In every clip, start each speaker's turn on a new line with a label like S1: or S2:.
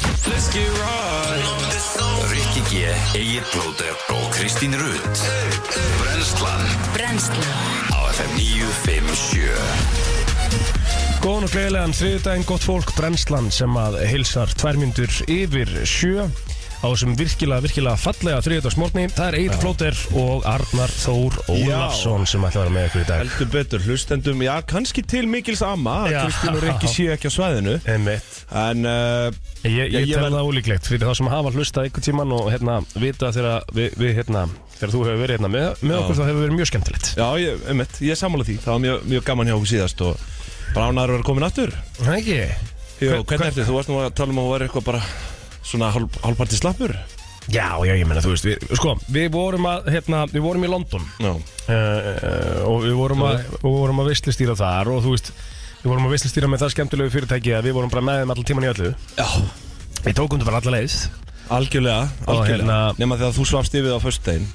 S1: Let's get right
S2: Rikki G, Egil Blóter og Kristín Rutt Brenslan
S3: Brennslan
S2: á FM 957
S4: Góðan og gleðilegan þriðdæðin, gott fólk, brennslan sem að heilsar tværmyndur yfir sjö á þessum virkilega, virkilega fallega þriðdagsmorgni. Það er Eir Flóter og Arnar Þór Ólafsson sem ætla að vera með ykkur í dag.
S1: Heldur betur hlustendum, já kannski til Mikils Amma að
S4: Já.
S1: Kristín og Rikki séu ekki á svæðinu
S4: Einmitt.
S1: En uh,
S4: Ég, ég,
S1: Ég- ég
S4: ég tel
S1: verð-
S4: það ólíklegt fyrir þá sem hafa hlustað einhvern tíman og hérna vita þegar við, við hérna, þegar þú hefur verið hérna með, með okkur þá hefur verið mjög skemmtilegt.
S1: já, ég, einmitt, ég sammála því, það var mjög, mjög gaman hjá okkur síðast og bara ánæður að vera komin aftur
S4: Það ekki?
S1: Jó,
S4: Hver-
S1: hvernig ertu? Þú varst nú að tala um að þú væri eitthvað bara svona hálf, hálfparti slappur
S4: Já, já, ég menna, þú veist, við, sko, við vorum að, hérna, við vorum í London
S1: Já,
S4: Eh, eh, og við vorum að, og vorum að veistlistýra þar og þú veist, við vorum að veistlistýra með það skemmtilegu fyrirtæki að við vorum bara með þeim allan tíman í öllu
S1: já.
S4: Við tókum þetta bara alla leið
S1: algjörlega, algjörlega
S4: hérna-
S1: Nema þegar þú svafst yfir það á föstudaginn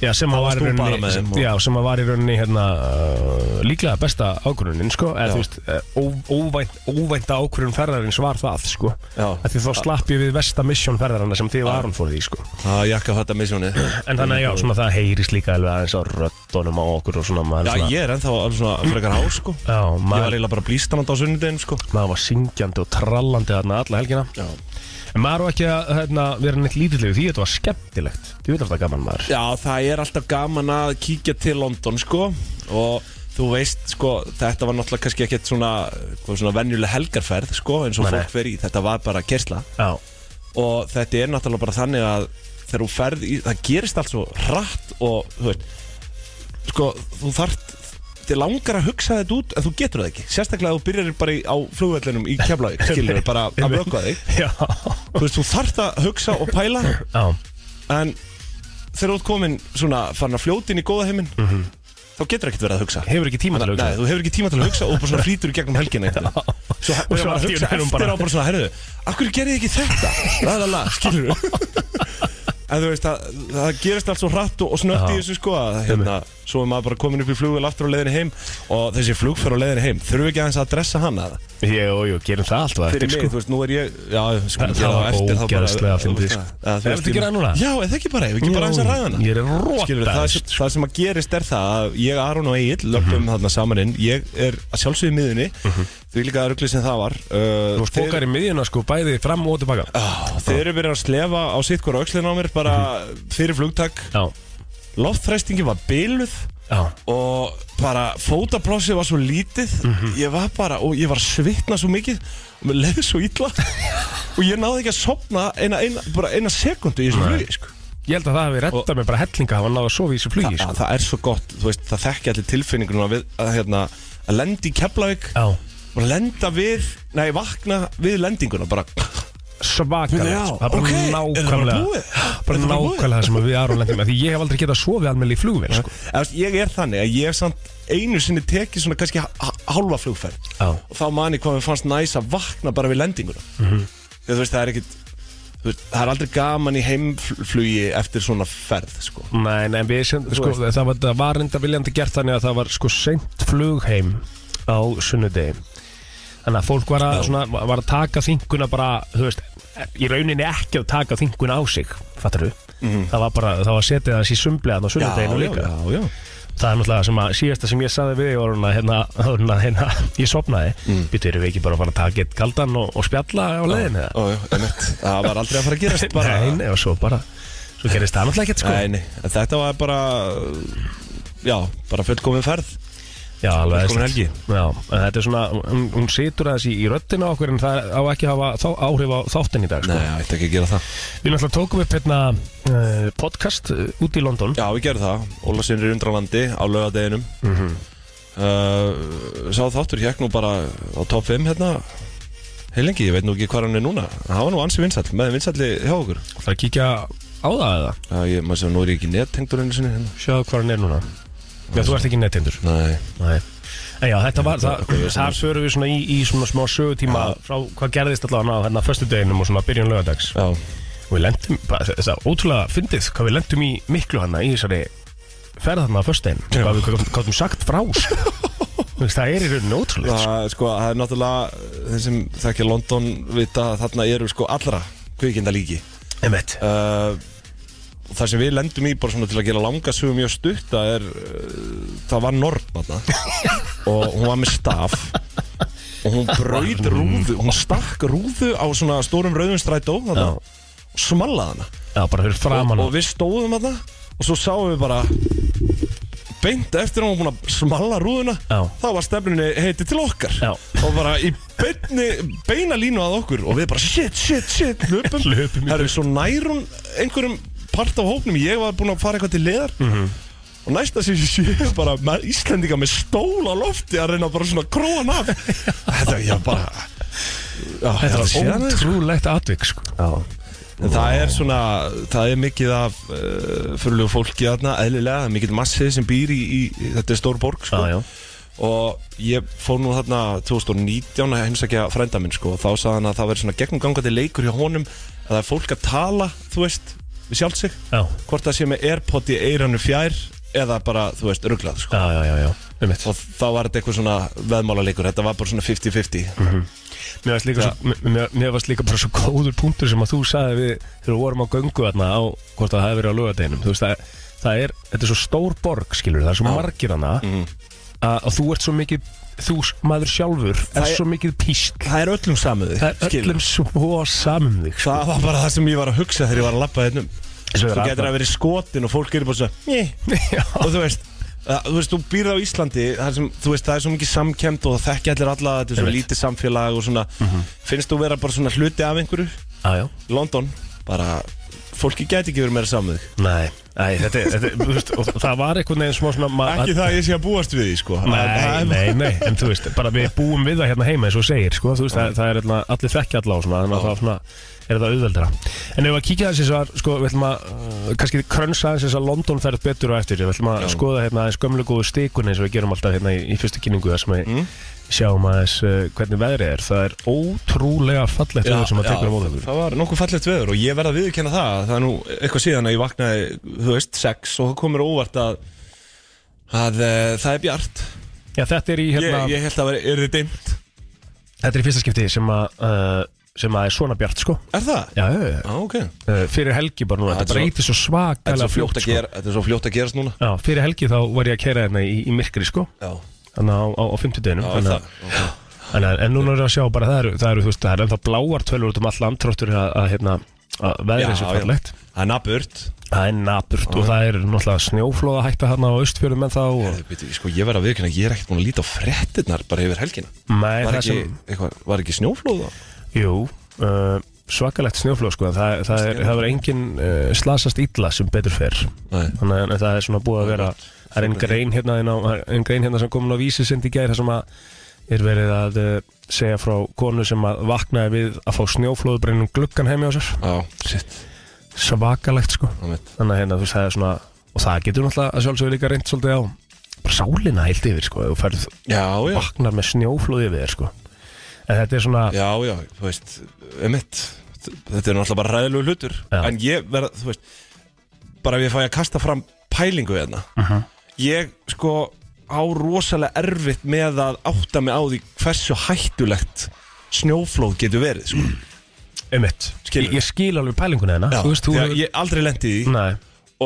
S4: Já, sem að var
S1: varst
S4: í
S1: þú bara
S4: rauninni
S1: með
S4: sem,
S1: þeim og-
S4: Já, sem að var í rauninni hérna uh, líklega besta ákvörunin, sko eða
S1: Já.
S4: þú veist, eh, ó, óvænt, óvænta ákvörun ferðarins var það, sko
S1: Já.
S4: að því þá slapp ég við versta misjón ferðarana sem þið og Aron fóruð í, sko
S1: Það Ah. jakka þetta misjónið
S4: En þannig að já,
S1: Mm.
S4: svona það heyrist líka alveg aðeins á röddunum á okkur og svona maður
S1: Já,
S4: svona,
S1: ég er ennþá alveg svona frekar há sko
S4: já,
S1: Ég var
S4: maður,
S1: eiginlega bara blístanand á sunnudegin sko
S4: maður var syngjandi og trallandi þarna alla helgina En maður á ekki að hérna, vera neitt lítillegu því þetta var skemmtilegt. Þú veit að það er gaman maður.
S1: Já, það er alltaf gaman að kíkja til London sko og þú veist sko, þetta var náttúrulega kannski ekkert svona, hvað, svona venjuleg helgarferð sko, eins og
S4: Nei, nei.
S1: fólk fer í, þetta var bara kersla
S4: Já,
S1: og þetta er náttúrulega bara þannig að þegar þú ferð í, það gerist allt svo hratt og þú veist sko, þú þart þið langar að hugsa þetta út en þú getur það ekki sérstaklega að þú byrjar bara í, á flugvellinum í Keflavík, skilur við bara að vökva þig
S4: já,
S1: þú veist, þú þart að hugsa og pæla
S4: já,
S1: en þegar þú ert komin svona farin að fljóta inn í góða heiminn þá getur ekkert verið að hugsa
S4: hefur ekki tíma til að hugsa.
S1: Mhm. Nei, þú hefur ekki tíma til að hugsa og bara svona flýtur í gegnum helgin eitthvað Svo
S4: Og
S1: hefur
S4: svo
S1: bara að
S4: allt í
S1: hugsa
S4: einu erum
S1: eftir
S4: bara-
S1: á bara svona, herðu, akkur gerði ekki þetta? Lalala, skilur En þú veist, það, það gerist allt svo hratt og, og snögt í
S4: Já.
S1: þessu sko að hérna, svo er maður bara komin upp í flugvel aftur á leiðinni heim og þessi flugferð á leiðinni heim þurfum við ekki aðeins að dressa hana
S4: Jú, jú, gerum það allt og
S1: fyrir
S4: eftir
S1: mig,
S4: sko.
S1: þú veist, nú er ég já, sko,
S4: Það- það var ógeðslega fyndið, sko.
S1: Er
S4: Er þetta ekki ræða núna?
S1: Já, eða ekki bara, ef ekki bara eins að ræða hana
S4: Ég er sko.
S1: Skilur, það,
S4: rótaðist.
S1: sem, það sem að gerist er það að ég, Aron og Egil löpum
S4: Mhm.
S1: þarna saman inn Ég er að sjálfsögðu í miðunni Því líka að ruggli sem það var uh,
S4: Þú fokkar í miðjuna sko, bæði fram og tilbaka.
S1: Þeir eru byrjað að slefa á sitt hver aukslinn á mér Bara fyrir flugtak
S4: Mhm. Já,
S1: Loftfrestingi var byluð
S4: já,
S1: Og bara fótaplossi var svo lítið
S4: Mhm.
S1: Ég var bara, og ég var að svitna svo mikið Og mér leiði svo illa Og ég náði ekki að sopna eina, eina, bara eina sekundu í þessu
S4: Nei.
S1: flugi sko.
S4: ég held að það hefði rettað mig bara hellinga að hafa náða að sofa í þessu flugi
S1: Þa,
S4: sko.
S1: það er svo gott, þú veist, það þekki allir tilfinningunum að, við, að, hérna, að lendi í Keflavík
S4: Já,
S1: og lenda við, nei, vakna við lendinguna bara Hérna,
S4: svakalegt. sko. Það er bara
S1: ok, er það bara
S4: nákvæmlega,
S1: búið?
S4: bara
S1: Er það bara búið?
S4: nákvæmlega það sem við Aron lendum. Því ég hef aldrei getað sofið almennilega í flugvél sko.
S1: Eða, þú veist, Ég er þannig að ég hef samt einu sinni tekið svona kannski h- hálfa flugferð
S4: Já.
S1: og þá mani hvað mér fannst næs að vakna bara við lendinguna Þegar, þú veist, það er ekkit þú veist, það er aldrei gaman í heimflugi eftir svona ferð, sko
S4: Nei, nei, við sem, sko, það var, það var reynda viljandi gert þannig að það var sko seint flug heim á sunnudegi Þannig að fólk var að, svona, var að taka þinguna bara, þú veist, í rauninni ekki að taka þinguna á sig, fattar þú? Það var bara, það var setið aðeins í sumbleðan á sunnudeginu líka.
S1: Mhm. já, já
S4: Það er náttúrulega sem að síðasta sem ég saði við var hún að hérna, hérna, hérna, ég sopnaði. Mm. Býttu, erum við ekki bara að fara að taka eitt kaldan og, og spjalla á leiðinu?
S1: Ó, já, einmitt. Það var aldrei að fara að gerast bara
S4: Nei, nei, og svo bara, svo gerist það náttúrulega ekkert sko.
S1: Nei, nei, en þetta var bara Já, bara fullkomin ferð
S4: Já, alveg
S1: Velkomin
S4: æðislegt. Já, en þetta er svona, hún, hún situr aðeins í, í röddina á okkur en það á ekki að hafa þá, áhrif á þáttin í dag sko.
S1: Nei, ég ætti ekki að gera það
S4: Við náttúrulega tókum upp hérna uh, podcast uh, út í London
S1: Já, við gerum það, Ólarsinri í undralandi á laugadeginum mm
S4: Mhm.
S1: Sá þáttur hjekk nú bara á top 5 hérna Heilengi, ég veit nú ekki hvað hann er núna En Það var nú ansi vinsall, með vinsalli hjá okkur
S4: Það er að kíkja á það eða
S1: Já, ég, maður sem nú er ég ekki nettengdur einu sinni hérna
S4: Sjáðu hvað hann er núna Já, þú ert ekki nettindur
S1: Nei,
S4: Nei En Eh, já, þetta var, það,
S1: Þetta er-
S4: þar förum við svona í, í svona smá sögutíma frá hvað gerðist allavega á hérna föstudeginum og svona byrjun lögadags
S1: já,
S4: og við lendum, bara, það það er ótrúlega fyndið hvað við lendum í hérna miklu hana í þessari ferðarna á föstudegin, hvað við gáttum sagt frá sko. Þú veist, það er í rauninu ótrúlega
S1: það, sko, það er náttúrulega þeir sem þekkja London vita að þarna eru sko allra kvikinda líki
S4: Emmett
S1: uh, Það sem við lendum í bara svona til að gera langa sögum mjög stutt það er, uh, það var Norn þarna og hún var með staf og hún braut rúðu hún stakk rúðu á svona stórum rauðum strætó þarna
S4: Já.
S1: og smallaði hana
S4: Já, bara fyrir
S1: og,
S4: framan á
S1: og við stóðum þarna og svo sáum við bara beint eftir að hún var búin að smalla rúðuna
S4: Já.
S1: þá var stefnunni heiti til okkar
S4: Já.
S1: og bara í beinni, beina línu að okkur og við bara shit, shit, shit hlupum,
S4: Hlupum í
S1: það er svo nær hún einhverjum part af hópnum ég var búin að fara eitthvað til leðar -hmm. og næsta sem ég sé bara með Íslendinga með stóla lofti að reyna bara svona króan af þetta er ég bara já,
S4: Þetta
S1: sé
S4: er
S1: hann, sko.
S4: ótrúlegt atvik, sko
S1: En það er svona, það er mikið af uh, fyrirlegu fólki þarna, eðlilega, það er mikið massið sem býr í, í, í þetta er stór borg, sko.
S4: Já, já
S1: Og ég fór nú þarna 2019 að heimsækja frænda minn, sko, og þá sagði hann að það verður svona gegnumgangandi leikur hjá honum, að það er fólk að tala, þú veist, við sjálf sig,
S4: Já,
S1: hvort það sé með Airpod í eirannu fjær, eða bara, þú veist, ruglað, sko.
S4: já, já, já, já. Emmett
S1: Og þá var þetta eitthvað svona veðmála leikur, þetta var bara svona 50-50.
S4: Mhm. Mér varst líka, svo, mér, mér varst líka bara svo góður punktur sem að þú sagði við þegar við vorum á göngu þarna á hvort það hefði verið á lögadeginum þú veist það, það er, þetta er svo stór borg skilur, það er svo margir hana
S1: Mhm.
S4: að, og þú ert svo mikið, þú s- maður sjálfur
S1: Það
S4: er
S1: er-
S4: svo mikið písl
S1: Það er öllum samuði,
S4: það er öllum svo samum þig
S1: Það var bara það sem ég var að hugsa þegar ég var að lappa þennum
S4: sko. Svo
S1: Þú
S4: er
S1: getur
S4: Arnar.
S1: að vera í skotin og fólk er bara svona "Né."
S4: Já.
S1: Og þú veist að, Þú veist, þú býrð á Íslandi það, sem, þú veist, það er svo mikið samkemd og það þekkja allir alla Þetta er svo
S4: Einmitt.
S1: lítið samfélag og svona
S4: Mhm.
S1: Finnst þú vera bara svona hluti af einhverju
S4: Já, já.
S1: London, bara Fólki gæti ekki verið meira samuð
S4: Nei, Æ, þetta er, þetta er þú veist, og það var einhvern veginn smá svona ma-
S1: Ekki það að ég sé að búast við því, sko
S4: Nei, nei, nei, en þú veist, bara við búum við það hérna heima eins og þú segir, sko, þú veist, það, það er hérna, allir þekkja alla á svona, þannig að það svona, er það auðveldra. En ef við að kíkja þess að, sko, við ætlum að, uh, kannski krönsa þess að London ferð betur og eftir, við ætlum að skoða hérna aðeins gömlu góðu stikun eins og við gerum alltaf hérna í, í fyrstu kynningu þar sem við
S1: Mm.
S4: sjáum aðeins uh, hvernig veðrið er. Það er ótrúlega fallegt
S1: Já,
S4: veður sem að
S1: já,
S4: tekur á móðu okkur.
S1: það var nokkuð fallegt veður og ég verð að viðurkenna það það er nú eitthvað síðan að ég vaknaði þú veist, sex og það komur óvart að að e, það er bjart
S4: Já, þetta er í,
S1: ég,
S4: hérna,
S1: ég held að vera, er þið dimmt
S4: þetta er í fyrsta skipti sem að, uh, sem að er svona bjart, sko.
S1: er það?
S4: Já, já, já.
S1: á, ok þetta
S4: Uh, fyrir helgi bara núna,
S1: Já,
S4: þetta
S1: þetta er svo-
S4: breytir svo
S1: er,
S4: svakalega
S1: svo fljótt
S4: fljótt
S1: að
S4: sko.
S1: gera, þetta er svo fljótt að gerast núna
S4: Já, fyrir helgi þá var ég að kæra hérna í, í myrkri sko
S1: já,
S4: Þannig á, á, á 50 deginum
S1: já
S4: þannig,
S1: það okay.
S4: að- þannig að- En núna erum við að sjá bara það eru, það eru, þú veist, það eru ennþá bláar tölur út um all landráttur að, að, hérna, að
S1: Já,
S4: veðrið sé
S1: já.
S4: farlegt
S1: það er naburt
S4: Það er napurt og það er náttúrulega snjóflóða hætta hérna á austfjörðum en þá og,
S1: sko, ég verð að viðurkenna að ég er ekkert búin að líta á frettirnar bara yfir helgina
S4: Nei,
S1: var
S4: það
S1: ekki,
S4: sem,
S1: eitthvað, var ekki snjóflóð á?
S4: jú, uh, svakalegt snjóflóð sko en Það, það, er, það er engin uh, slasast illa sem betur fer
S1: Nei.
S4: Þannig að en það er svona búið að vera Það er einn grein hérna, inn á, ein grein hérna sem komin á vísi sind í gær Það sem að er verið að uh, segja frá konu sem að vaknaði við að fá snjóflóðubrennum gluggan heim hjá sér
S1: já, sitt
S4: Svakalegt sko
S1: einmitt.
S4: Þannig að hérna þú veist það er svona Og það getur náttúrulega að sjálfsögur líka reynd svolítið á Bara sálina heilt yfir sko ef Þú ferð
S1: já, já,
S4: vaknar með snjóflóði yfir þér sko En þetta er svona
S1: já, já, þú veist emitt, þetta er náttúrulega bara ræðilegu hlutur
S4: Já.
S1: en ég verð, þú veist bara ef ég fæ að kasta fram pælingu hérna ég sko á rosalega erfitt með að átta mig á því hversu hættulegt snjóflóð getur verið sko.
S4: um mitt
S1: Skilur.
S4: Ég, ég skil alveg pælinguna hérna
S1: Já,
S4: Þú veist þú
S1: þegar ég aldrei lendi í því
S4: Nei,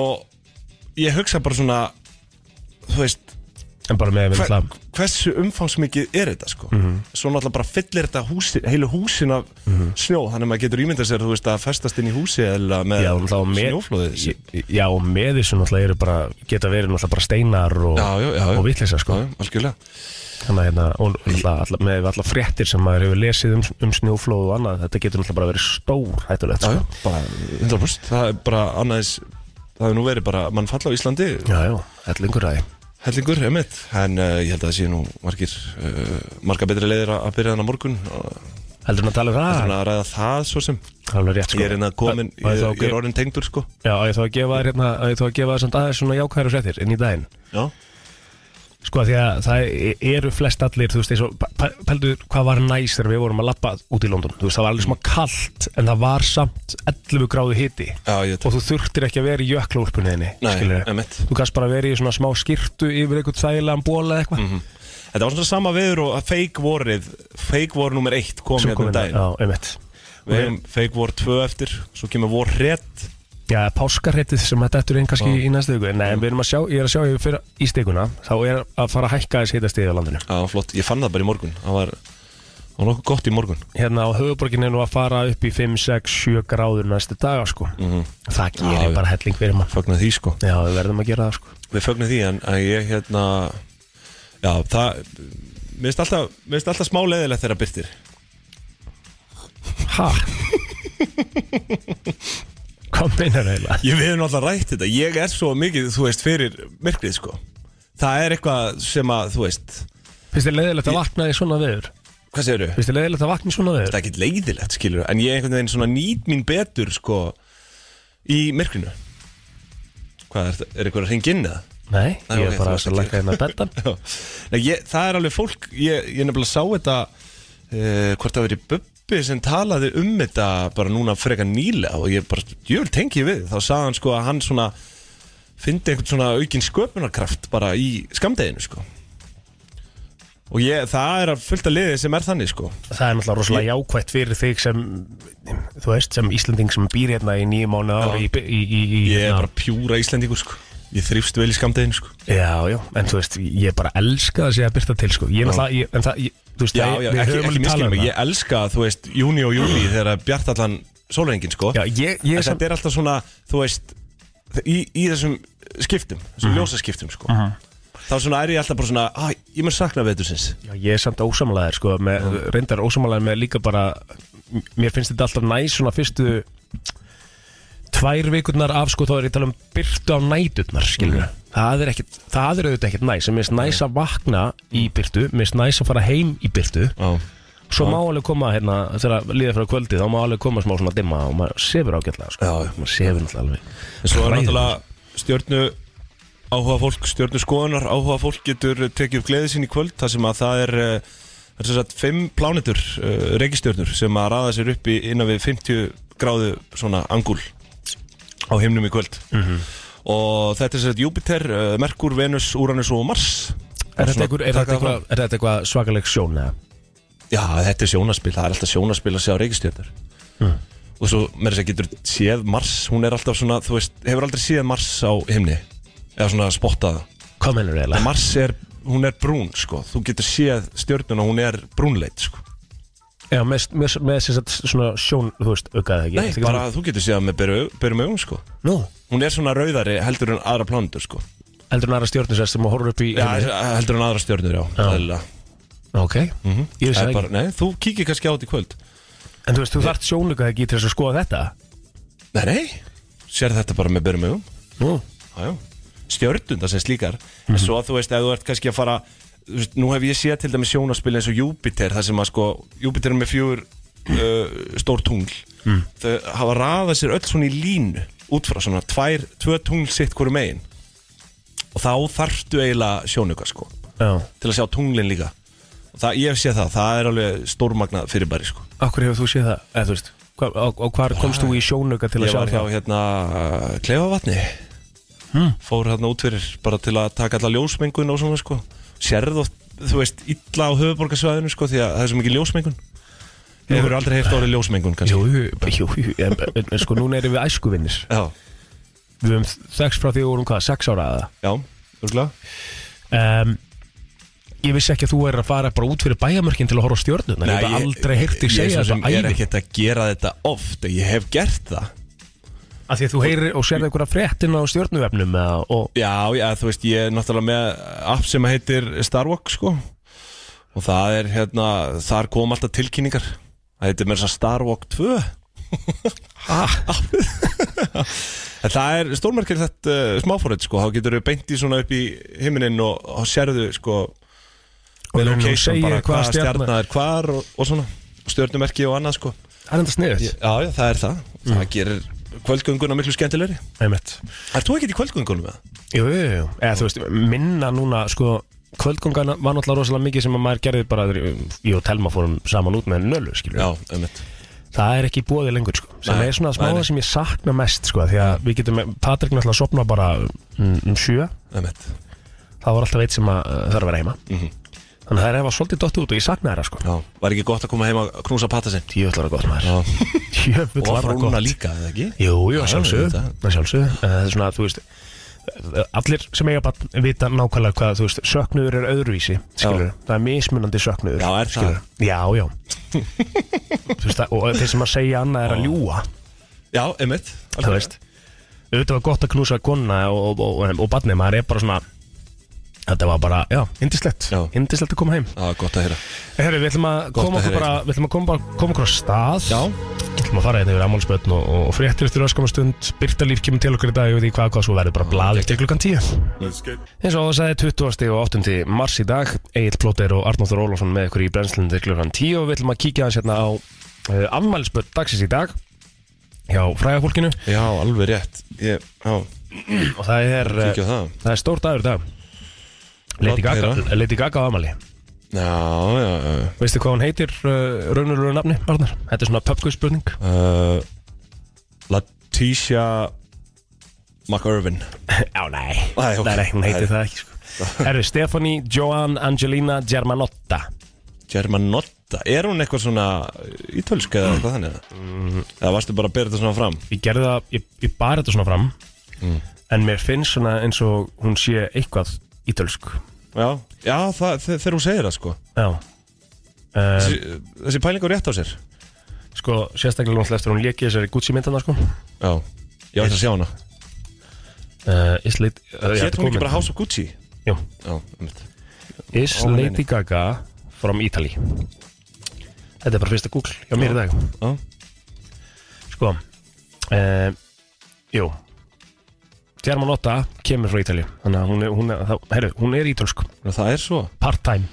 S1: og ég hugsa bara svona þú veist
S4: en bara með að
S1: hver,
S4: vinna
S1: hversu umfangsmikið er þetta sko
S4: Mhm.
S1: svo náttúrulega bara fyllir þetta húsi, heilu húsin af snjó þannig að maður getur ímyndað sér þú veist að festast inn í húsi eða með
S4: Já, og þá með,
S1: snjóflóðið sem-
S4: Já, og með þessu náttúrulega eru bara geta verið náttúrulega bara steinar og,
S1: Já, já, já, já.
S4: og vitleysa sko.
S1: Já, já, algjörlega
S4: Þannig að hérna, og náttúrulega alla, með alla fréttir sem maður hefur lesið um, um snjóflóð og annað, þetta getur náttúrulega bara verið stór hættulegt
S1: Já, já,
S4: sko.
S1: bara 100% Það er bara annaðis Það hefur nú verið bara, mann falla á Íslandi
S4: Já, já, hellingur aði
S1: Hellingur, emitt En uh, ég held að það sé nú margir uh, Marga betri leiðir að að byrja þannig morgun og
S4: Heldur hann að tala um það?
S1: Þannig að ræða það svo sem
S4: Það er alveg rétt sko.
S1: Ég er inn að komin,
S4: Að- að
S1: ég,
S4: þá
S1: ég er orðin tengdur sko
S4: Já, að ég þá að gefa þér hérna, að ég þá að gefa þér samt aðeins svona jákvæður fréttir inn í daginn
S1: Já,
S4: Sko því að það e- eru flest allir, þú veist, eins og, pældu hvað var næs þegar við vorum að lappa út í London, þú veist, það var alveg smá kallt, en það var samt 11 gráðu hiti
S1: já ég
S4: og þú þurftir ekki að vera í jöklaúlpunni þinni
S1: Nei,
S4: skilurðu.
S1: einmitt.
S4: þú kannst bara verið í svona smá skirtu yfir einhvern þægilegan bóla eða eitthvað
S1: Mhm. Þetta var svona sama veður og að fake vorið Fake vor nummer eitt kom
S4: Svo
S1: hérna um
S4: komin
S1: daginn
S4: Já, einmitt
S1: Við hefum fake vor 2 eftir Svo kemur vor rétt
S4: Já, páskarheitið sem þetta eftir einn kannski í næstu viku Nei, en við erum að sjá, ég er að sjá yfir fyrir í stikuna Þá er að fara að hækka þess heitast á landinu
S1: Já, flott, ég fann það bara í morgun Það var, það var nokkuð gott í morgun
S4: Hérna á höfuborginni er nú að fara upp í 5, 6, 7 gráður næstu daga sko
S1: Mhm.
S4: Það gerir
S1: Já, já.
S4: bara helling fyrir mann
S1: Fagnar því sko
S4: Já, við verðum að gera það sko
S1: Við fagnum því en að ég hérna Já, það Mér finnst alltaf, mér finnst alltaf smá leðilegt þegar byrtir
S4: Ha? Hvað meinar eiginlega?
S1: Ég við hefum alltaf rætt þetta Ég er svo mikið, þú veist, fyrir myrkrið sko Það er eitthvað sem að, þú veist
S4: Finnst þið leiðilegt að vakna í svona veður?
S1: Hvað segirðu?
S4: Finnst þið leiðilegt að vakna í svona
S1: Þetta
S4: veður?
S1: er ekkit leiðilegt, skilur En ég einhvern veginn svona nýt mín betur sko Í myrkrinu Hvað er þetta? Er eitthvað að ringa inn eða?
S4: Nei,
S1: Nei, ok,
S4: ég er bara
S1: þú
S4: að
S1: varst
S4: lækka hérna bettan
S1: Já. Nei, ég, það er alveg fólk Ég, ég nefnilega sá þetta uh, Hvort það verið Bubbi sem talaði um þetta Bara núna frekar nýlega Og ég bara, jöl tengi ég við Þá sagði hann sko að hann svona Fyndi einhvern svona aukinn sköpunarkraft Bara í skamdeginu sko Og ég, það er að fullta liði sem er þannig sko
S4: Það er náttúrulega rosalega jákvætt fyrir þig sem þú veist, sem Íslanding sem býr hérna í nýju mánu ári í, í, í, í
S1: Ég er
S4: hérna.
S1: bara pjúra Íslendingur sko Ég þrýfst vel í skamdeginu sko
S4: Já, já, en þú veist, ég bara elska það sé að byrta til, sko Ég er náttúrulega, ég- en það, ég, þú veist,
S1: Já,
S4: það-
S1: já,
S4: við
S1: ekki,
S4: höfum
S1: ekki
S4: alveg talað
S1: miskilum
S4: um
S1: mig,
S4: það. Mm.
S1: ég elska, þú veist, júni og júli þegar bjart allan sólrengin, sko
S4: Já, ég, ég,
S1: En
S4: sem,
S1: þetta er alltaf svona, þú veist, í, í þessum skiptum, þessum
S4: Mhm.
S1: ljósaskiptum, sko Þá svona er ég alltaf bara svona, að, ég mér sakna veitursins
S4: já, ég er samt ósamlegaðir, sko með, Reyndar ósamlegaðir með líka bara m- Mér finnst þetta alltaf næs svona fyrstu Tvær vikurnar af, sko, þá er ég að tala um byrtu á næturnar, skilur
S1: Mhm.
S4: Það er ekkit, það er auðvitað ekkit næs En mér finnst næs að vakna í byrtu Mér finnst næs að fara heim í byrtu
S1: Mm. Já,
S4: Svo má alveg koma hérna þegar líða frá kvöldi þá má alveg koma smá svona dimma og maður sefur ágætlega sko.
S1: Já, já.
S4: maður sefur náttúrulega alveg
S1: en svo er
S4: Hræðilegt.
S1: náttúrulega stjörnu áhuga fólk, stjörnu skoðunar áhuga fólk getur tekið upp gleði sín í kvöld þar sem að það er, eh, það er sem sagt, fimm plánetur, uh, reikistjörnur sem að raða sér upp í innan við 50 gráðu svona angúl á himnum í kvöld
S4: Mhm.
S1: og þetta er sem sagt Júpiter, uh, Merkur, Venus, Uranus og Mars
S4: Er þetta
S1: Svona
S4: einhver- er
S1: taka
S4: þetta
S1: það fram.
S4: eitthvað er þetta eitthvað svakaleg sjón eða?
S1: Já, þetta er sjónaspil, það er alltaf sjónaspil að sjá reikistjörnur Og svo, með þess að getur séð Mars, hún er alltaf svona, þú veist, hefur aldrei séð Mars á himni Eða svona spottað
S4: Hvað mennur eiginlega?
S1: Mars er, hún er brún, sko, þú getur séð stjörnuna, hún er brúnleit, sko
S4: Já, með, með, með sem sagt svona sjón, þú veist, aukaði það
S1: Nei,
S4: ekki
S1: bara þú getur séð með byrjum augum, sko
S4: Nú,
S1: Hún er svona rauðari heldur en aðra plánundur, sko
S4: heldur en aðra stjórnir sérst sem að horfa upp í
S1: Já, heldur en aðra stjörnur, já,
S4: Já.
S1: eðlilega.
S4: Ok, ég
S1: Það
S4: vissi það
S1: er
S4: ekki
S1: bara, Nei, þú kíkir kannski á þetta í kvöld
S4: En þú veist, þú þarft sjónaukaði ekki til þess að skoða þetta
S1: Nei, nei, sér þetta bara með byrjum augum
S4: Nú,
S1: stjörnunda sem slíkar en svo að þú veist, ef þú ert kannski að fara þú veist, nú hef ég séð til dæmis sjónaspil eins og Júpiter þar sem að sko, Júpiter er með fjúr uh, stór tungl þau hafa raðað sér öll svona í línu út frá svona tvær, tvö tungl sitt hverju megin og þá þarftu eiginlega sjónuga sko
S4: já
S1: til að sjá tunglin líka og það, ég hef séð það, það er alveg stórmagnað fyrirbæri sko
S4: Akkur hefur þú séð það? Eða þú veist, hva, á, á hvar komst þú í sjónauka til að
S1: Ég
S4: sjá
S1: var hjá
S4: það? Hm.
S1: hérna Kleifavatni Fór hérna út fyrir bara til að taka alla ljósmengun og svona sko Sérð og þú veist illa á höfuborgarsvæðinu sko Því að það er svo mikið ljósmengun Hefur aldrei heyrt orðið ljósmengun kannski
S4: Jú, jú, jú, jú, en, en, en sko núna erum við æskuvinnir
S1: Já,
S4: Við höfum sex frá því við vorum hvað, sex ára aða
S1: já, örgulega
S4: um, Ég vissi ekki að þú er að fara bara út fyrir bæjamörkin til að horfa á stjörnuna Ég hef aldrei heyrt þig segja
S1: þetta
S4: þetta
S1: Ég er
S4: æfi
S1: ekkert að gera þetta oft Ég hef gert það
S4: Af því að þú heyrir og sérði einhverja fréttin á stjörnuvefnum eða, og
S1: Já, já, þú veist, ég er náttúrulega með app sem heitir Starwalk, sko Og það er, hérna, þar kom alltaf tilkynningar Það heitir mér þess að Starwalk 2
S4: ah,
S1: En það er stórmerkir þetta uh, smáfórið, sko Þá getur þau beint í svona upp í himinin og, og sérðu, sko
S4: Og
S1: með
S4: hún
S1: location,
S4: segir
S1: bara
S4: hvaða
S1: hvaða
S4: stjarna-
S1: stjarna er hvar og, og svona Stjörnumerki og annað, sko
S4: Það er enda sniðið
S1: Já, já, það er það Það gerir kvöldgönguna miklu skemmtilegri
S4: Mm. Einmitt
S1: Er þú ekkert í kvöldgöngunum með það?
S4: Jú, jú, jú Eða þú veist, minna núna sko Kvöldgóngan var náttúrulega rosalega mikið sem að maður gerði bara Ég og Telma fórum saman út með nölu, skilur
S1: Já, einmitt
S4: það er ekki bóði lengur sko. sem
S1: Nei,
S4: er svona smáða
S1: nei, nei.
S4: sem ég sakna mest sko, því að við getum, Patrik náttúrulega sopna bara um, um sjö,
S1: Einmitt
S4: það var alltaf eitt sem að, uh, þarf að eh, vera heima Þannig að það er hefa svolítið dott út og ég sakna þeirra sko
S1: Mhm. Já, var ekki gott að koma heim að knúsa patta sinn
S4: Jöfnlar að gott maður
S1: Já,
S4: Jöfnlar
S1: og
S4: að gott
S1: frúna líka, eða ekki?
S4: Jú, jú, að sjálfsögðu
S1: auðvitað.
S4: að sjálfsögðu. En Það er svona, þú veist Allir sem eiga bann vita nákvæmlega hvað þú veist, söknuður er öðruvísi skilur, það er mismunandi söknuður
S1: Já, er það?
S4: skilurðu. Já, já Þú veist, það- og þeir sem að segja annað er að ljúa
S1: Já, einmitt
S4: þú
S1: algjörlega.
S4: veist auðvitað var gott að knúsa konuna og, og, og, og barnið, maður er bara svona þetta var bara, já, indislegt
S1: Já.
S4: indislegt að koma heim
S1: Já, gott að heyra
S4: Herri, við ætlum að
S1: Gott að
S4: koma okkur
S1: heyra,
S4: bara, við ætlum að koma, bara- koma okkur á stað
S1: Já.
S4: Við ætlum að fara hérna yfir ammálspötn og, og fréttir eftir öskama stund Byrta líf kemur til okkur í dag, ég veit ekki hvað hvað svo verður bara blaðið til klukkan 10 Eins og það sagði 20. og 8. mars í dag Egil Plóter og Arnóður Ólafsson með ykkur í brennslunum til klukkan 10 og við ætlum að kíkja hans hérna á uh, ammálspötn dagsins í dag hjá fræðafólkinu
S1: Já, alveg rétt Ég, já,
S4: og það er, uh,
S1: kíkja á það
S4: það er stór dagur í dag
S1: Látt
S4: Lady Gaga,
S1: heyra.
S4: Lady Gaga á ammali
S1: Já, já, já
S4: Veistu hvað hún heitir uh, raunurlur nafni, Arnar? Þetta er svona pubquiz spurning
S1: uh, Latisha McIrvin
S4: Já, nei,
S1: Nei, ok.
S4: nei, nei, hún heitir
S1: Nei.
S4: það ekki sko. Herri, Stefani Joan Angelina Germanotta
S1: Germanotta Er hún eitthvað svona ítölsk eða eitthvað þannig? eða? Eða varstu bara að bera þetta svona fram?
S4: Mm. Ég gerði það, ég, ég bar þetta svona fram
S1: Mm.
S4: En mér finnst svona eins og hún sé eitthvað ítölsk
S1: Já, já það, þe- þegar hún segir það sko
S4: Já uh,
S1: Þessi, þessi pælingu rétt á sér
S4: Sko, sérstaklega náttúrulega eftir að hún léki þessari Gucci myndana sko
S1: Já, ég ætla að sjá hana
S4: uh, Is Lady uh,
S1: Hétt hún ekki bara House of Gucci?
S4: Jú,
S1: Já, einmitt
S4: Is
S1: Ó, nei,
S4: Lady Gaga from Italy Þetta er bara fyrsta Google hjá mér í dag
S1: Já,
S4: Sko uh, Jú Germanotta kemur frá Ítali Þannig að hún er, hún er, þá- heyrðu, hún er ítölsk
S1: það er svo
S4: Part-time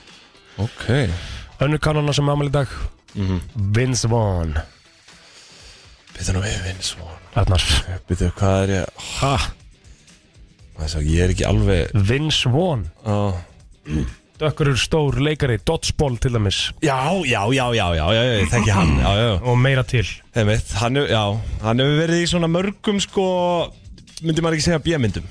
S1: Ok Mhm.
S4: Önnur kannana sem amal í dag Vince Vaughn
S1: Býttu nú sko. við vinn svo
S4: Arnar
S1: Býttu, Eh, hvað er ég
S4: ha?
S1: Þess að ég er ekki alveg
S4: Vince Vaughn
S1: á...
S4: Dökkur er stór leikari Dodgeball til dæmis
S1: Já, já, já, já, já, já, já, ég þekki hann Já, já, já
S4: Og meira til
S1: Einmitt, hann hefur, já, hann hefur verið í svona mörgum sko, myndi maður ekki segja bjömyndum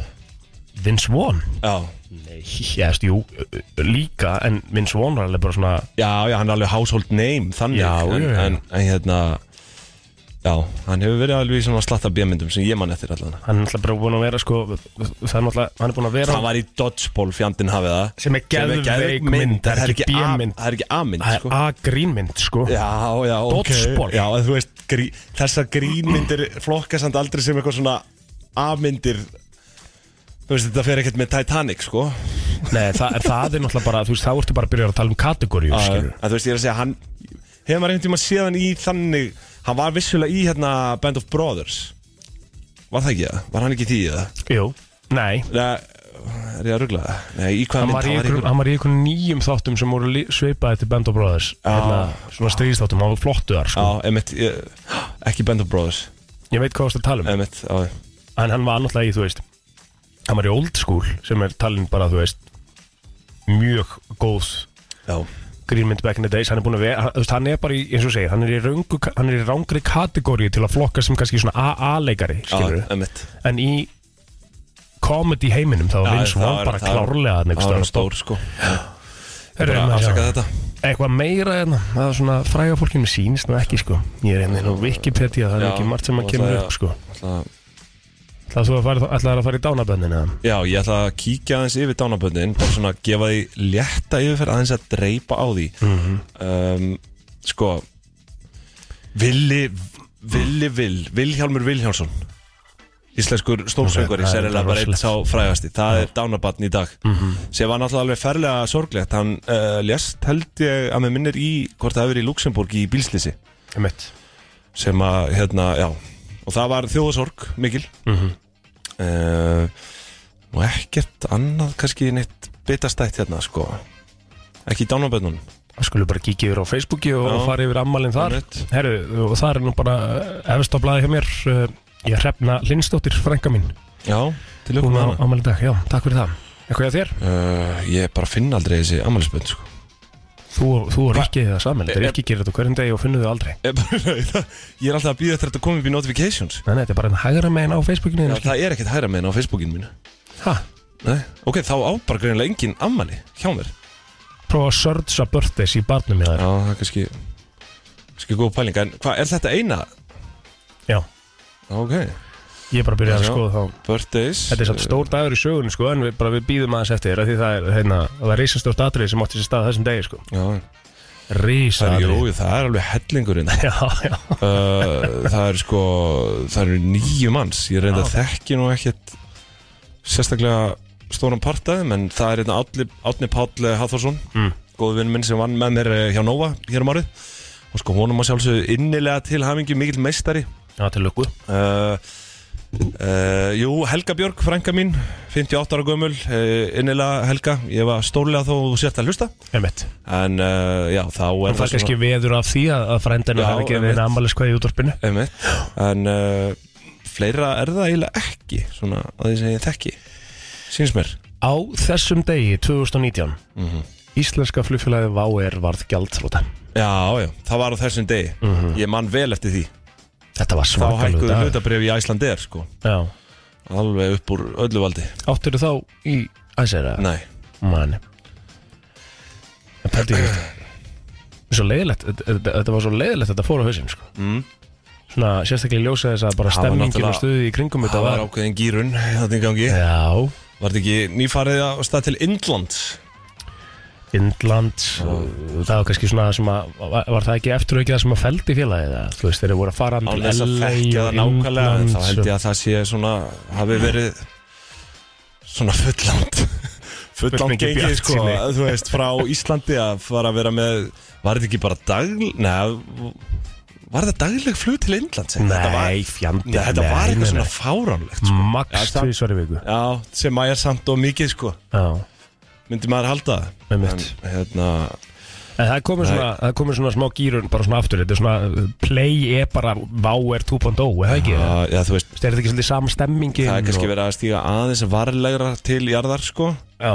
S4: Vince Vaughn
S1: Já,
S4: Nei Jæst, jú ö- ö- Líka En Vince Vaughn er alveg bara svona
S1: já, já, hann er alveg household name þannig
S4: Já,
S1: en,
S4: já, já.
S1: En, en hérna, já, hann hefur verið alveg í svona slatta bjömyndum sem ég man eftir allan
S4: Hann er alltaf bara búin að vera sko Það er náttúrulega Hann er búin að vera
S1: Það var í Dodgeball fjandinn hafið það
S4: Sem er geðveik mynd,
S1: það er ekki
S4: B
S1: A-
S4: mynd.
S1: það er ekki A-mynd
S4: Það
S1: sko.
S4: er A-grínmynd sko
S1: Já, já, ok
S4: Dodgeball.
S1: Já, en þú veist, grí, þessar grínmyndir flokka samt aldrei sem eitthvað svona A-myndir Þú veist, þetta fer ekkert með Titanic, sko
S4: Nei, það, en það er náttúrulega bara, þú veist, þá ertu bara að byrja að tala um kategóriur,
S1: Já,
S4: skilur.
S1: En þú veist, ég er að segja, hann Hefur maður einhvern tímann séð hann í þannig Hann var vissulega í hérna Band of Brothers Var það ekki það? Var hann ekki í því það?
S4: Jú. Nei,
S1: Nei, er ég að ruggla það? Nei, í hvaða
S4: hann
S1: mynd
S4: var, í ykkur, hann var í ykkur nýjum þáttum sem voru li- svipaði til Band of Brothers. Hérna,
S1: Já.
S4: svona stríðsþáttum, hann var flottu þar,
S1: Já,
S4: sko.
S1: emitt, ég, ekki Band of Brothers
S4: Ég veit hvað þú ert að tala um.
S1: Emitt, já,
S4: En hann var náttúrulega í, þú veist, hann var í Old School, sem er talin bara, þú veist, mjög góð
S1: já
S4: grínmynd back in the days. Hann er búin að vera, hann- þú veist, hann er bara í, eins og segir, hann er í, röngu, hann er í rángri kategóriu til að flokka sem kannski svona AA-leikari, skilur.
S1: emitt
S4: En í comedy heiminum þá var Vince Vaughn bara klárlega þarna einhvers
S1: Það
S4: staðar
S1: var
S4: á
S1: stór,
S4: topp.
S1: sko
S4: Herru,
S1: Bara
S4: maður
S1: afsaka
S4: sjá.
S1: þetta
S4: Eitthvað meira en það er svona fræga fólkinu sýnist nú ekki sko Ég er hérna á Wikipedia, það er
S1: Já,
S4: ekki margt sem að
S1: og
S4: kemur
S1: það-
S4: upp sko
S1: Ætla-
S4: Það þú að fara, ætlaðir að fara í dánabönnin eða?
S1: Já, ég ætla að kíkja aðeins yfir dánaböndin bara svona gefa því létta yfirferð aðeins að dreipa á því
S4: Mhm.
S1: um, sko Villi Villi Vil, Vilhjálmur Vilhjálmsson íslenskur stórsöngvari
S4: Ok, það
S1: sem
S4: er
S1: er bara einn
S4: rosalegt. Mhm.
S1: sá frægasti það er dánabatn í dag sem var náttúrulega alveg ferlega sorglegt hann uh, lést held ég að með minnir í hvort það hefur verið í Luxemburg í bílslisi
S4: Emmett
S1: sem að, hérna, já og það var þjóðasorg, mikil mm
S4: Mhm.
S1: og ekkert annað kannski neitt bitastætt hérna, sko ekki í dánabönnunum
S4: Það skulle bara kíkja yfir á Facebooki og,
S1: Já.
S4: og fara yfir ammalinn þar
S1: Einmitt.
S4: Herru, og það er nú bara eh, efst á blaði hjá mér eh, Ég hrefna Lindsdóttir, frænka mín
S1: já, til
S4: Hún
S1: okkur með
S4: á
S1: hana
S4: ammalinn dag, já, takk fyrir það Eitthvað hjá þér?
S1: uh, ég bara finn aldrei þessi ammælisbönn, sko
S4: Þú, þú og Rikki hefur það saman, þetta
S1: Eh,
S4: er
S1: eh.
S4: Rikki gerir þetta á hverjum degi og finnur þau aldrei
S1: ég, bara, það, ég er alltaf að býða eftir að þetta komi upp í notifications
S4: Nei, nei, þetta er bara en hægra megin á Facebookinu
S1: já,
S4: þínu, skil-
S1: það er ekkert hæra með henn á Facebookinu mínu
S4: Ha,
S1: Nei. ok, þá á bara greinlega engin ammæli hjá mér
S4: prófa að sörtsa birthdays í barnum hjá þér
S1: Já, það er kannski Kannski góð pæling En hvað, er þetta eina?
S4: Já,
S1: Já, Ok
S4: ég er bara að byrja að
S1: Já.
S4: skoða þá
S1: Birthdays eh,
S4: Þetta er samt stór dagur í sögunni sko En við, bara við býðum aðeins eftir þér af Því það er, hérna, það er reisastórt atrið sem átti sér stað á þessum degi sko
S1: Já, það er,
S4: Reisatrið
S1: jú, það er alveg hellingurinn
S4: Já, já
S1: Uh, það er sko það eru nýju manns ég reynda að þekki nú ekkert sérstaklega stóran partaði menn það er einna Átni Páll eh, Hatharsson
S4: Mm.
S1: góð vinn minn sem vann með mér eh, hjá Nova hér um árið og sko honum að sjálfsögðu innilega til hamingi mikill meistari
S4: Já, til lukku
S1: uh, uh, Jú, Helga Björg, frænka mín 58 ára gömul, uh, innilega Helga ég var stórlega þó þú sért að hlusta
S4: Emmett
S1: en uh, já, þá er
S4: Það fær kannski veður af því að, að frændinu
S1: Já,
S4: hafi ekki verið
S1: einmitt.
S4: ammaliskvæði í útvarpinu
S1: Einmitt. En uh, fleira er það eiginlega ekki Svona að því sem ég þekki Sýns mér
S4: Á þessum degi 2019
S1: Mhm.
S4: Íslenska flugfélagi VAR varð gjaldþróta
S1: Já, já, það var á þessum degi Ég man vel eftir því
S4: Mhm. Þetta var
S1: Þá
S4: svakalega
S1: hækkuðu hlutabrif í Æslandeir sko
S4: Já
S1: Alveg upp úr öllu valdi
S4: Áttur þá í æsera
S1: Nei,
S4: Mani En pældi ég þetta Svo leiðilegt, þetta- þetta þetta var svo leiðilegt þetta fór á hausinn sko.
S1: Mm.
S4: Svona sérstaklega ljósa þess að bara
S1: Það var
S4: stemmingin og
S1: náttúrulega-
S4: stuði í kringum þetta
S1: það var
S4: var
S1: ákveðin gýrun Þetta í gangi
S4: Já,
S1: Var þetta ekki nýfarið á stað til Indland
S4: Indland og það var kannski svona sem að var var það ekki eftir ekki það sem að feldi félagið eða, þú veist þeir eru voru að fara
S1: Án þess að þekka það nákvæmlega En þá held ég að það sé svona Hafi verið svona fulland Fulland
S4: mikið
S1: gengið sko
S4: bjartsýni.
S1: að Þú veist, frá Íslandi að fara að vera með Var þetta ekki bara dag Nei, var þetta dagleg flug til Indlands
S4: Nei,
S1: þetta var,
S4: fjandi
S1: Nei, þetta
S4: nei,
S1: var
S4: nei,
S1: eitthvað
S4: nei.
S1: svona fáránlegt sko. Já,
S4: Max
S1: það-
S4: tvísvar í viku
S1: Já, sem að er samt og mikið sko
S4: Já,
S1: Myndi maður halda
S4: með
S1: En, hérna,
S4: En það komið
S1: Nei.
S4: svona, það komið svona smá gýrun bara svona aftur, þetta er svona uh, play er bara Váer 2.0, er það ekki? Ja.
S1: að, já, þú veist
S4: Er þetta ekki svolítið samstemmingin?
S1: Það er kannski verið að stíga aðeins varlegra til jarðar sko
S4: Já,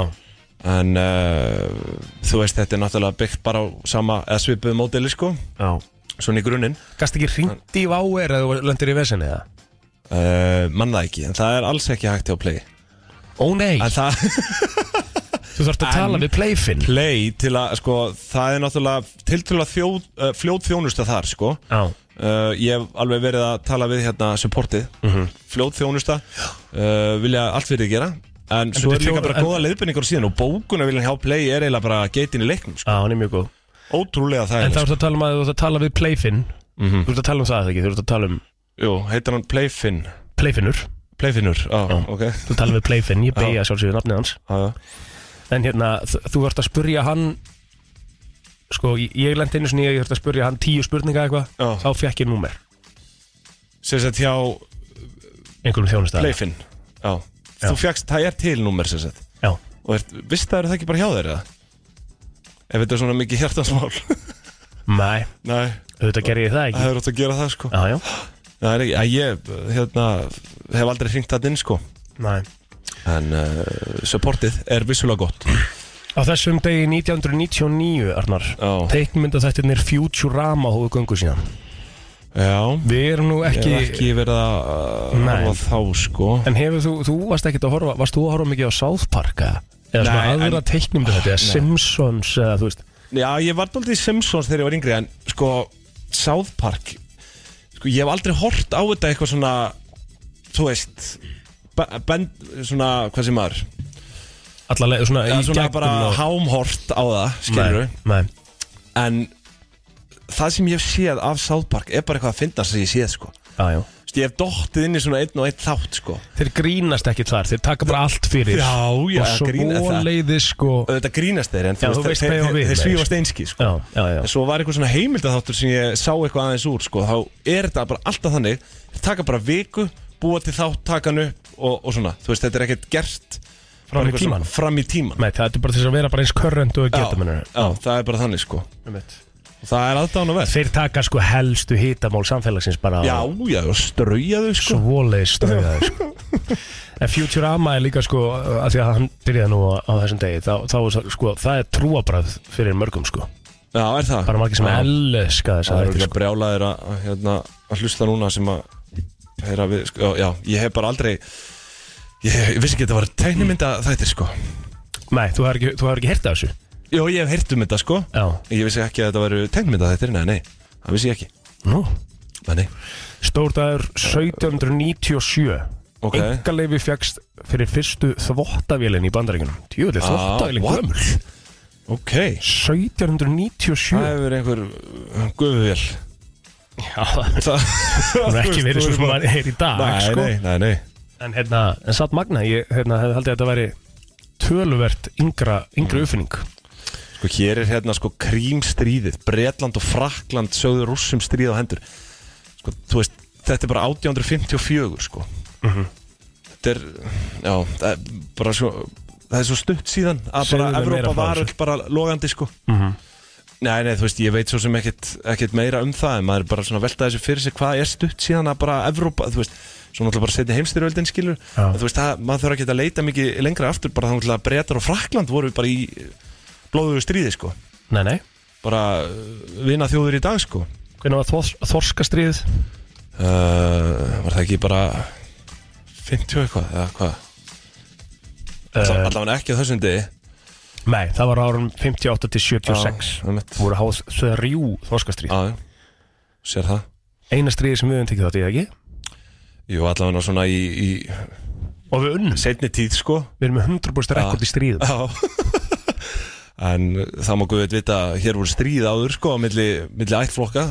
S1: En uh, þú veist, þetta er náttúrulega byggt bara á sama eða svipuðu módeli sko
S4: já
S1: Svona í grunninn
S4: Gast ekki hringt í Váer eða þú löndir í vesinni það?
S1: uh, Manna ekki, en það er alls ekki hægt hjá play
S4: Ó nei,
S1: En það
S4: þú þarfst að tala við playfinn
S1: play til að, sko, það er náttúrulega tiltölulega þjóð, uh, fljót þjónusta þar, sko
S4: Já,
S1: uh, Ég hef alveg verið að tala við hérna supportið,
S4: Mhm.
S1: fljót þjónusta uh, Vilja allt fyrir gera En, svo
S4: byrju,
S1: er líka
S4: þjó-
S1: bara
S4: en-
S1: góða leiðbendingur síðan og bókuna vilja hjá play er eiginlega bara geitin í leiknum, sko
S4: já, hann er mjög góð
S1: Ótrúlega sko. það
S4: En þá ertu að tala um að þú ert að tala við playfinn
S1: Mhm.
S4: Þú ert að tala um það eða ekki, þú ert að tala um
S1: Jú, heitir hann Playfinn
S4: playfinnur
S1: Playfinnur, á,
S4: Já.
S1: ok
S4: Þú tala við playfinn, ég beigja sjálfsögðu nafnið hans
S1: Já, já.
S4: En hérna, þ- þú ert að spurja hann Sko, ég- ég lendi einu sinni í að Ég þurfti að spurja hann tíu spurninga eitthvað
S1: Já.
S4: Þá fekk ég númer,
S1: sem sagt hjá
S4: einhverjum þjónustæðar
S1: Playfin Já. Þú fjagst, það er tilnúmer sem sagt
S4: Já,
S1: Og ert, vist það eru það ekki bara hjá þeir eða? Ef þetta er svona mikið hjertansmál
S4: mæ,
S1: Nei,
S4: auðvitað gerði ég það
S1: það
S4: ekki
S1: er ótt að gera það sko
S4: Já, já,
S1: Það er ekki, að ég hérna, hef aldrei hringt það inn sko
S4: næ
S1: En uh, supportið er vissulega gott
S4: Á þessum degi 1999, Arnar
S1: Já.
S4: Teiknmynda þættirnir Futurama hóðu göngu síðan
S1: Já,
S4: Við erum nú
S1: ég
S4: ekki,
S1: hef ekki verið að
S4: Nei.
S1: horfa á þá sko
S4: En hefur þú, þú varst ekkert að horfa Varst þú að horfa mikið á South Park eða?
S1: Nei,
S4: Eða svona aðra
S1: en- Ah,
S4: teiknmynda þetta Eða Simpsons eða þú veist
S1: Já, ég var daldið Simpsons þegar ég var yngri En sko, South Park Sko, ég hef aldrei hort á þetta eitthvað svona Þú veist be- bend, Svona, hvað sem maður
S4: Allalega svona
S1: Eða
S4: í
S1: Svona
S4: gegnum
S1: bara
S4: og-
S1: hámhort á það, skilur
S4: Nei, nei.
S1: En það sem ég hef séð af South Park Er bara eitthvað að finna sem ég séð, sko
S4: Já, já.
S1: Vist, Ég hef dottið inn í svona einn og einn þátt, sko
S4: Þeir grínast ekki þar, þeir taka bara allt fyrir Og svo
S1: grín, það,
S4: leiðis sko
S1: Þetta grínast þeir En
S4: Já,
S1: þú
S4: þú veist
S1: veist,
S4: hvað ég á
S1: þeir-
S4: við,
S1: þeir þeir
S4: nei,
S1: svífast einski, sko
S4: Já, já, já
S1: En svo var eitthvað svona heimildaþáttur sem ég sá eitthvað aðeins úr sko, þá er þetta bara alltaf þannig þeir taka bara viku, búa til þátt takan upp og, og svona, þú veist, þetta er ekkert gert bara
S4: í
S1: eitthvað svona
S4: tímanum.
S1: fram í tíman
S4: Nei, það er bara þess að vera bara eins körrend og
S1: já,
S4: geta mennur
S1: já, það er bara þannig sko og það er aðdáðan og verð
S4: Þeir taka sko helstu hitamál samfélagsins bara á-
S1: Já, já, og strauja þau sko
S4: svoleiðis stöðaði sko. en Futurama er líka sko að því að hann byrjaði nú á, á þessum degi þá, þá er það- sko, það er trúabræð fyrir mörgum sko,
S1: Já, er það
S4: bara margir sem
S1: Já,
S4: elska þess
S1: Það
S4: að
S1: er
S4: þetta
S1: ekki
S4: sko.
S1: að brjála þeir að, að, hérna, að hlusta núna sem að heyra við, sko, já, ég hef bara aldrei Ég, ég vissi ekki að þetta var tegnumynda þættir sko
S4: nei, þú hefur ekki, þú hefur ekki hirt af þessu
S1: Jó, ég hef heyrt um þetta sko
S4: Já.
S1: Ég vissi ekki að þetta væru tengmynda þetta Nei, nei, það vissi ég ekki
S4: Nú.
S1: Nei, nei,
S4: Stórdagur 1797
S1: Ok.
S4: Engaleifi fjagst fyrir fyrstu þvottavélin í bandaríkunum Djúvöldi,
S1: Ah,
S4: þvottavélin
S1: what?
S4: gömul
S1: ok Það
S4: 1797
S1: hefur einhver guðvél
S4: Já, það
S1: Það
S4: er ekki verið svo sem maður er í dag
S1: Nei,
S4: sko.
S1: nei, nei, nei
S4: En hérna, en satt magna Ég hérna, hefði haldið að þetta væri töluvert yngra, yngra uppfinning
S1: Sko hér er hérna sko krímstríðið Bretland og Frakland sögðu rússum stríð á hendur Sko, þú veist, þetta er bara 1854 sko
S4: Mhm.
S1: Þetta er, já, það er bara svo Það er svo stutt síðan að
S4: Segðu
S1: bara
S4: mér meira
S1: Evrópa
S4: frá
S1: var
S4: þessu.
S1: öll bara logandi sko
S4: Mhm.
S1: Nei, nei, þú veist, ég veit svo sem ekkit, ekkit meira um það En maður er bara svona að velta þessu fyrir sig Hvað er stutt síðan að bara Evrópa, þú veist Svona alltaf bara setja heimstyrjöldin skilur
S4: Já.
S1: En Þú veist, það, maður þarf ekki að leita mikið lengra aftur Bara þannig að Bretar og Frakland voru bara í blóðugu stríði sko
S4: Nei, nei
S1: bara vinna þjóður í dag sko
S4: Hvernig var þors, þorskastriðið?
S1: uh, var það ekki bara 50 eitthvað eða hvað uh,
S4: Uh,
S1: allavega ekki á þessum degi
S4: nei, það var árum 58 til 76
S1: Já, einmitt.
S4: Voru háð þrjú þorskastrið
S1: Já, já. sér það
S4: Eina stríði sem við höfum tekið þátt í, eða ekki?
S1: jú allavega svona í, í
S4: Og við unnum
S1: setni tíð sko
S4: Við erum með 100% rekord í stríðum
S1: já en það má guðið vita að hér voru stríð áður sko á milli, milli ættflokka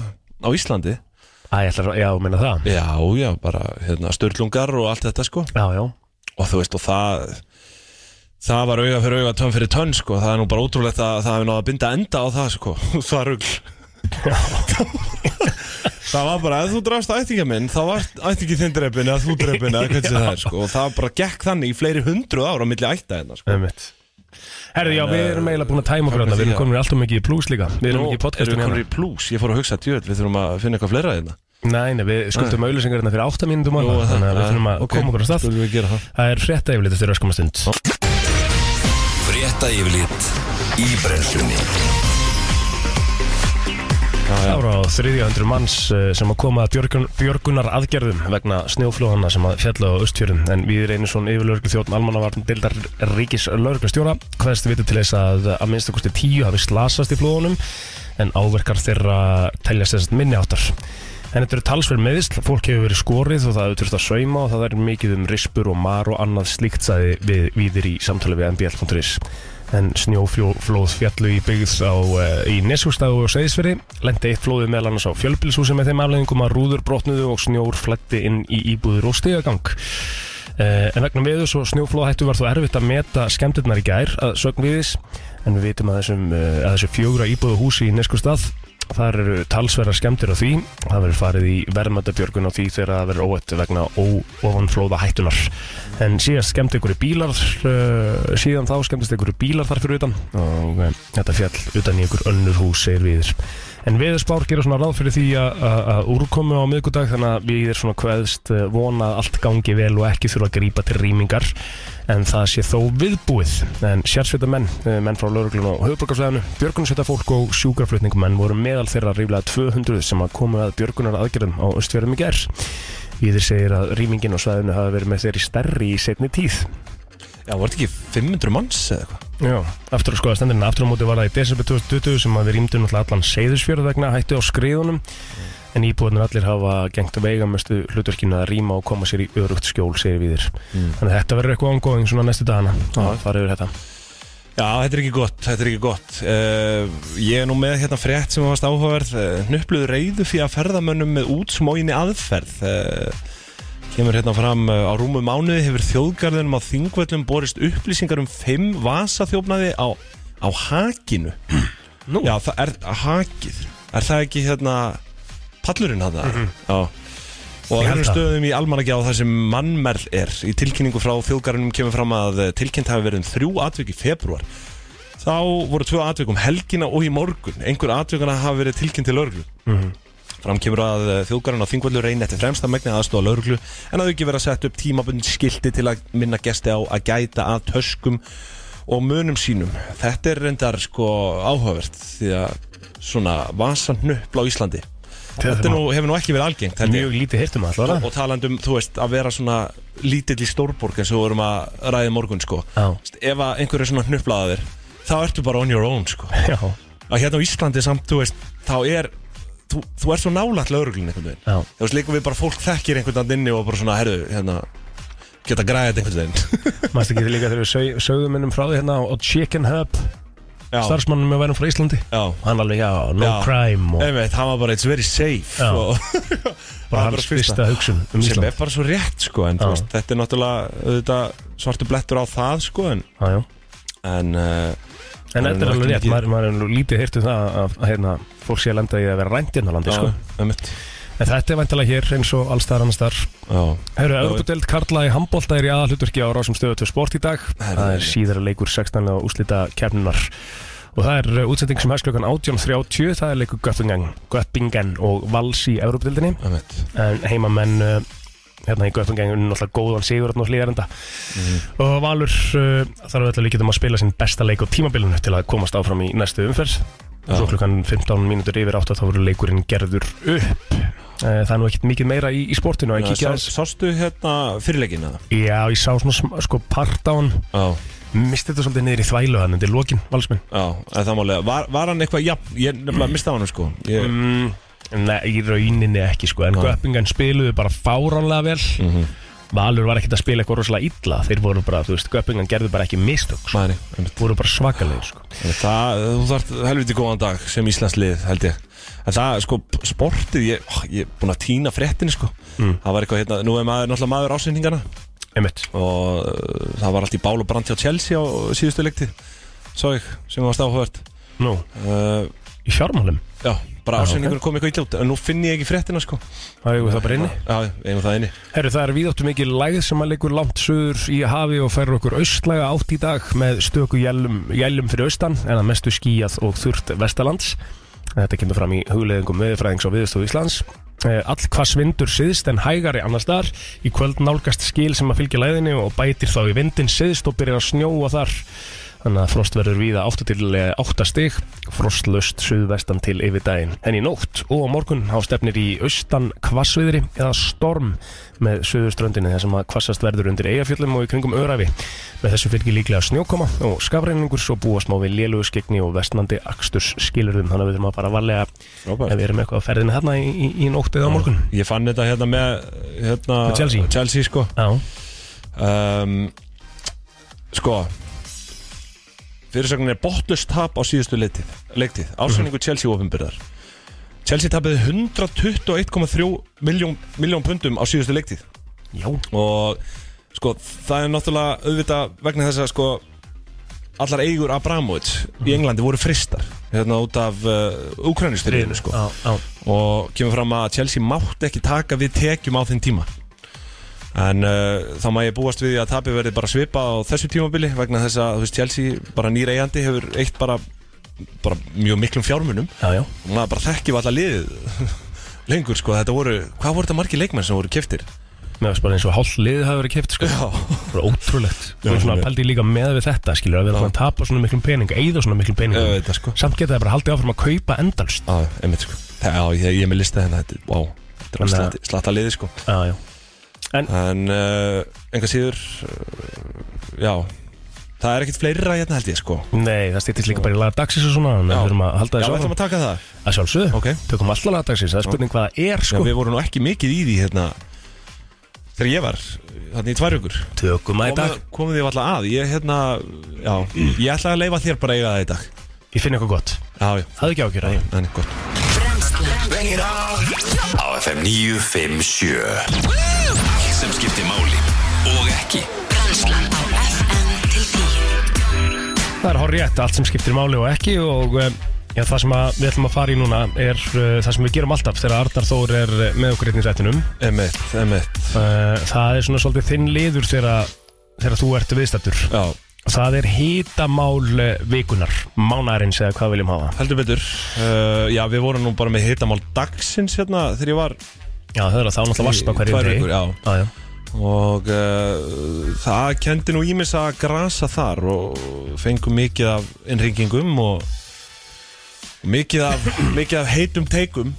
S1: á Íslandi
S4: Æ, ég ætlar að, já, meina það
S1: já já bara hérna, störlungar og allt þetta sko
S4: Já, já,
S1: og þú veist og það það var auga fyrir auga, tönn fyrir tönn sko. það er nú bara ótrúlegt að það hefur náða að binda enda á það sko. það rugl það var bara, ef þú drafst ættinga minn þá var ættingi þinn drefin eða þú drefin eða hvernig sem það er sko. og það bara gekk þannig í fleiri hundruð ára á milli ætta hérna sko.
S4: ömmit Herði, já, við erum eiginlega búin að tæma okkur þarna Við erum komin alltaf mikið í plus líka Við erum
S1: Nú
S4: ekki í
S1: erum
S4: podcastinu
S1: við
S4: hérna
S1: konur í plus, ég fór að hugsa djöð við þurfum að finna eitthvað fleira hérna
S4: Nei, nei, við skuldum auðlýsingar hérna fyrir 8 mínútum hana Þannig að við þurfum að koma okkur á stað
S1: Skulum við gera það.
S4: Það er frétta yfirleitt eftir öskum stund
S2: Frétta yfirlit í brennslunni
S4: Það voru á 300 manns eh, sem að koma að björgun, björgunar aðgerðum vegna snjóflóðana sem að fjalla á östfjörðum en við reynir svona yfirlörglu þjóðn almannavarn dildar ríkis lörglustjóra hverst viti til þess að að minnstu kosti tíu hafi slasast í flóðunum en áverkar þeirra teljast þess að minni áttar En þetta eru talsverð meðisl, fólk hefur verið skorið og það hefur þurft að sauma og það er mikið um rispur og mar og annað slíkt sæði við, viðir í samtali við mbl.is. En snjóflóð fjallu í byggð á, eh, í Nesjústaðu og Seyðisferi, lendi eitt flóðið meðal annars á fjölbilshúsi með þeim afleggingum að rúður brotnuðu og snjór flætti inn í íbúður og stegagang. Eh, En vegna veðus og snjóflóðhættu var þó erfitt að meta skemmtirnar í gær að sögn viðis en við vitum að, þessum, eh, að þessu fjögra íbúðu húsi í Neskustad þar eru talsverðar skemmtir á því það verður farið í verðmöndabjörgun á því þegar það verður óett vegna óofanflóða hættunar en síðast skemmt ykkur í bílar eh, síðan þá skemmtist ykkur í bílar þar fyrir utan og eh, þetta fjall utan í ykkur önnur hús segir viðir En veðurspár gera svona ráð fyrir því að- að að úrkomu á miðgudag þannig að við erum svona kveðst eh, vona að allt gangi vel og ekki þurfa að grípa til rýmingar en það sé þó viðbúið. En sérsveita menn, menn frá lauruglun og höfuborgarsleðinu, björgunarsveita fólk og sjúkraflutningumenn voru meðal þeirra ríflega 200 sem að komu að björgunar aðgerðum á östfjörðum í gerð. Íðir segir að rýmingin og sveðinu hafa verið með þeirri stærri í setni tíð.
S1: Já, var þetta ekki 500 manns eða eitthvað?
S4: Já, aftur að skoða stendurinn, aftur á móti var það í desember 2020 sem að við rýmdum náttúrulega allan seyðusfjörð vegna hættu á skriðunum
S1: Mm.
S4: en íbúðunar allir hafa gengt að veiga mestu hlutverkinu að rýma og koma sér í örugt skjól, segir við þér.
S1: Mm.
S4: Þannig að þetta verður eitthvað ongoing svona næstu dagana, að fara yfir þetta.
S1: Já, þetta er ekki gott, þetta er ekki gott. Uh, ég er nú með hérna frétt sem varst áhugaverð, uh, hnupluð reyðu fyrir að ferðamönnum með útsmóginni aðferð. Uh, kemur hérna fram uh, á rúmu mánuði hefur þjóðgarðunum á þingvöllum borist upplýsingar um fimm vasaþjófnaði á, á hakinu.
S4: Nú?
S1: Já, það er hakið. Er það ekki hérna pallurinn hann það? Já. Og
S4: Ég
S1: það
S4: held
S1: eru
S4: það.
S1: stöðum í almanagjá þar sem mannmerl er. Í tilkynningu frá þjóðgarðunum kemur fram að eh, tilkynnt hafi verið um þrjú atvik í februar. Þá voru tvö atvik um helgina og í morgun Einhver atvikana hafa verið tilkynnt til lauruglu
S4: Mhm.
S1: Fram kemur að eh, þjóðgarinn á þingvöldu reyni eftir fremsta megni aðstóða lauruglu En að auki vera sett upp tímabund skilti til að minna gesti á að gæta að töskum og munum sínum Þetta er reyndar sko áhugavert Því að svona vasanupla á Íslandi Þetta er nú, hefur nú ekki verið algengt held ég.
S4: Mjög lítið hirtum
S1: og,
S4: allavega.
S1: og talandum, þú veist, að vera svona lítill í stórborg eins og við vorum að ræða í morgun sko
S4: Já.
S1: ef að einhver er svona hnuplaðaðir þá ertu bara on your own sko.
S4: já,
S1: að hérna á Íslandi samt, þú veist, þá er þú, þú er svo nálægt lauruglun einhvern veginn
S4: já,
S1: þú veist, líka við bara fólk þekkir einhvern veginn inni og bara svona, herðu, hérna geta græðið einhvern veginn
S4: maður ekki líka þegar við sög, sögðum innum frá því hérna á Chicken Hub,
S1: já,
S4: starfsmannum með værum frá Íslandi
S1: já,
S4: hann alveg, já, no
S1: Já.
S4: crime og
S1: einmitt, hann var bara, it's very safe
S4: Já.
S1: og það
S4: bara
S1: er
S4: hans fyrsta hugsun um
S1: sem
S4: Ísland
S1: er bara svo rétt, sko, en
S4: Já.
S1: þú veist, þetta er náttúrulega auðvitað, svartu blettur á það, sko, en,
S4: já, já.
S1: en uh,
S4: en
S1: Það er
S4: þetta er
S1: nú
S4: alveg
S1: ekki
S4: rétt,
S1: mikið-
S4: maður, maður er nú lítið hýrt um það að hérna, fólk sé að lenda í að vera rænt innan landi, sko
S1: einmitt,
S4: en þetta er vantilega hér eins og allstæðar annars þar
S1: já
S4: Herru,
S1: Já,
S4: Európa-deild Karla í handbólta er í aðalhuturki á Rásum stöðu 2 sport í dag Það er
S1: Herru.
S4: síðara leikur 16. og úslita kemnunar Og það er uh, útsending sem hefst klokkan 18.30 Það er leikur Göttingen, Göttingen og Vals í Európa-deildinni
S1: einmitt,
S4: En heimamenn uh, hérna í Göttingen er náttúrulega góðan sigur hérna á hlýðarenda
S1: Mhm.
S4: Og Valur uh, þarf öll að líka um að spila sinn besta leik á tímabilinu til að komast áfram í næstu umferð
S1: Já.
S4: Svo klukkan 15 mínútur yfir 8 þá verður leikurinn gerður upp Eh, Það er nú ekkert mikið meira í, í sportinu að
S1: Já,
S4: kíkja
S1: sá-
S4: aðeins
S1: sástu hérna fyrirleikina
S4: Já, ég sá svona sm- sko part á hann
S1: já,
S4: Misti þetta svolítið niður í þvælu hann Þetta er lokin, valsmenn
S1: já, en það málega var, var hann eitthvað, já, ég nefnilega mistaði hann sko ég,
S4: mm, Nei, í rauninni ekki sko En
S1: Nei.
S4: göppingan spiluðu bara fáránlega vel
S1: Mhm.
S4: Valur var ekkert að spila eitthvað rosalega illa Þeir voru bara, þú veist, göppingan gerðu bara ekki mistök sko.
S1: Mæri, einmitt.
S4: Voru bara svakalegir sko
S1: En Það, þú þarft helviti góðan dag sem Íslands lið held ég En það, sko, p- sportið, ég, ó, ég er búin að týna fréttinni sko Það var eitthvað hérna, nú er maður náttúrulega maður ásynningarna
S4: Mm. Einmitt
S1: Og uh, það var allt í bál og brand hjá Chelsea á síðustu leikti Svo ég, sem var stáhört
S4: Nú,
S1: uh,
S4: í fjármálum Ah,
S1: Já, bara
S4: Já,
S1: ásynningur kom eitthvað illa út En nú finn ég ekki fréttina sko
S4: Það er það bara inni
S1: Já, eigum það inni
S4: Herru, það er viðáttu mikið læð sem að leikur langt suður í hafi og færur okkur austlæga átt í dag með stöku jælum, jælum fyrir austan en að mestu skíjað og þurrt vestalands. Þetta kemur fram í hugleðingum veðurfræðings á viðstofu Íslands. Eh, All hvass vindur syðst en hægari annars þar. Í kvöld nálgast skil sem að fylgja læðinni og bætir þá í vindin syðst og byrjar að snjóa þar. Þannig að frost verður víða 8 til eh, 8 stig, frostlust suðvestan til yfir daginn. En í nótt og á morgun á stefnir í austan kvassviðri eða storm með suðuströndinni þar sem að kvassast verður undir eigafjöllum og í kringum örafi. Með þessu fylgir líklega snjókoma og skafreiningur svo búast má við lélugu skegni og vestnandi aksturs skilurðum. Þannig að við þurfum að fara varlega
S1: Frábært.
S4: ef við erum eitthvað á ferðinu hérna í, í, í nótt eða á morgun.
S1: Ég fann þetta hérna með hérna,
S4: Með Chelsea?
S1: Chelsea sko
S4: Já,
S1: um, Sko Fyrirsögnin er bóttlust tap á síðustu leiktið, leiktið.
S4: Mhm.
S1: Ásæningu Chelsea ofinbyrðar Chelsea tapiði 121,3 miljón, miljón pundum á síðustu leiktið
S4: já,
S1: og sko það er náttúrulega auðvitað vegna þess að sko allar eigur Abramovic í Englandi voru fristar hérna út af uh, Ukrainistriðinu sko
S4: á, á.
S1: og kemur fram að Chelsea mátti ekki taka við tekjum á þeim tíma en uh, þá má ég búast við því að tapi verði bara svipað á þessu tímabili vegna þess að þú veist, Chelsea bara nýr eigandi hefur eitt bara, bara mjög miklum fjármunum
S4: Já, já,
S1: og maður bara þekkjum alltaf liðið lengur sko, þetta voru, hvað voru þetta margir leikmenn sem voru keftir?
S4: mér varst bara eins og hálf liðið hafa verið keipt sko.
S1: Já,
S4: Það er ótrúlegt
S1: Já,
S4: Þú er svona
S1: mjög.
S4: að pældi líka með við þetta skilur að við erum að tapa svona miklum pening Eða svona miklum pening
S1: auðvitað sko
S4: Samt geta það bara haldið áfram að kaupa endalst
S1: Já, einmitt sko Já, ég, ég er með listið hérna, þetta, wow, þetta er
S4: Þannig að-
S1: slatta, slatta liðið sko
S4: Já, já
S1: En uh, enga síður uh, Já Það er ekkert fleira hérna held ég sko
S4: Nei, það stýttist líka bara í laga dagsins og svona Þannig
S1: Já.
S4: að við erum að halda
S1: Já,
S4: þessu
S1: við ætlum
S4: áfram
S1: að taka það
S4: Að sjálfsögðu,
S1: Ok.
S4: tökum alltaf laga dagsins Það er spurning hvað það er
S1: Já,
S4: sko
S1: við vorum nú ekki mikið í því hérna Þegar ég var, þannig í tvær ykkur
S4: Tökum það í dag
S1: Komið því alltaf að, ég hérna Já, ég ætla að leifa þér bara að eiga það í dag
S4: Ég finn eitthvað gott
S1: Já, já,
S4: Það er ekki ákjör að ég
S1: þannig gott
S2: Bengir á Á FM 957 Allt sem skiptir máli Og ekki
S3: Brennslan á FM til 10
S4: Það er horrið allt sem skiptir máli og ekki Og um, já, það sem að við ætlum að fara í núna Er uh, það sem við gerum alltaf Þegar Arnar Þór er uh, með okkur einnig rættinum
S1: Emmett, emmett
S4: Uh, það er svona svolítið þinn liður þegar, þegar þú ert viðstættur
S1: Já,
S4: það er hitamál uh, vikunar, mánarins eða hvað viljum hafa
S1: heldur betur uh, Já, við vorum nú bara með hitamál dagsins hérna Þegar ég var
S4: já það er að þá náttúrulega varst á hverju
S1: Tvær vikur, já.
S4: já, já.
S1: Og uh, það kendi nú ímis að grasa þar Og fengum mikið af innringingum Og og mikið af, mikið af heitum teikum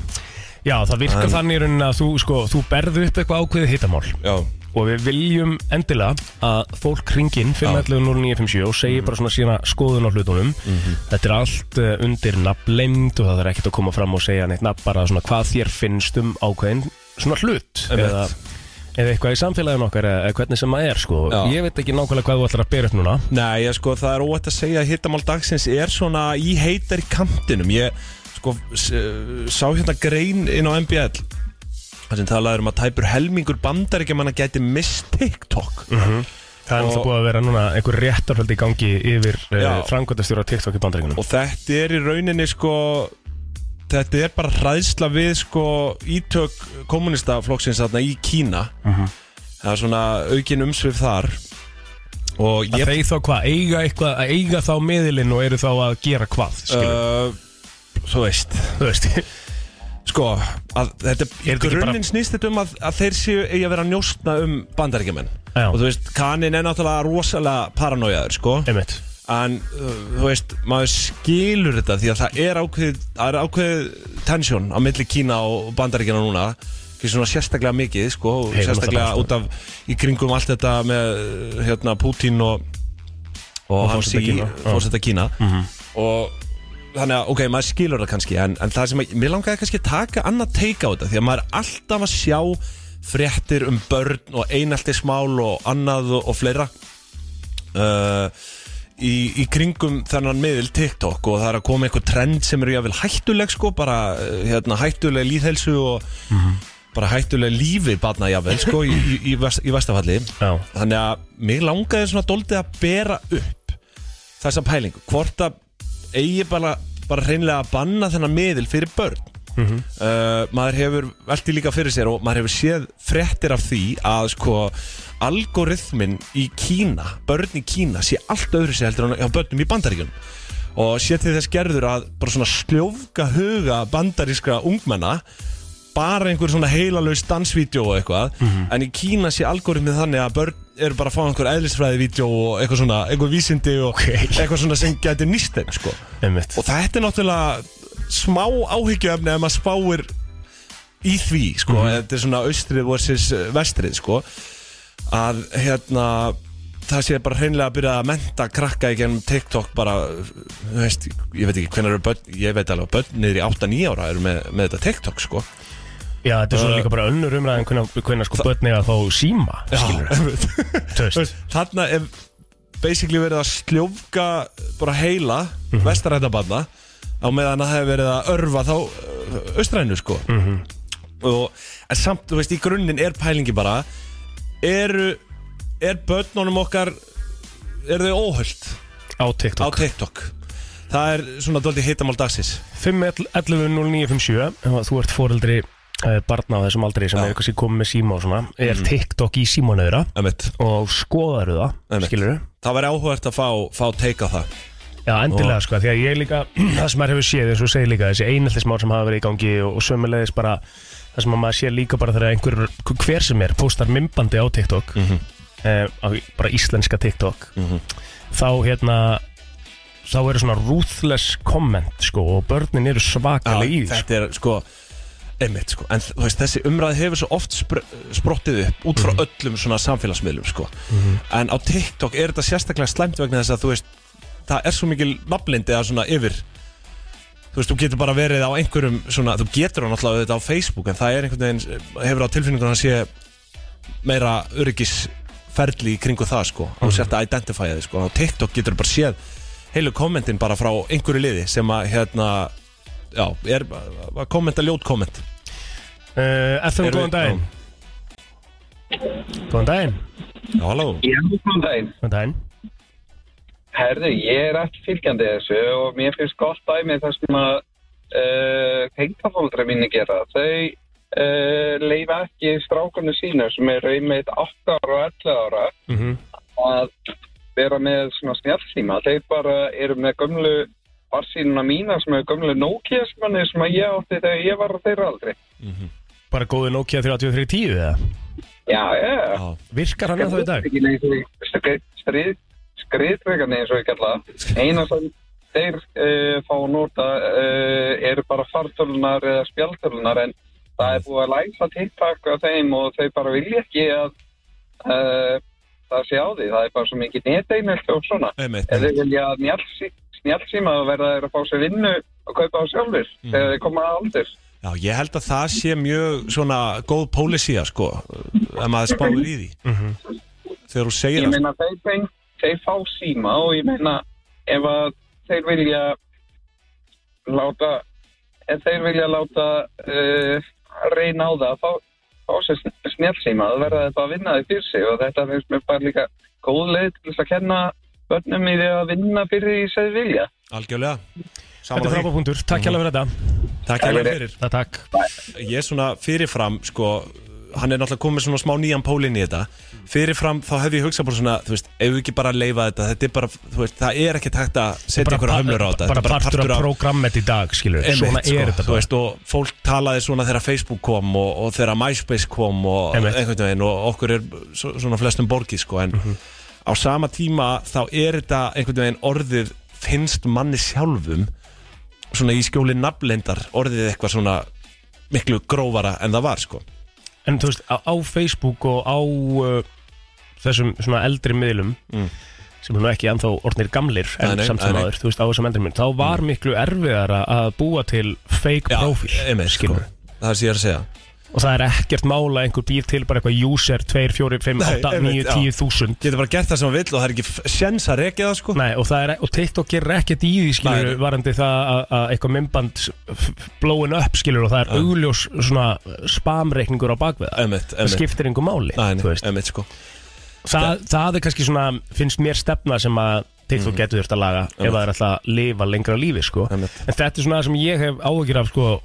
S4: já það virkar þannig í rauninni að þú, sko, þú berðu upp eitthvað ákveðið hitamál
S1: Já,
S4: og við viljum endilega að fólk ringin 511-0957 og
S1: Mhm.
S4: segi bara svona sína skoðun á hlutunum
S1: Mm.
S4: þetta er allt eh, undir nafnleind og það er ekkert að koma fram og segja neitt nafn bara svona hvað þér finnst um ákveðin svona hlut
S1: Einmitt.
S4: eða, eða eitthvað í samfélaginu okkar eða eða hvernig sem maður er sko
S1: Já.
S4: ég veit ekki nákvæmlega hvað þú ætlar að bera upp núna
S1: Nei, ég, sko, það er óætt að segja að hittamál dagsins er svona í heitar í kantinum Ég sko, s- eh, sá hérna grein inn á MBL þar sem talaður um að tæpur helmingur bandaríkjamanna gæti mist TikTok
S4: Mhm. það er
S1: Og-
S4: náttúrulega búið að vera núna einhver réttarhöldi í gangi yfir uh,
S1: Já.
S4: frangöndastjóra TikTok í bandaríkunum
S1: Og þetta er í rauninni sko Þetta er bara hræðsla við sko ítök kommunistaflokksins þarna í Kína
S4: Mhm.
S1: Það er svona aukin umsvif þar Og
S4: að
S1: ég
S4: þeir þá hvað, eiga eitthvað að eiga þá miðilinn og eru þá að gera hvað skilur,
S1: uh, Þú veist
S4: þú veist
S1: sko, að þetta í
S4: Er þetta ekki
S1: grunninn
S4: bara-
S1: snýst þetta um að, að þeir séu eigi að vera að njóstna um bandaríkjumenn
S4: Já.
S1: og þú veist, kanin er náttúrulega rosalega paranoiaður, sko
S4: einmitt
S1: en uh, þú veist, maður skilur þetta því að það er ákveð, það er ákveð tensjón á milli Kína og bandaríkjana núna ekki svona sérstaklega mikið, sko og
S4: Heyrum
S1: sérstaklega
S4: alltaf
S1: út af, í kringum allt þetta með, hérna, Putin og og, hans
S4: forseta
S1: í
S4: Kína. Já. Mhm,
S1: fórsetta Kína og þannig að, ok, maður skilur það kannski en, en það sem, að, mér langaði kannski að taka annað teika á þetta, því að maður er alltaf að sjá fréttir um börn og einaltismál og annað og, og fleira uh, í, í kringum þennan miðil TikTok og það er að koma einhver trend sem eru jáfnvel hættuleg sko, bara uh, hérna, hættuleg líðhelsu og
S4: mhm,
S1: bara hættuleg lífi barna jáfnvel sko, í, í, í, vest, í vestafalli
S4: Já.
S1: þannig að mig langaði svona doldið að bera upp þessa pælingu hvort að eigi bara, bara hreinlega að banna þennan miðil fyrir börn uh, maður hefur velti líka fyrir sér og maður hefur séð fréttir af því að sko algoritmin í Kína börn í Kína sé allt öðru sér heldur en á börnum í bandaríkjunum og sé til þess gerður að bara svona sljófka huga bandaríska ungmenna bara einhver svona heilalaus dansvídeó og eitthvað en í Kína sé algoritmið þannig að börn eru bara að fá einhver eðlisfræðivídeó og eitthvað svona, einhver vísindi og eitthvað svona sem gæti nýst þeim sko.
S4: einmitt
S1: og þetta er náttúrulega smá áhyggjöfni ef maður spáir í því sko.
S4: Mhm.
S1: þetta er svona austrið versus vestrið sko. að hérna það sé bara hreinlega að byrja að menta krakka í gennum TikTok bara, þú veist, ég veit ekki hvernig eru börn, ég veit alveg að börn niður í 8-9 ára eru með, með þetta TikTok sko.
S4: já, þetta er
S1: Uh,
S4: svona líka bara önnur umræðin hvernig, hvernig sko börn eiga þá síma skilur, þú
S1: Þú
S4: veist
S1: veist, þarna er basically verið að sljófka bara heila
S4: Mhm.
S1: mm -hmm. vestarættabanna á meðan að það hefur verið að örfa þá ö, austrænu sko
S4: Mhm.
S1: og en samt, þú veist, í grunninn er pælingi bara eru er börnunum okkar eru þau óhöld
S4: á
S1: á
S4: TikTok
S1: TikTok það er svona dóldi hittamál dagsins
S4: 511-0957 ef að þú ert foreldri uh, barna á þessum aldrei sem
S1: Já. Mhm.
S4: er eitthvað sem komið með síma og svona er TikTok í símanauðra
S1: Einmitt.
S4: og skoðaru það
S1: Einmitt.
S4: skilur
S1: það væri áhugavert að fá, fá teika það
S4: Já, endilega sko, því að ég líka, það sem maður hefur séð, eins og þú segir líka, þessi einhaldismál sem hafa verið í gangi og, og sömulegis bara, það sem að maður sé líka bara þegar einhver, hver sem er, postar mymbandi á TikTok, mm
S1: Mhm.
S4: á, bara íslenska TikTok, þá hérna, þá eru svona ruthless comment sko og börnin eru svakalega í því sko.
S1: þetta er sko einmitt sko, en þú veist, þessi umræð hefur svo oft spr sprottið upp út frá öllum svona samfélagsmiðlum sko en á TikTok er þetta sérstaklega slæmt vegna þess að þú veist, það er svo mikil nafnlindi að svona yfir þú veist, þú getur bara verið á einhverjum svona, þú getur það náttúrulega þetta á Facebook en það er einhvern veginn, hefur á tilfinningunum að sé meira öryggisferli í kringu það sko, og sért að identifya þið sko, á TikTok getur bara séð heilu kommentin bara frá einhverju liði sem að hérna já, er að kommenta ljót komment
S4: Uh, FM, góðan daginn. Góðan daginn.
S1: Já, halló
S5: Já, góðan daginn.
S4: Góðan daginn.
S5: Herðu, ég er ekki fylgjandi þessu og mér finnst gott dæmi þar sem að uh, hengtafóldra mínu gera. Þau uh, leifa ekki strákunni sínu sem eru einmitt 8 ára og 11 ára
S4: Mhm.
S5: að vera með svona snjallsíma. Þeir bara eru með gömlu farsínuna mína sem eru gömlu Nokia sem, sem að ég átti þegar ég var á þeirra aldrei.
S4: Bara góði Nokia 3310 eða?
S5: Já, já.
S1: Já,
S4: Virkar hann að í dag?
S5: dag? Skriðtrekan eins og ég kalla það. eina sem þeir uh, fá að nota uh, eru bara fartölunar eða spjaltölunar en það er búið að læsa TikTok á þeim og þau bara vilja ekki að uh, það sé á því, það er bara svo mikið neteinelt og svona.
S1: Einmitt,
S5: Ef
S1: einmitt.
S5: þeir vilja njálsí- snjálfsíma þá verða þeir að fá sér vinnu og kaupa á sjálfur
S4: Mm.
S5: þegar þeir koma að aldur.
S1: Já, ég held að það sé mjög svona góð pólisía sko, ef maður spáður í því
S4: Mhm.
S1: þegar þú segir
S5: Ég
S1: það sko.
S5: meina þeir, þeir, þeir fá síma og ég meina ef að þeir vilja láta ef þeir vilja láta uh, reyna á það fá, fá sér snjálfsíma þá verða þetta að vinna þið fyrir sig og þetta finnst mér bara líka góð leið til þess að kenna börnum í því að vinna fyrir því sem þið vilja.
S1: algjörlega Saman
S4: Þetta er
S1: því, Mhm.
S4: frábæð punktur, takk hérlega fyrir þetta
S1: takk hérna fyrir
S4: Það takk
S1: ég svona fyrirfram sko, hann er náttúrulega komið svona smá nýjan pólinn í þetta fyrirfram þá hef ég hugsað bara svona þú veist, ef við ekki bara leifa þetta þetta er bara, þú veist, það er ekki takt að setja einhverja hömlur á þetta
S4: Bara
S1: þetta er
S4: partur af prógrammet í dag, skilur
S1: Einmitt,
S4: Svona er
S1: sko,
S4: þetta
S1: þú
S4: bara
S1: veist, og fólk talaði svona þegar Facebook kom og, og þegar MySpace kom og
S4: Einmitt. Mhm.
S1: einhvern veginn og okkur er svo- svona flestum borgið sko en á sama tíma þá er þetta einhvern veginn orðið finnst manni sjálfum svona í skjóli nafnlendar orðið eitthvað svona miklu grófara en það var sko
S4: En þú veist, á, á Facebook og á uh, þessum svona eldri miðlum sem er nú ekki ennþá orðnir gamlir
S1: Mm. Nei,
S4: en
S1: nei,
S4: samt
S1: nei,
S4: sem
S1: nei. Mm.
S4: aður, þú veist, á þessum eldri miðlum þá var miklu erfiðara að búa til fake profil,
S1: einmitt, sko.
S4: skilur
S1: Það er sem ég er að segja
S4: og það er ekkert mála einhver býr til bara eitthvað user 2, 4, 5,
S1: Nei,
S4: 8,
S1: einmitt,
S4: 9,
S1: já.
S4: 10 þúsund
S1: Getur bara gert það sem hann vill og það er ekki f- séns að rekja það sko
S4: Nei, og, það er, og TikTok gerir ekkert í því skilur
S1: Nei.
S4: varandi það að- að eitthvað mymband blowin up skilur og það er augljós svona spamreikningur á bakveða
S1: Einmitt,
S4: það
S1: einmitt
S4: skiptir einhver máli
S1: Nei,
S4: þú
S1: nei,
S4: veist.
S1: einmitt sko
S4: það, það er kannski svona, finnst mér stefna sem að TikTok
S1: Mhm.
S4: getur þurft að laga ef það er alltaf að lifa lengra lífi sko. en
S1: Einmitt.
S4: þetta er svona það sem ég hef áhugir af sko,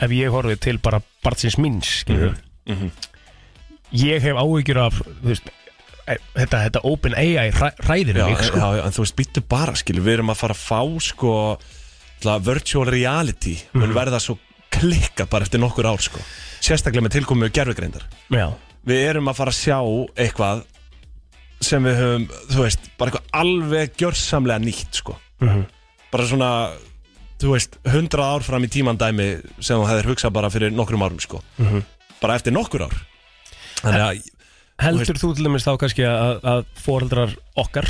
S4: ef ég horfið til bara barnsins minns mm
S1: Mhm.
S4: ég hef áhugir af þú veist, e- þetta, þetta open AI hræ, ræðir
S1: já,
S4: mig
S1: en-
S4: sko.
S1: já, já, en þú veist, býttu bara, skilur, við erum að fara að fá sko, ætla, virtual reality
S4: Mhm.
S1: mun verða svo klikka bara eftir nokkur ár, sko sérstaklega með tilkomið gerfugreindar
S4: já.
S1: við erum að fara að sjá eitthvað sem við höfum, þú veist, bara eitthvað alveg gjörsamlega nýtt, sko
S4: Mhm.
S1: bara svona, þú veist 100 ár fram í tíman dæmi sem þú hefðir hugsað bara fyrir nokkrum árum, sko
S4: Mhm.
S1: bara eftir nokkur ár þannig að,
S4: heldur þú til dæmis þá kannski að, að foreldrar okkar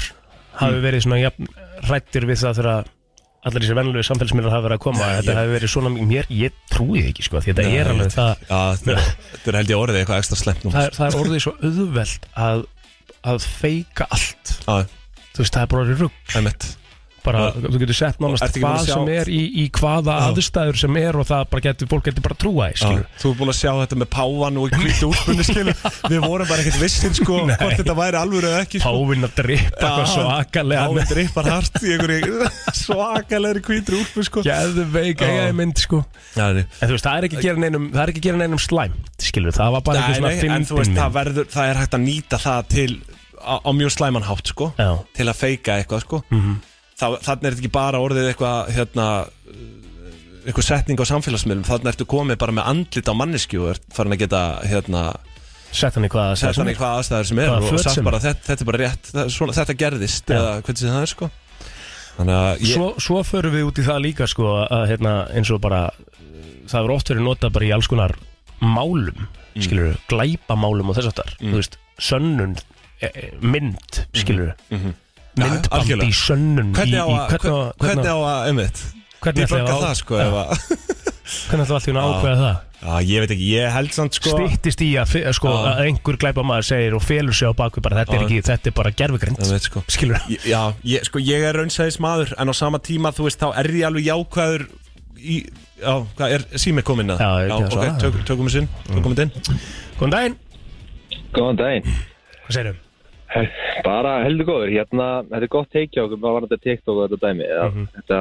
S4: hafi verið svona jafn, rættir við það þegar allir þessi vennlegu samfélagsmiðlar hafi verið að koma þetta
S1: ég-
S4: hafi verið svona, mér, ég trúi því ekki sko, því þetta
S1: Nei,
S4: er
S1: ég
S4: alveg
S1: veit
S4: það
S1: já, þetta er- þetta er held ég orðið eitthvað ekstra slemt nú
S4: það er, það er orðið svo auðvelt að, að feika allt
S1: Já,
S4: þú veist, það er bara orðið rugg
S1: einmitt
S4: bara,
S1: Og-
S4: þú getur sett
S1: ertu
S4: nánast
S1: ekki búin að
S4: hvað
S1: sjá-
S4: sem er í, í hvaða
S1: Já.
S4: aðstæður sem er og það bara getur, fólk getur bara að trúa því,
S1: Já,
S4: skilur
S1: Þú ert búin að sjá þetta með pávan og hvítu úlpunni skilur Við vorum bara ekkert vissin sko
S4: Nei.
S1: hvort þetta væri alvöru eða ekki sko.
S4: Páfinn að drippa eitthvað
S1: Já,
S4: svakalega
S1: Páfinn
S4: með
S1: drippar hart í einhverju svakalegri hvítri úlpu sko
S4: geðveik
S1: Já.
S4: eiga mynd, sko
S1: Já, nei.
S4: En þú veist, það er ekki að gera neinum, það er ekki að gera neinum slæmt, skilur Það var
S1: Nei,
S4: bara eitthvað svona
S1: nei, En þú
S4: fyndin
S1: veist,
S4: mynd
S1: það, verður, það er hægt að nýta það til á, á mjög slæman hátt sko
S4: Já,
S1: til að feika eitthvað sko Þá, Þannig er þetta ekki bara orðið eitthvað hérna uh, eitthvað setning á samfélagsmiðlum þannig ertu komið bara með andlit á manneskju og ert farin að geta hérna
S4: sett hann í hvaða
S1: sett hann í hvaða aðstæður sem er
S4: Hvaða
S1: og
S4: föt
S1: sagt
S4: sem
S1: bara þetta, þetta er bara rétt það, er svona, þetta gerðist
S4: Já.
S1: eða hvernig sem það er sko þannig að ég,
S4: svo, svo förum við út í það líka sko að hérna eins og bara uh, það er oft verið notað bara í alls konar málum, mm. skilur glæpamálum og þess aftar, þú veist sönnun, e, e, mynd skilur,
S1: Já,
S4: myndband
S1: algjörlega.
S4: í sönnun
S1: hvernig á að
S4: í, í, hvernig, á-
S1: hvernig
S4: hvernig,
S1: á að, einmitt
S4: hvernig,
S1: ég
S4: hvernig,
S1: blokka það
S4: hvernig,
S1: sko ef að,
S4: hvernig ætlaðu allt í hún að ákveða það
S1: já, ég veit ekki, ég held samt sko
S4: stýttist í að, fe- sko,
S1: Já.
S4: að einhver glæpamaður segir og felur sig á bakvið bara þetta er
S1: Já.
S4: ekki, þetta er bara gerfugrind
S1: einmitt sko
S4: skilur,
S1: Ég- já, ég, sko ég er raunsæðis maður en á sama tíma, þú veist, þá er ég alveg jákvæður í, já, hvað er sími komin að,
S4: Já, ég gerði
S1: ok,
S4: svo.
S1: tök, tökum við sinn tökum við inn,
S4: góðan daginn
S6: Góðan daginn. Eh,
S4: hvað segir þau?
S6: Bara heldur góður. Hérna, þetta er gott teikja okkur, bara var þetta TikTok og þetta dæmi. Mm
S4: Mhm.
S6: Þetta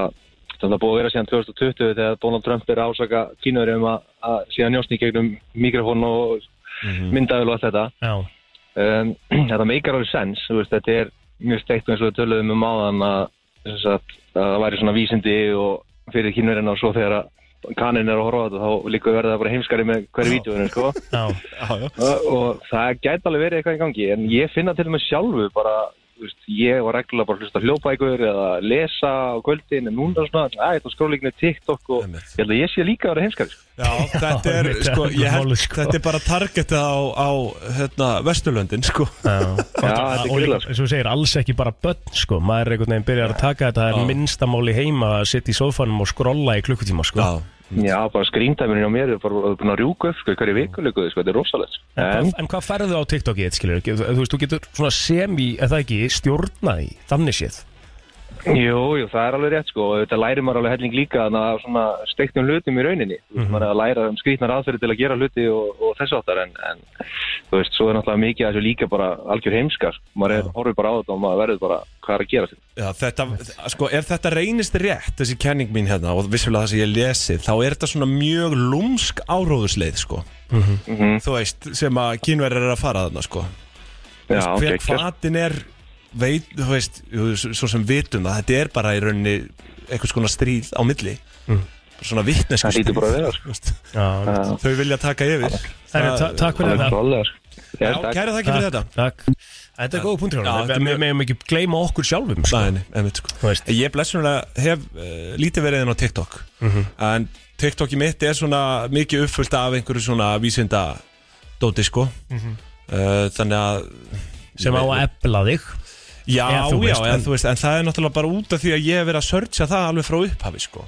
S6: þetta er búið að vera síðan 2020 þegar Donald Trump er að ásaka kínur um að, að síðan njósni í gegnum mikrofón og mm
S4: Mhm.
S6: og allt þetta.
S4: Já.
S6: Um, þetta meikar alveg sens, þú veist, þetta er mjög steikt eins og við töluðum um áðan að, sem sagt, að það væri svona vísindi og fyrir kínverðina og svo þegar að kaninn er að horfa á þetta þá líka verða það bara heimskari með hverju vídjóinu, sko.
S4: Já.
S1: já, já,
S6: og það gæti alveg verið eitthvað í gangi en ég finna til og með sjálfu bara þú veist, ég var reglulega bara að hlusta á hljóðbækur eða lesa á kvöldin en núna er svona, að ég ætla að skróla líka TikTok og
S1: Einmitt.
S6: ég held að ég sé líka að vera heimskari sko.
S1: Já, þetta er,
S4: einmitt,
S1: sko,
S4: það er
S1: ég held,
S4: málið, sko.
S1: þetta er bara targetið á, á hérna, Vesturlöndin, sko.
S6: Já, þetta er
S4: og líka,
S6: grillað, sko.
S4: eins og þú segir, alls ekki bara börn sko. maður er einhvern veginn byrjar að taka þetta það er minnsta máli heima að sitja í sófanum og skrolla í klukkutíma sko.
S1: Já,
S6: Já, bara skrýndæminin á mér er bara búin að rjúka upp sko, í hverju vikulegu, sko, þetta er rosalegt sko.
S4: en,
S6: En,
S4: en hvað ferðu á TikTok í skilur, þú þú veist, þú getur svona semi eða ekki, stjórnaði, þannig séð
S6: jú, jú, það er alveg rétt sko og þetta læri maður alveg helling líka þannig að svona steiktum hlutum í rauninni mm
S1: Mhm.
S6: -hmm. maður er að læra um skrýtnar aðferði til að gera hluti og, og þess áttar en, en þú veist, svo er náttúrulega mikið að þessu líka bara algjör heimskar, sko. maður er, horfir bara á þetta og maður verður bara hvað er að gera
S1: já, þetta, sko, ef þetta reynist rétt, þessi kenning mín hérna, og vissulega það sem ég lesið, þá er þetta svona mjög lúmsk áróðusleið, sko.
S6: Mhm.
S1: Þú veist, sem að kínverðir er að fara þarna, sko.
S6: Já,
S1: Þú veist,
S6: geggjað.
S1: hver hvatin er, veit, þú veist, jú, s- svo sem vitum það, þetta er bara í rauninni einhvers konar stríð á milli. Bara Svona vittnesku
S6: Það hlýtur bara að vera,
S4: Mm. Já,
S1: Þau vilja taka yfir.
S4: Herri, ta- takk fyrir þetta
S1: Já, kæra þakki fyrir þetta.
S4: Takk. Þetta er góð punktur
S1: Já, þetta er
S4: Við við megum ekki gleyma okkur sjálfum sko.
S1: Nei, nei, einmitt sko
S4: Þú veist.
S1: Ég blessunlega hef uh, lítið verið inn á TikTok
S4: Mhm.
S1: En TikToki mitt er svona mikið uppfullt af einhverju svona vísinda dóti sko uh, Þannig að
S4: Mhm. sem á að ebla þig
S1: Já,
S4: eða þú
S1: já,
S4: veist,
S1: en,
S4: en-
S1: þú veist En það er náttúrulega bara út af því að ég hef verið að searcha það alveg frá upphafi sko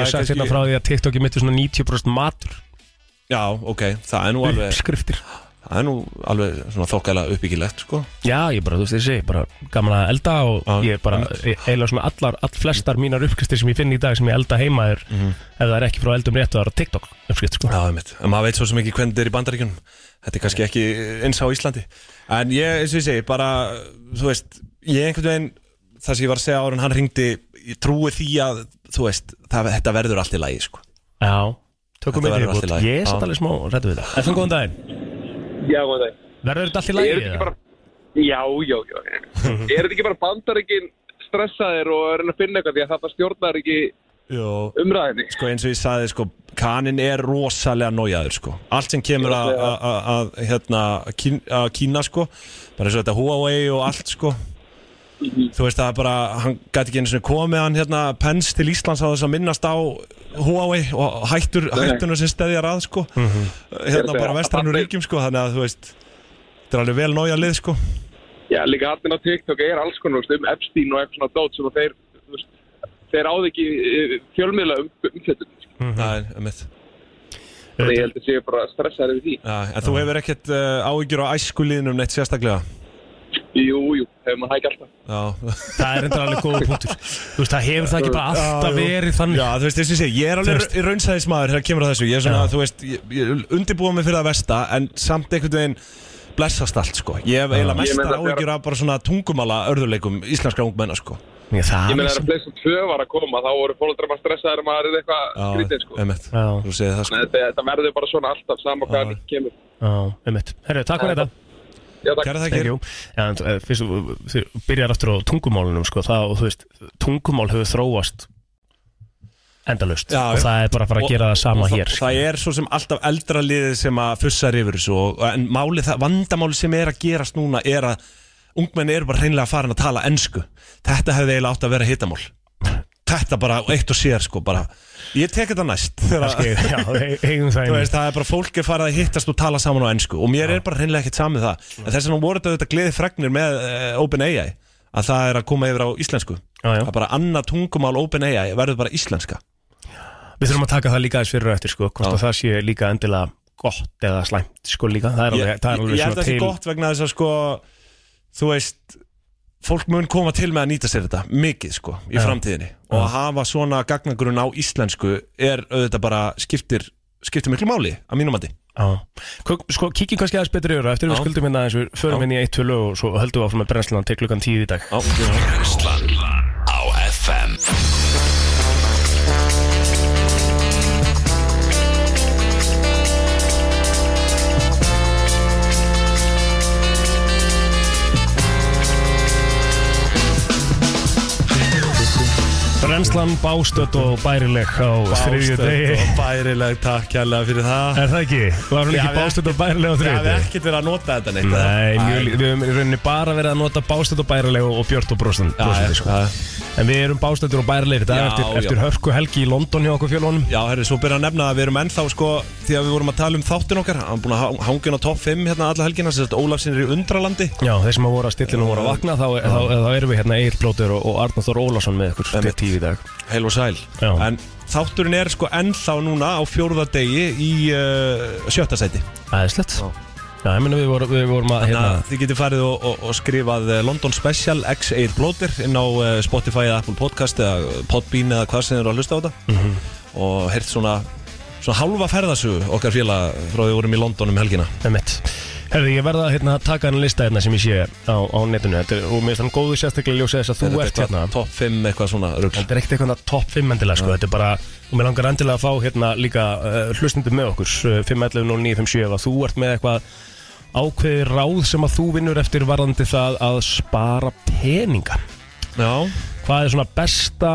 S1: Það
S4: hef
S1: er
S4: sagt
S1: kannski-
S4: hérna frá því að TikTok er mitt svona 90% matur
S1: Já, ok, það er nú alveg
S4: uppskriftir
S1: Það er nú alveg svona þokkælega uppbyggilegt sko
S4: Já, ég bara, þú veist, þessi, ég bara gaman að elda og
S1: Já,
S4: ég bara, ég- eiginlega svona allar, all flestar mínar uppskriftir sem ég finn í dag sem ég elda heima er, ef það er ekki frá eldum rétt, það er á TikTok uppskrift, sko.
S1: Mhm. Já, einmitt. En maður veit svo sem ekki hvernig þetta er í bandaríkjunum. Þetta er kannski ekki eins á Íslandi. En ég, eins og ég segi, bara, þú veist, ég einhvern veginn, það sem ég var að segja ára en hann ringdi, ég trúi því að, þú veist, það, þetta verður allt í lagi, sko.
S4: Já,
S1: Þetta
S4: tökum við
S1: verður
S4: þér
S1: allt í
S4: bútt.
S1: lagi.
S4: Ég er
S1: Já.
S4: satt alveg smá, rættu við það. Eftir góðan daginn,
S5: Já, góðan dag.
S4: verður þetta allt í
S5: Er
S4: lagi?
S5: þetta ekki
S4: eða?
S5: bara Já, já, já Er þetta ekki bara bandaríkin stressaðir og er hann að finna eitthvað því að þetta stjórnar ekki
S1: Jó.
S5: umræðinni
S1: Sko, eins og ég sagði, sko, kanin er rosalega nójaður, sko. Allt sem kemur að, að- að, að, hérna, að kín, að kína, sko, bara eins og þetta Huawei og allt, sko. Þú veist, það er bara, hann gæti ekki einu sinni komið hann, hérna, pens til Íslands á þess að minnast á Huawei og hættur, hættunar sem steðjar að, sko. Hérna bara vestrænur ríkjum, sko, þannig að, þú veist, þetta er alveg vel nója lið, sko.
S5: Já, líka allir á TikTok er alls konar þú veist, um Epstein og eitthvað svona dót sem að þeir þú veist, þeir áði ekki eh, fjölmiðla um umfjöldun
S1: Það er, um
S5: Þannig ég held að séu bara stressaðir yfir því
S1: Já, en þú hefur ekkert uh, áhyggjur á æskuliðinum neitt sérstaklega.
S5: Jú, jú, hefur maður hægt alltaf
S1: Já,
S4: Það er enda alveg góða punktur. Þú veist, það hefur það ekki bara alltaf
S1: Já, jú.
S4: verið þannig.
S1: Já, þú veist, þess að segja, ég er
S4: Þú
S1: alveg
S4: veist.
S1: raunsaðismæður þegar kemur að þessu, ég er svona,
S4: Já.
S1: þú veist, ég, ég undirbúa mig fyrir það vesta, en samt einhvern veginn blessast allt, sko. Ég hef eiginlega
S5: Ég meina
S1: mestar
S5: þegar-
S1: áhyggjur af bara svona tungumala örðuleikum íslenskra ungmenna, sko.
S4: Ég, það
S5: Ég meina
S4: er
S5: þegar að fleysum tvö var að koma þá voru fólkdrar bara stressaðir um að maður er eitthvað skrítið sko
S1: Emmett,
S4: Já.
S1: þú segir það,
S5: Nei,
S1: sko.
S5: Þetta, þetta verður bara svona alltaf saman
S1: Já.
S5: hvað kemur
S4: Já, einmitt. Herru, takk fyrir þetta.
S5: Já, takk
S1: Kæra
S4: Thank
S1: þakkir.
S4: you. Já, en, eh, fyrst þú þú byrjar aftur á tungumálunum, sko, það, og þú veist, tungumál hefur þróast endalaust
S1: Já,
S4: og
S1: já.
S4: það er bara að fara að gera það sama
S1: og
S4: hér. sko.
S1: það, það er svo sem alltaf eldra liðið sem að fussar yfir þessu og, en máli það, vandamáli sem er að gerast núna er að ungmenni eru bara hreinlega farin að tala ensku þetta hefði eiginlega átt að vera hittamál þetta bara eitt og sér sko bara ég tek þetta næst þegar að-
S4: Kannski, já, e- eigum það
S1: Þú
S4: einu
S1: veist, það er bara fólk er farið að hittast og tala saman á ennsku og mér er bara hreinlega ekkert samið það en þess vegna voru þetta auðvitað gleði fregnir með uh, OpenAI að það er að koma yfir á íslensku
S4: Já, já.
S1: það er bara annað tungumál OpenAI verður bara íslenska
S4: Við þurfum að taka það líka aðeins fyrir og eftir sko,
S1: Já.
S4: hvort að það sé líka endilega gott eða slæmt sko líka, það er alveg,
S1: ég,
S4: það er
S1: ég,
S4: alveg
S1: ég held að
S4: svona
S1: það sé
S4: til
S1: gott vegna þess að sko þú veist fólk mun koma til með að nýta sér þetta mikið sko í
S4: Já.
S1: framtíðinni og að hafa svona gagnagrun á íslensku er auðvitað bara skiptir skiptir miklu máli að mínum mati
S4: Já. Kuk- Sko, kíkjum kannski aðeins betri yfir og eftir við
S1: Já.
S4: skuldum hérna aðeins, við förum
S1: Já.
S4: hérna í eitt tölu og svo höldum við áfram með brennslan til klukkan tíð í dag
S2: Brennslan á FM
S4: Brennslan brennslan bástödd og bærileg á þriðju degi
S1: og bærileg takk kærlega fyrir það
S4: Er það ekki? Var hún
S1: Já,
S4: ekki
S1: við-
S4: bástödd og bærileg á
S1: Það
S4: þriðju
S1: hefði
S4: degi?
S1: ekkert verið að nota þetta neitt
S4: Nei, mjög, lí- við höfum í rauninni bara verið að nota bástödd og bærileg og björt og brostin, brostandi sko.
S1: Já,
S4: En við erum bástöndur og bærilegir Það
S1: Já,
S4: er eftir,
S1: já.
S4: eftir hörku helgi í London hjá okkur fjölunum
S1: Já, herri, svo byrja að nefna að við erum ennþá sko því að við vorum að tala um þáttin okkar hann er búin að hangja inn á topp 5 hérna alla helgina sem sagt Ólafsinn er í undralandi
S4: Já, þeir sem að voru að stillinu voru að vakna þá, þá, þá, erum við hérna Egil Blótur og, og Arnar Þór Ólafsson með ykkur til
S1: Einmitt.
S4: tíu í dag
S1: Heil og sæl
S4: Já.
S1: En þátturinn er sko ennþá núna á fjórða degi í uh, sjötta sæti
S4: Æðislegt Já, ég meina við, voru, við vorum að
S1: Þannig
S4: hérna,
S1: að þið getur farið og, og, og skrifað eh, London Special X Air Bloater inn á eh, Spotify eða Apple Podcast eða Podbean eða hvað sem þið eru að hlusta á þetta
S4: Mhm.
S1: og heyrt svona, svona halva ferðasögu okkar félag frá því við vorum í London um helgina
S4: með mitt Herði, ég verða að hérna, taka hann lista hérna sem ég sé á, á netinu Þetta, er- og mér finnst hann góðu sérstaklega ljósa þess að þú ert
S1: eitthvað
S4: hérna
S1: Top 5 eitthvað svona rugl
S4: Þetta er ekkert eitthvað topp 5 endilega sko, þetta er bara og mér langar endilega að fá hérna líka uh, hlustundum með okkur, uh, 511 og 957 ef að þú ert með eitthvað ákveði ráð sem að þú vinnur eftir varðandi það að spara peninga
S1: Já,
S4: Hvað er svona besta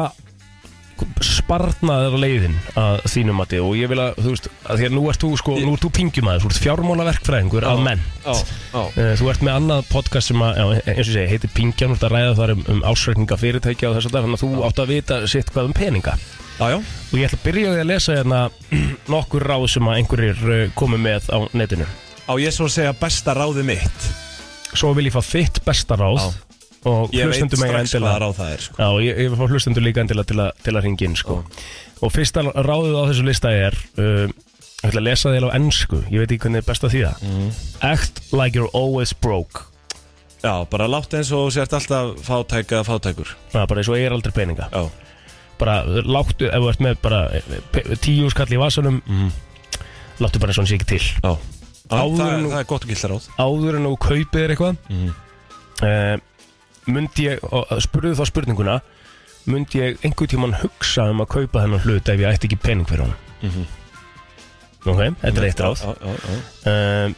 S4: sparnaður leiðin að þínum mati og ég vil að, þú veist, að því að nú ert þú sko, nú ert þú pingjumæður, þú ert fjármálaverkfræðingur að menn
S1: já, já
S4: Eh, Þú ert með annað podcast sem að, já, eins og ég segi, heitir Pingjan, þú ert að ræða þar um, um ásreikninga fyrirtækja og þess að það, þannig að þú átt að vita sitt hvað um peninga.
S1: Já, já,
S4: Og ég ætla að byrja á því að lesa hérna nokkur ráð sem að einhverjir eh, komu með á netinu.
S1: á ég svo að segja besta ráði mitt
S4: Svo vil ég fá þitt besta ráð
S1: Já.
S4: og
S1: Ég veit
S4: hlustendur mega
S1: strax hvaða
S4: endilega.
S1: ráð það er sko.
S4: Já, og ég, ég vil fá hlustendur líka endilega til að, til að ringa inn, sko. Og fyrsta ráðið á þessu lista er, uh, ég ætla að lesa því á ennsku, ég veit ekki hvernig er best að þýða.
S1: Mhm.
S4: Act like you're always broke.
S1: Já, bara látt eins og þú sért alltaf fátæk eða fátækur
S4: Það er bara eins og ég er aldrei peninga.
S1: Já,
S4: bara láttu, ef þú ert með bara eh, pe- tíu skall í vasanum láttu bara eins og hann sé ekki til
S1: Mhm. já
S4: Áður
S1: það, er,
S4: nú-
S1: það er gott og gilt ráð
S4: áður en þú kaupið þér eitthvað mm.
S1: Mhm,
S4: myndi Eh, ég og spurðu þá spurninguna myndi ég einhvern tímann hugsa um að kaupa þennan hlut ef ég ætti ekki pening fyrir honum
S1: mhm.
S4: ok, þetta er eitt ráð
S1: Mm, Já, já, já
S4: um,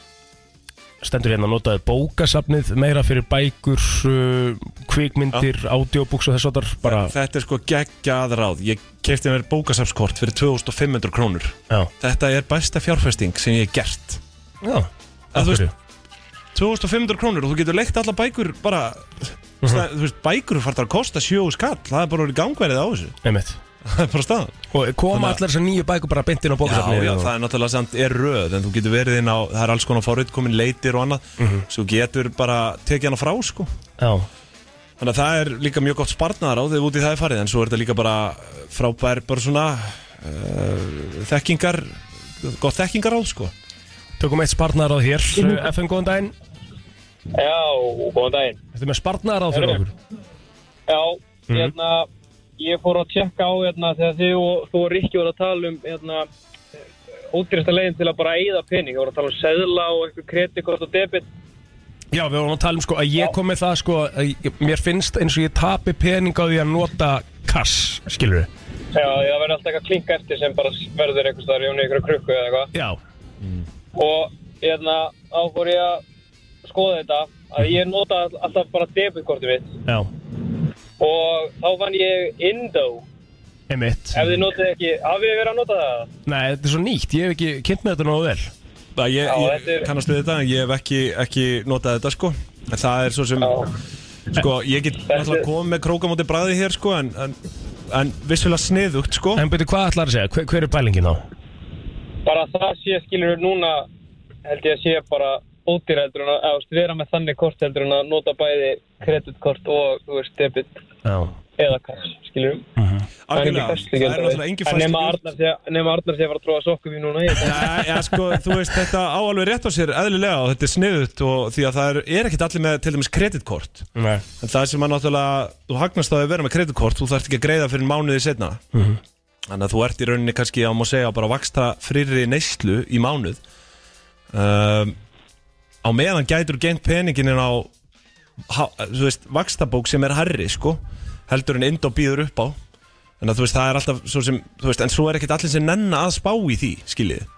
S4: stendur hérna að notaði bókasafnið meira fyrir bækur uh, kvikmyndir, ádiobúks og þess að bara,
S1: Þetta er sko geggjað ráð Ég kefti mér bókasafskort fyrir 2500 krónur
S4: já,
S1: Þetta er besta fjárfesting sem ég hef gert
S4: já
S1: Að þú
S4: Af hverju?
S1: 2500 krónur og þú getur leikt alla bækur bara
S4: Mhm.
S1: mm -hmm. Þú veist, bækur fartar að kosta 7 skall Það er bara orðið gangverið á þessu
S4: Einmitt.
S1: Það er bara staðan
S4: Og koma
S1: Þannig að-
S4: allar þessar nýju bækur bara beint inn á
S1: Já,
S4: bókasafnið
S1: já, það er náttúrulega samt er röð en þú getur verið inn á, það er alls konar forutkomin leitir og annað,
S4: Mhm.
S1: svo getur bara tekið hana frá, sko
S4: já.
S1: þannig að það er líka mjög gott sparnar á þegar út í það er farið, en svo er þetta líka bara eh, frábær, bara svona uh, þekkingar gott þekkingar á, sko Mhm.
S4: Tökum eitt sparnaráð hér Eh, FM, góðan daginn
S5: Já, góðan daginn.
S4: Þetta er með sparnaráð fyrir okkur Mhm.
S5: Já,
S1: Mhm.
S5: hérna, ég fór að tjekka á hérna þegar þið og þú og Rikki voru að tala um hérna útrýsta leiðin til að bara eigða pening. Ég voru að tala um seðla og eitthvað kreditkort og debit.
S4: Já, við vorum að tala um sko að ég kom með það sko að ég- mér finnst eins og ég tapi pening á því að nota kass, skilur við
S5: Já, það verður alltaf eitthvað klink eftir sem bara verður einhvers staðar í unni ykkur krukku eða eitthvað. Mm.
S4: Já,
S5: Og hérna, þá fór ég að skoða þetta að ég nota alltaf bara debitkortið mitt
S4: já,
S5: og þá fann ég Indo.
S4: einmitt
S5: Ef þið notið ekki, hafið þið verið að nota það?
S4: Nei, þetta er svo nýtt, ég hef ekki kynnt með þetta nógu vel
S1: Já, ég, ég
S5: þetta er-
S1: kannast við þetta, en ég hef ekki, ekki notað þetta, sko en það er svo sem, sko ég get náttúrulega komið með krókamóti bræði hér, sko en, en, en vissulega sniðugt, sko
S4: En byrju, hvað ætlar að segja? Hver, hver er pælingin þá?
S5: bara það sé skilur núna held ég að sé bara ódýr heldur en að eða, þú veist, vera með þannig kort heldur en að nota bæði kreditkort og þú veist, debit
S4: Já, Mhm.
S5: eða kass skilur það er ekki
S1: Algjörlega,
S5: fæslu
S1: það er náttúrulega engin fæslu
S5: nema Arnar sé nema Arnar sé að fara að tróða sokkum í núna ég veit ekki.
S1: Já, sko, þú veist, þetta á alveg rétt á sér eðlilega og þetta er sniðut og því að það er, er ekkit allir með til dæmis kreditkort
S4: nei
S1: en það sem að náttúrulega, þú hagnast á því að vera með kreditkort þú þarft ekki að greiða fyrir mánuði setna
S4: Mhm.
S1: þannig að þú ert í rauninni kannski að má segja bara vaksta frýri neyslu í mánuð um, á meðan gætur gengt peninginin á ha, þú veist, vakstabók sem er herri, sko heldur en ind og býður upp á en að þú veist, það er alltaf svo sem, þú veist, en svo er ekkit allir sem nenna að spá í því, skiljið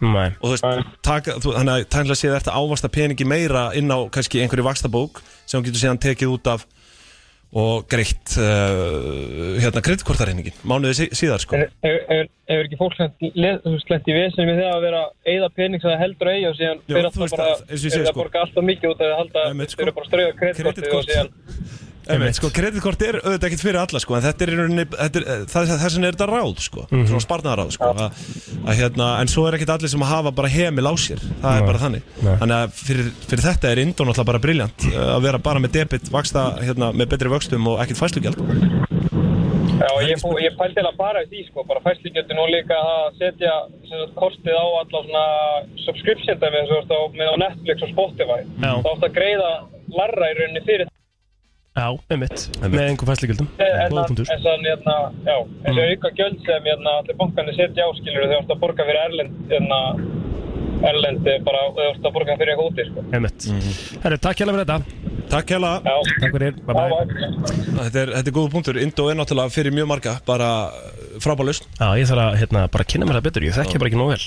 S4: Nei,
S1: og þú veist, taka, þú, þannig að tænlega séð eftir að ávasta peningi meira inn á kannski einhverju vakstabók sem þú getur síðan tekið út af og greitt uh, hérna kreditkortareiningin mánuði sí- síðar sko
S7: Hefur- Hefur hefur ekki fólk slent í vesinni með það að vera að eyða pening sem það heldur eigi og síðan
S1: Já, þú
S7: fyrir alltaf
S1: veist
S7: bara
S1: það, eins og ég segi,
S7: fyrir að
S1: sko.
S7: borga alltaf mikið út af því að halda
S1: Einmitt, sko.
S7: fyrir bara að strauja kreditkort og
S1: Kreditkort.
S7: síðan
S1: Einmitt, sko, kreditkort er auðvitað ekkert fyrir alla sko, en þetta er, í rauninni, þetta er eh, það, það sem er þetta ráð sko,
S4: Mhm.
S1: svona sparnaráð sko, að, að, hérna, en svo er ekkert allir sem hafa bara hemil á sér, það er
S4: Nei.
S1: bara þannig
S4: Nei.
S1: þannig að fyrir, fyrir þetta er Indón alltaf bara briljant uh, að vera bara með debit vaksta, hérna, með betri vöxtum og ekkert fæslugjald
S7: Já, ég, fó- ég pældi að bara í því sko, bara fæslingjöldi nú líka að setja sem sagt, kortið á alla svona subscription dæmi eins og þú veist, á- með á Netflix og Spotify
S4: Já.
S7: þá átt að greiða larra í rauninni fyrir
S4: Já, einmitt, með einhver fæsligjöldum
S7: en að-
S4: Góðpuntur
S7: eins og hann, hérna, já, eins og auka gjöld sem hérna, allir bankarnir setja áskilur þegar þú ert að borga fyrir Erlend hérna, Erlend eh, bara þegar þú ert að borga fyrir eitthvað úti sko.
S4: Einmitt Herru, takk hérlega fyrir þetta
S1: Takk hella,
S7: Já,
S4: Takk fyrir, bye
S7: já,
S4: bye
S7: já.
S1: þetta er, þetta er góð punktur Indó er náttúrulega fyrir mjög marga, bara frábælust
S4: Já, ég þarf að hérna, bara kynna mér það betur, ég þekki bara ekki nóg vel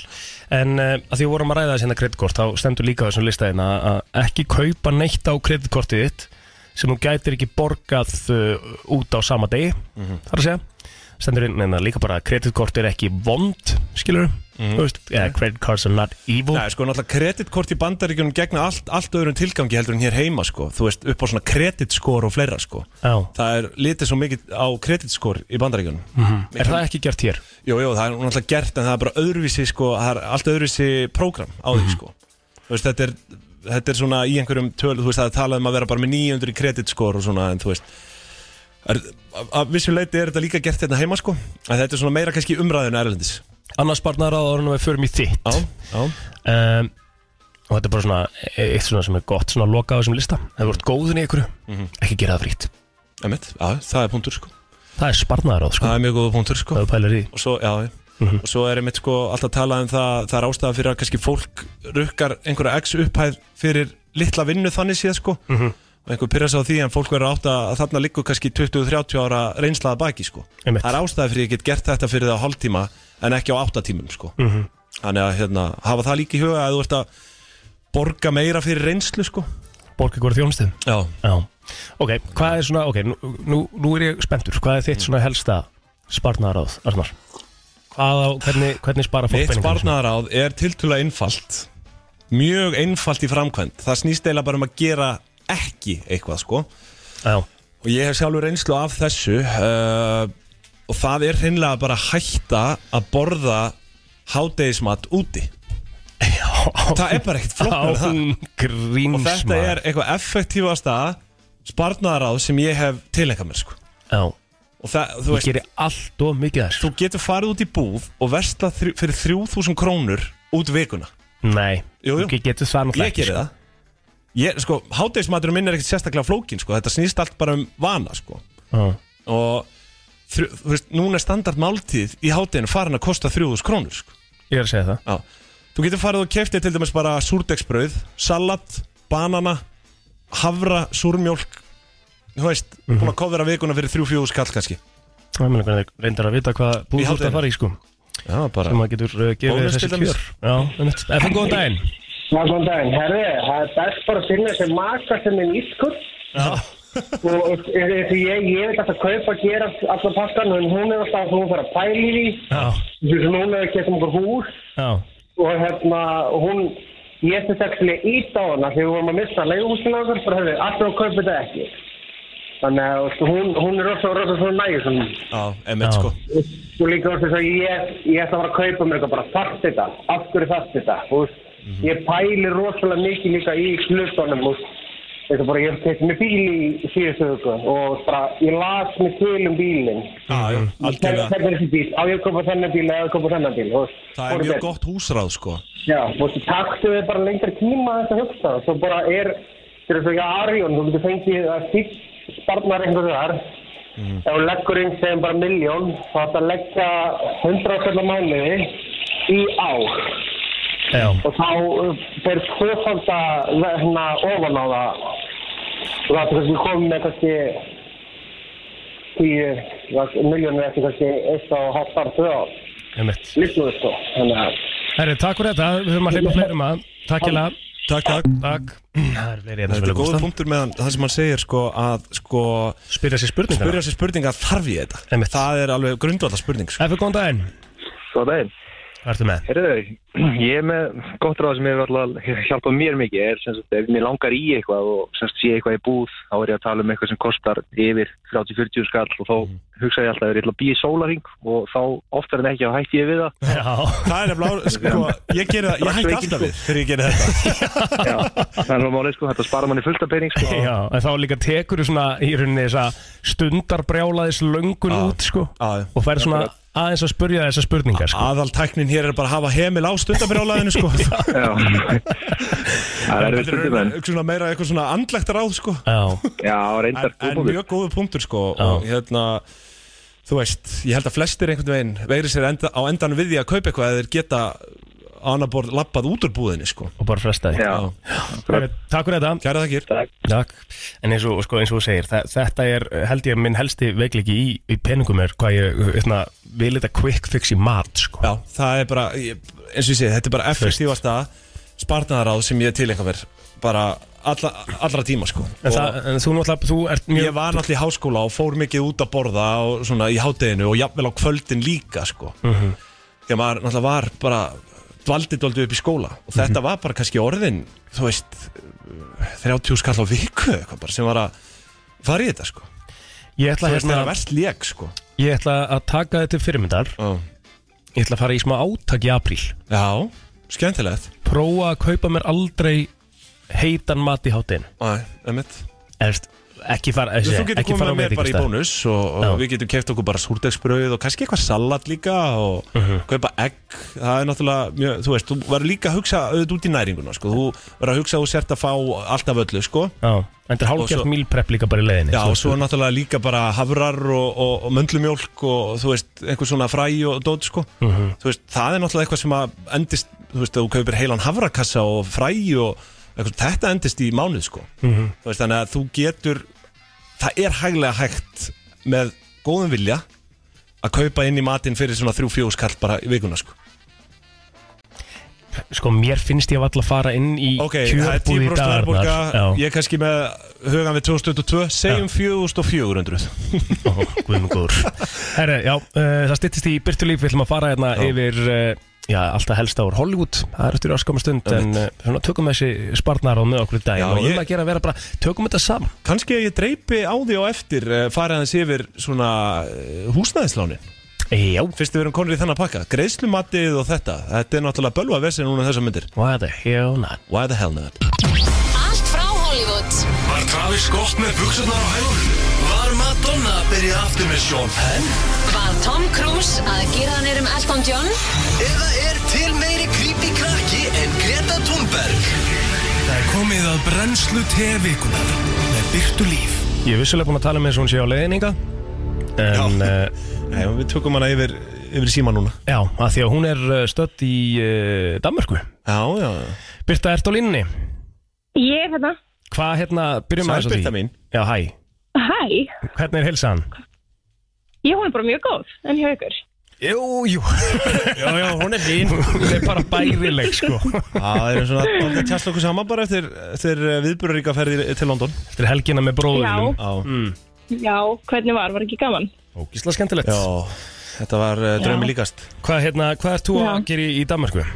S4: En uh, að því við vorum að ræða þessi hérna kreditkort þá stendur líka á þessum listaðin að, að ekki kaupa neitt á kreditkortið þitt sem þú gætir ekki borgað uh, út á sama degi
S1: Mhm.
S4: þar að segja stendur inn, en líka bara að kreditkort er ekki vond skilur, þú veist yeah, credit cards are not evil
S1: Mhm. Nei, sko, náttúrulega kreditkort í bandaríkjunum gegna allt, allt öðrum tilgangi heldur en hér heima, sko. Þú veist, upp á svona kreditskor og fleira, sko.
S4: Já.
S1: Það er litið svo mikið á kreditskor í bandaríkjunum.
S4: Mhm. Er það ekki gert hér?
S1: Jú, jú, það er náttúrulega gert, en það er bara öðruvísi, sko, það er allt öðruvísi prógram á
S4: Mhm.
S1: því, sko. Þú veist, þetta er, þetta er svona í einhverjum tölu, þú veist, það er talað um að vera bara með 900 í kreditskor og svona, en þú veist, er, að- að vissu leiti er þetta líka gert hérna heima, sko. En þetta er svona meira kannski umræðinu erlendis.
S4: Annars barnar að orðinu við förum í þitt
S1: Já, já.
S4: um, og þetta er bara svona e, eitt svona sem er gott svona að loka á þessum lista ef þú ert góðin í ykkur, ekki gera það frýtt
S1: Mhm. Einmitt, já, það er punktur, sko.
S4: það er sparnaðaráð sko,
S1: Það er mjög góð punktur, sko.
S4: ef þú pælar í Mhm. því.
S1: og svo, já, og svo er einmitt sko alltaf talað um það, það er ástæða fyrir að kannski fólk rukkar einhverja x upphæð fyrir litla vinnu þannig séð sko
S4: Mhm.
S1: og einhver pyrra sig á því en fólk verður átt að þarna liggur kannski 20-30 ára reynslaða baki sko
S4: Einmitt.
S1: það er ástæða fyrir að ég get gert þetta fyrir það á hálftíma en ekki á áttatímum sko
S4: Mhm.
S1: þannig að hérna, hafa það líka í huga að þú ert að borga meira fyrir reynslu sko
S4: borga ykkur þjónustið
S1: já,
S4: já. ok, hvað er svona, ok, nú, nú, nú er ég spenntur hvað er þitt svona helsta sparnaðaráð Arnar hvað á, hvernig, hvernig spara fólk
S1: Mitt
S4: peningana svona?
S1: sparnaðaráð er tiltölulega einfalt mjög einfalt í framkvæmt það snýst eiginlega bara um að gera ekki eitthvað sko
S4: já,
S1: Og ég hef sjálfur reynslu af þessu uh, og það er hreinlega bara að hætta að borða hádegismat úti. Það er bara ekkert flott með það.
S4: án gríns
S1: Og þetta er eitthvað effektífasta sparnaráð sem ég hef tilengjað mér sko.
S4: já,
S1: Og það, þú
S4: ég
S1: veist,
S4: gerir allt og mikið þess
S1: þú getur farið út í búð og versla þrjú, fyrir 3000 krónur út vikuna.
S4: nei,
S1: Jú, jú.
S4: þú getur það náttúrulega
S1: Ég gerir
S4: sko.
S1: það. Ég, sko, hádegismaturinn minn er ekkert sérstaklega flókin sko. Þetta snýst allt bara um vana sko.
S4: Já.
S1: og þrjú, þú veist, núna er standard máltíð í hátinu farin að kosta 3000 krónur sko.
S4: ég er að segja það
S1: Já. þú getur farið og keftið til dæmis bara súrdegsbrauð, salat, banana havra, súrmjólk þú veist,
S4: Mhm.
S1: mm -hmm. búin að kofra vikuna fyrir 3-4 skall kannski
S4: Það meina hvernig þeir reyndar að vita hvað
S1: Í
S4: búið þú ert
S1: hádeginu.
S4: að fara í sko
S1: já, bara
S4: sem maður getur uh, gefið
S1: Bónus
S4: þér
S1: til
S4: þessi
S1: dæmis.
S4: kjör Já, einmitt. FN, góðan daginn
S8: Já, góðan daginn. Herri, það er best bara að finna þessi maka sem er nýskur. Og og- e- e- því ég, ég veit alltaf kaupa að gera allan pakkan en hún er alltaf að hún fara að pæla í því.
S4: Já,
S8: Þú veist, núna er getum okkur hús
S4: já,
S8: og hérna, og hún, ég þess ekki að íta á hana því við vorum að missa leiguhúsinu okkur, bara hefði alltaf að kaupa þetta ekki. Þannig að þú veist, hún, hún er rosa, rosa svona nægir svona.
S1: já, emitt
S4: Já.
S1: sko
S8: Og líka orðið þess að ég, ég ætla að fara að kaupa mér eitthvað bara þarft þetta, af hverju þarft þetta, þú veist,
S1: Mhm.
S8: ég pæli rosalega mikið líka í hlutunum, þú veist, þetta er bara, ég tekið mér bíl í síðustu hugu og bara, ég las mér til um bílinn,
S1: já, já,
S4: Mhm.
S1: algjörlega,
S8: þetta er þessi bíl, á ég að kaupa þennan bíl, á ég að kaupa þennan bíl, þú veist,
S1: það er
S8: Fór í
S1: mjög
S8: gegn.
S1: gott húsráð sko
S4: Hérna
S8: Já, þú veist, taktu þið bara lengri tíma þess að hugsa, svo bara er, þetta er svo, já, Arjón, þú getur fengið að fík sparnar einhverju þar,
S4: Mhm.
S8: ef þú leggur inn segjum bara miljón, þá ætti að leggja 100 kallar mánuði í ár
S4: já,
S8: og þá uh, fer tvöfalda hérna ofan á það og það er kannski komið með kannski 10 miljónir eftir kannski 1 og halvt ár, 2 ár,
S4: einmitt
S8: líknuðu sko, þannig að
S4: Herri, takk fyrir þetta, við höfum að hleypa fleirum að Takk ég lega
S1: takk, takk
S4: Takk Það er fleiri hérna sem
S1: Þetta er
S4: vilja
S1: góður
S4: komast að
S1: punktur með hann, það sem hann segir sko að sko
S4: Spyrja sér spurningar
S1: spyrja sér spurninga þarf ég þetta
S4: Einmitt.
S1: Það er alveg grundvallar spurning sko.
S4: Efir, góðan daginn
S6: Góða daginn.
S4: Hvað ertu með?
S6: Herðu, ég er með gott ráð sem hefur alltaf hjálpað mér mikið er sem sagt, ef mér langar í eitthvað og sem sagt, sé eitthvað í búð, þá er ég að tala um eitthvað sem kostar yfir 30-40 skall og þá
S1: Mhm.
S6: hugsa ég alltaf að ég ætla að býja í sólaring og þá oftar en ekki að hætti ég við það
S4: Já
S1: Það er nefnilega, sko, ég geri það, ég hætti
S6: Sveikin,
S1: alltaf við þegar ég geri þetta
S6: Já, það er svo málið sko, þetta sparar manni fullt af pening sko.
S4: Já, en þá líka tekur þú svona í rauninni þess að stundarbrjálaðis löngun
S1: Já.
S4: út sko
S1: Já.
S4: og fær svona aðeins að spurja þessar spurningar sko
S1: Aðaltæknin hér er bara að hafa heimil á stundabyrjálaðinu sko
S6: Já. Það er
S1: Þetta
S6: verið
S1: er
S6: stundum en
S1: raun- svona meira eitthvað svona andlegt ráð sko
S4: Já,
S6: Já,
S1: en,
S6: reyndar
S1: en
S6: góðbúður
S1: mjög góðu punktur sko og hérna þú veist, ég held að flestir einhvern veginn vegri sér enda, á endan við því að kaupa eitthvað eða þeir geta á annar borð lappað út úr búðinni sko
S4: og bara fresta því
S6: Já,
S4: Heyrðu, Takk fyrir þetta
S1: Kæra þakkir
S4: Takk En eins og, sko, eins og þú segir, þa- þetta er held ég minn helsti veikliki í, í peningum er hvað ég eitna, vil þetta quick fix í mat sko
S1: Já, það er bara, ég, eins og ég segi, þetta er bara effektífasta spartnaðaráð sem ég tilengja mér bara alla, allra tíma sko
S4: En,
S1: Og
S4: það, en þú náttúrulega, þú ert mjög
S1: Ég var náttúrulega í háskóla og fór mikið út að borða og svona í hádeginu og jafnvel á kvöldin líka sko
S4: Mhm.
S1: Þegar maður náttúrulega var bara dvaldið dvaldi upp í skóla og
S4: Mhm.
S1: þetta var bara kannski orðin, þú veist 30 skall á viku eitthvað bara sem var að fara í þetta sko
S4: Ég ætla,
S1: Það er
S4: hérna,
S1: það verst lék sko
S4: ég ætla að taka þetta til fyrirmyndar
S1: Já.
S4: Ég ætla að fara í smá átak í apríl
S1: Já, skemmtilegt
S4: Prófa að kaupa mér aldrei heitan mat í hátinn
S1: Æ, einmitt
S4: Erst, ekki fara
S1: Þú
S4: ekki,
S1: getur
S4: ekki
S1: komið með
S4: fara á
S1: mér bara í
S4: veitingastað
S1: bónus og, og
S4: Já.
S1: við getum keft okkur bara súrdegsbröð og kannski eitthvað salat líka og
S4: Mhm.
S1: kaupa egg það er náttúrulega, mjög, þú veist, þú verður líka að hugsa auðvitað út í næringuna, sko, þú verður að hugsa að þú sért að fá allt af öllu, sko
S4: Já, en þetta er
S1: Og
S4: hálfgjart
S1: svo-
S4: mílprepp líka bara í leiðinni
S1: Já,
S4: svo-
S1: og svo náttúrulega líka bara hafrar og, og, og möndlumjólk og þú veist, einhver svona fræ og dót, sko
S4: Mhm,
S1: þú veist, það er náttúrulega eitthvað sem að endist, þú veist, þú kaupir heilan havrakassa og fræ og eitthvað, þetta endist í mánuð, sko
S4: mhm.
S1: þú veist, þannig að þú getur það er hæglega hægt með góðum vilja að kaupa inn í matinn fyrir svona þrjú fjóðu skall bara í vikuna, sko
S4: Sko, mér finnst ég alltaf að fara inn í
S1: Ok, það er 10%
S4: kjörbúð í
S1: verðbólga,
S4: dagarnar
S1: ég er kannski með hugan við 2022, segjum 4400
S4: Ó, guðmungur Herre, já, uh, það styttist í byrtulíf Við ætlum að fara hérna
S1: Já.
S4: yfir uh, Já, alltaf helst á Hollywood Það er eftir öskum stund En uh, svona, tökum þessi sparnar á með okkur í dag
S1: Já,
S4: Og um
S1: ég-
S4: að gera að vera bara Tökum þetta saman
S1: Kanski að ég dreipi á því á eftir eh, farið aðeins yfir svona eh, húsnæðislánin
S4: Já,
S1: Fyrst við erum konur í þennan pakka Greiðslumatið og þetta Þetta er náttúrulega bölva versin núna þessar myndir
S4: what the hell not
S1: Why the hell not?
S3: Allt frá Hollywood
S2: Var Travis Scott með buksunar á hælunum? Var Madonna að byrja aftur með Sean Penn?
S3: Var Tom Cruise að gera hann um Elton John?
S2: Eða er til meiri creepy krakki en Greta Thunberg? Það er komið að brennslu tevikunar með byrtu líf.
S4: Ég er vissulega búin að tala með þess að hún sé á leiðninga En, uh,
S1: Nei, við tökum hana yfir, yfir síma núna
S4: já, að því að hún er eh, stödd í uh, Danmörku
S1: Já, já
S4: Byrta, ert á línni?
S9: Ég er hérna.
S4: Hvað hérna, byrjum
S1: Sæl
S4: aðeins á því?
S1: Birta mín.
S4: Já, hæ,
S9: Hæ,
S4: hvernig er heilsan?
S9: ég hún er bara mjög góð, en hjá ykkur.
S4: Jú, jú Já, já, hún er fín Hún er bara bærileg, sko Þetta
S1: Það er svona Það er tjast okkur sama bara eftir, eftir viðbúruríka ferði til London
S4: er helgina með bróðunum
S1: Já,
S9: Já, hvernig var, var ekki gaman?
S4: Ógísla skemmtilegt
S1: já Þetta var uh, draumi líkast
S4: Hvað, hérna, hvað ert þú að
S9: Já.
S4: gera í, í Danmarku?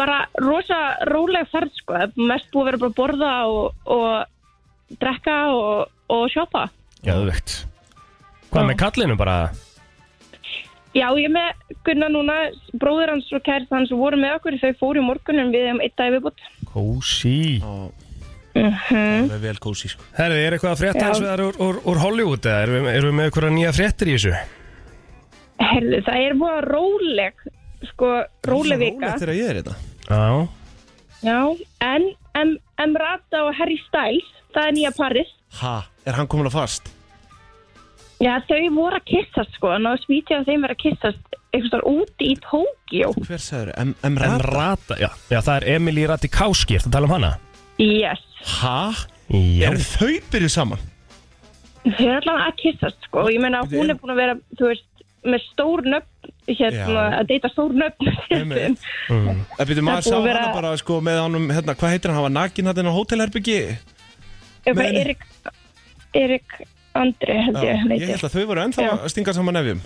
S9: Bara rosa róleg ferð, sko. Það er Mest búið að vera bara að borða og, og drekka og, og shoppa.
S4: Já, þú veikt Hvað
S9: Já.
S4: með kallinu bara?
S9: Já, ég er með Gunnar núna, bróður hans og kærð hans voru með okkur, þau fóru í morgunum við um eitt dag viðbútt.
S4: Kósi
S9: Mhm.
S1: Það er vel kósi sko
S4: Herði, er eitthvað að frétta
S9: Já.
S4: hans vegar úr, úr, úr Hollywood? eða Erum við, erum við með eitthvað nýja fréttir í þessu?
S9: Herðu, það er búið að róleg, sko, róleg vika.
S1: Rólegt þegar ég er hérna. þetta
S4: Já
S9: Já, en em, Emrata og Harry Styles, það er nýja parið.
S1: Ha, er hann komin að fast?
S9: Já, þau voru að kissast sko, en á svítið að þeim verið að kissast einhvers þar úti í Tókjó.
S1: Hver sagður? M. M.
S4: En
S1: Rata?
S4: rata, já, já það er Emily Ratajkowski, ertu að tala um hana?
S9: Yes,
S1: Ha?
S4: Já,
S1: Er þau byrjuð saman?
S9: þau eru allavega að kissast sko, og ég meina að hún er búin að vera, þú veist, með stór nöfn hérna,
S1: Já.
S9: að deyta stór nöfn
S1: Einmitt. Það byrju Eh, maður
S9: Mm. Það er
S1: sá
S9: búið að
S1: hana
S9: vera-
S1: bara sko með honum, hérna, hvað heitir hann, hann var nakin hann á hótelherbyggi?
S9: Eitthvað
S1: Nei, nei.
S9: Erik Erik Andri held
S1: Já,
S9: ég hann
S1: Ég
S9: heitir.
S1: held að þau voru ennþá
S9: Já.
S1: að stinga saman nefjum.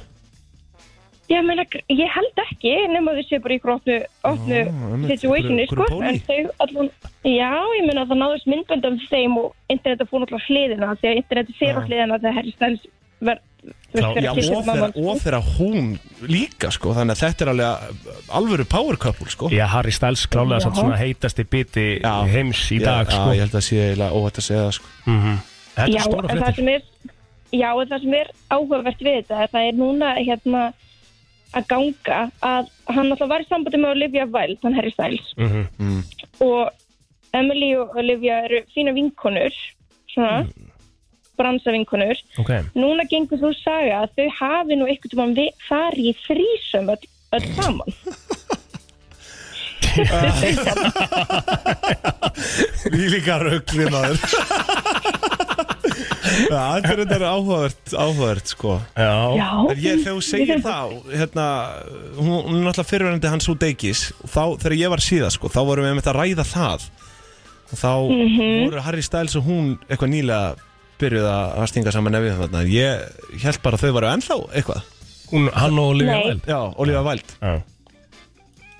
S9: Ég, meina, ég held ekki nema þau sé bara í ykkur opnu, opnu
S1: einmitt,
S9: situationi
S1: einhverju-
S9: sko,
S1: einhverju
S9: en þau allan já, ég meina það náðist myndböndum þeim og internetið fór náttúrulega hliðina því að internetið fer á hliðina þegar Harry Styles verð
S1: Já, og þegar- og þegar hún líka sko, þannig að þetta er alveg alvöru power couple sko.
S4: Já, Harry Styles klálega samt svona heitasti biti
S1: Já.
S4: heims í dag
S1: já,
S4: sko.
S1: Já, ég held að sé eiginlega óhætt að segja það sko.
S9: Mhm.
S4: Þetta
S9: já,
S4: er stóra
S9: en það
S4: fréttir
S9: sem er já, en það sem er áhugavert við þetta það er núna hérna að ganga að hann alltaf var í sambandi með Olivia Wilde, hann Harry Styles
S4: Mhm.
S9: og Emily og Olivia eru fína vinkonur svona,
S1: Mm.
S9: bransa vinkonur
S4: Ok,
S9: núna gengur þú saga að þau hafi nú eitthvað um að fari í þrísum öll, öll saman
S1: Við líka röggli maður Já, þetta er þetta áhugavert, áhugavert sko
S4: já,
S1: En ég, þegar þú segir það, hérna, hún, hún er náttúrulega fyrirverandi hans út eikis og þá, þegar ég var síða, sko, þá vorum við með þetta að ræða það og þá voru Harry Styles og hún eitthvað nýlega byrjuð að að stinga saman nefið þarna ég held bara að þau varu ennþá eitthvað
S4: hún, hann og Olivia
S9: Nei.
S4: Wilde
S1: Já, Olífa Væld
S4: Já.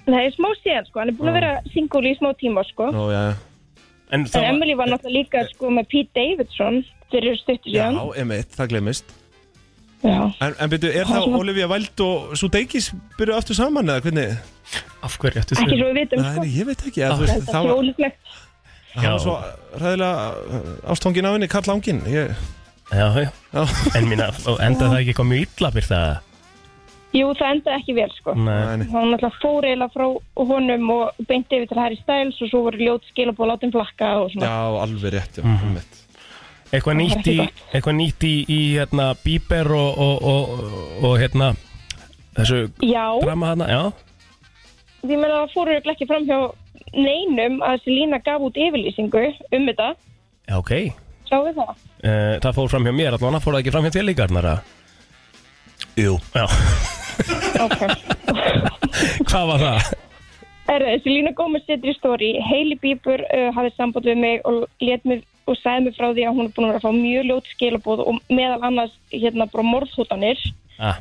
S9: það er smá síðan sko, hann er búin að vera single í smá tíma sko
S1: Nú, já, já.
S4: En
S9: en
S4: það var,
S9: Emily var náttúrulega líka sko með Pete Davidson fyrir stuttur
S1: já, e-
S9: síðan
S1: emitt, það glemist
S9: já.
S1: En, en byrju,
S9: Hvað
S1: er þá
S9: svona?
S1: Olífa Væld og svo Deikis byrjuð aftur saman eða hvernig?
S4: af hverju ættu þau
S9: ekki svo við vitum
S1: Nei,
S9: sko
S1: nei, ég veit ekki, eða, þú veist,
S9: það
S1: það
S9: er
S1: var,
S9: ólíklegt
S1: það var svo ræðilega ástongin á uh, henni, Karl Langin ég,
S4: Já, já,
S1: já.
S4: en mína, enda það ekki eitthvað mjög illa fyrir það
S9: jú, það endaði ekki vel sko
S4: Nei,
S1: Nei, nei.
S9: hann náttúrulega fór eiginlega frá honum og beinti yfir til Harry Styles og svo voru ljót skilabóð látum flakka og svona
S1: Já, alveg rétt, já, mm
S4: Mhm. Eitthvað nýtt í,
S9: ekki gott.
S4: eitthvað nýtt í, í hérna, Bieber og, og, og, og, hérna, þessu
S9: já
S4: drama þarna, já
S9: því meina það fór auðvitað ekki fram hjá neinum að Selína gaf út yfirlýsingu um þetta,
S4: Já, ok,
S9: sjáum við það
S4: uh, það fór fram hjá mér allan, fór það ekki fram hjá þér líka, Arnara
S1: Jú
S4: Já,
S9: okay.
S4: hvað var það?
S9: er, Selína Gómez setur í stóri Hailey Bieber uh, hafði samband við mig og, lét mig og sagði mig frá því að hún er búin að vera að fá mjög ljót skilabóð og meðal annars hérna bara morðhútanir
S4: Ah,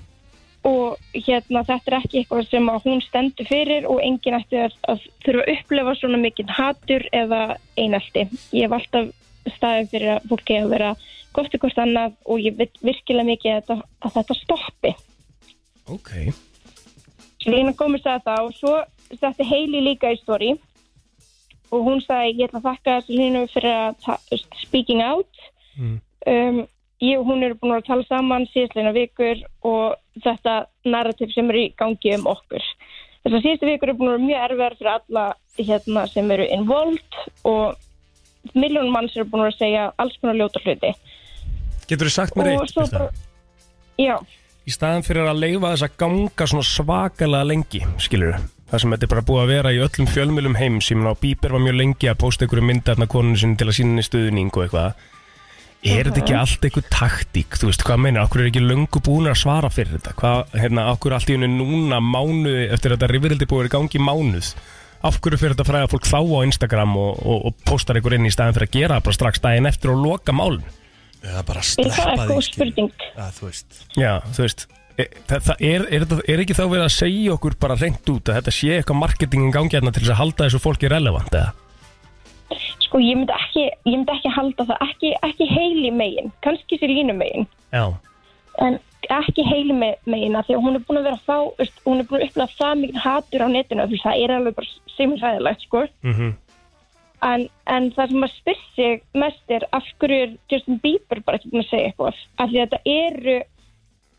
S9: og hérna þetta er ekki eitthvað sem að hún stendur fyrir og enginn ætti að, að þurfa að upplefa svona mikinn hatur eða einelti. Ég hef alltaf staðið fyrir að fólki að vera gott ykkur annað og ég veit virkilega mikið að þetta, að þetta stoppi.
S4: ok
S9: Lína Gómez sagði það og svo setti Heili líka í stóri og hún sagði ég ætla að þakka þessu línu fyrir að ta- speaking out um, ég og hún eru búin að tala saman síðastleina vikur og þetta narrativ sem er í gangi um okkur þessar síðustu vikur eru búin að vera mjög erfiðar fyrir alla hérna, sem eru involved og miljónum manns eru búin að segja alls konar ljóta hluti
S4: Getur þú sagt mér
S9: Og
S4: eitt,
S9: svo
S4: Birta?
S9: bara- já,
S4: í staðan fyrir að leifa þess að ganga svona svakalega lengi, skilur við það sem þetta er bara búið að vera í öllum fjölmjölum heims ég meina á Bíber var mjög lengi að posta einhverju myndarna konunni sinni til að sína henni stuðning og eitthvað er þetta ekki allt einhver taktík þú veist hvað meina, okkur er ekki löngu búin að svara fyrir þetta hvað, hérna, okkur allt í henni núna mánuði eftir að þetta rifrildi búið að vera í gangi í mánuð af hverju fyrir þetta fræða fólk þá á Instagram og, og, og postar einhver inn í staðan fyrir að gera það bara strax daginn eftir og loka málun
S1: Eða bara
S9: ég, það
S1: sleppa
S9: er
S1: því
S9: góð spurning
S1: að, Þú veist
S4: Já, þú veist e- Það, það er, er, þetta- er ekki þá verið að segja okkur bara reynd út að þetta sé eitthvað marketingin gangi hérna til þess að halda þessu fólki relevant eða?
S9: Sko, ég myndi ekki, ég myndi ekki halda það, ekki, ekki heili megin, kannski sér línu megin,
S4: Já,
S9: en ekki heili me- megin að því að hún er búin að vera að fá, veist, hún er búin að upplega það mikið hatur á netinu, þú veist, það er alveg bara semirhæðilegt, sko.
S4: Mhm.
S9: en, en það sem maður spyr sig mest er af hverju er Justin Bieber bara ekki búin að segja eitthvað, af því að þetta eru,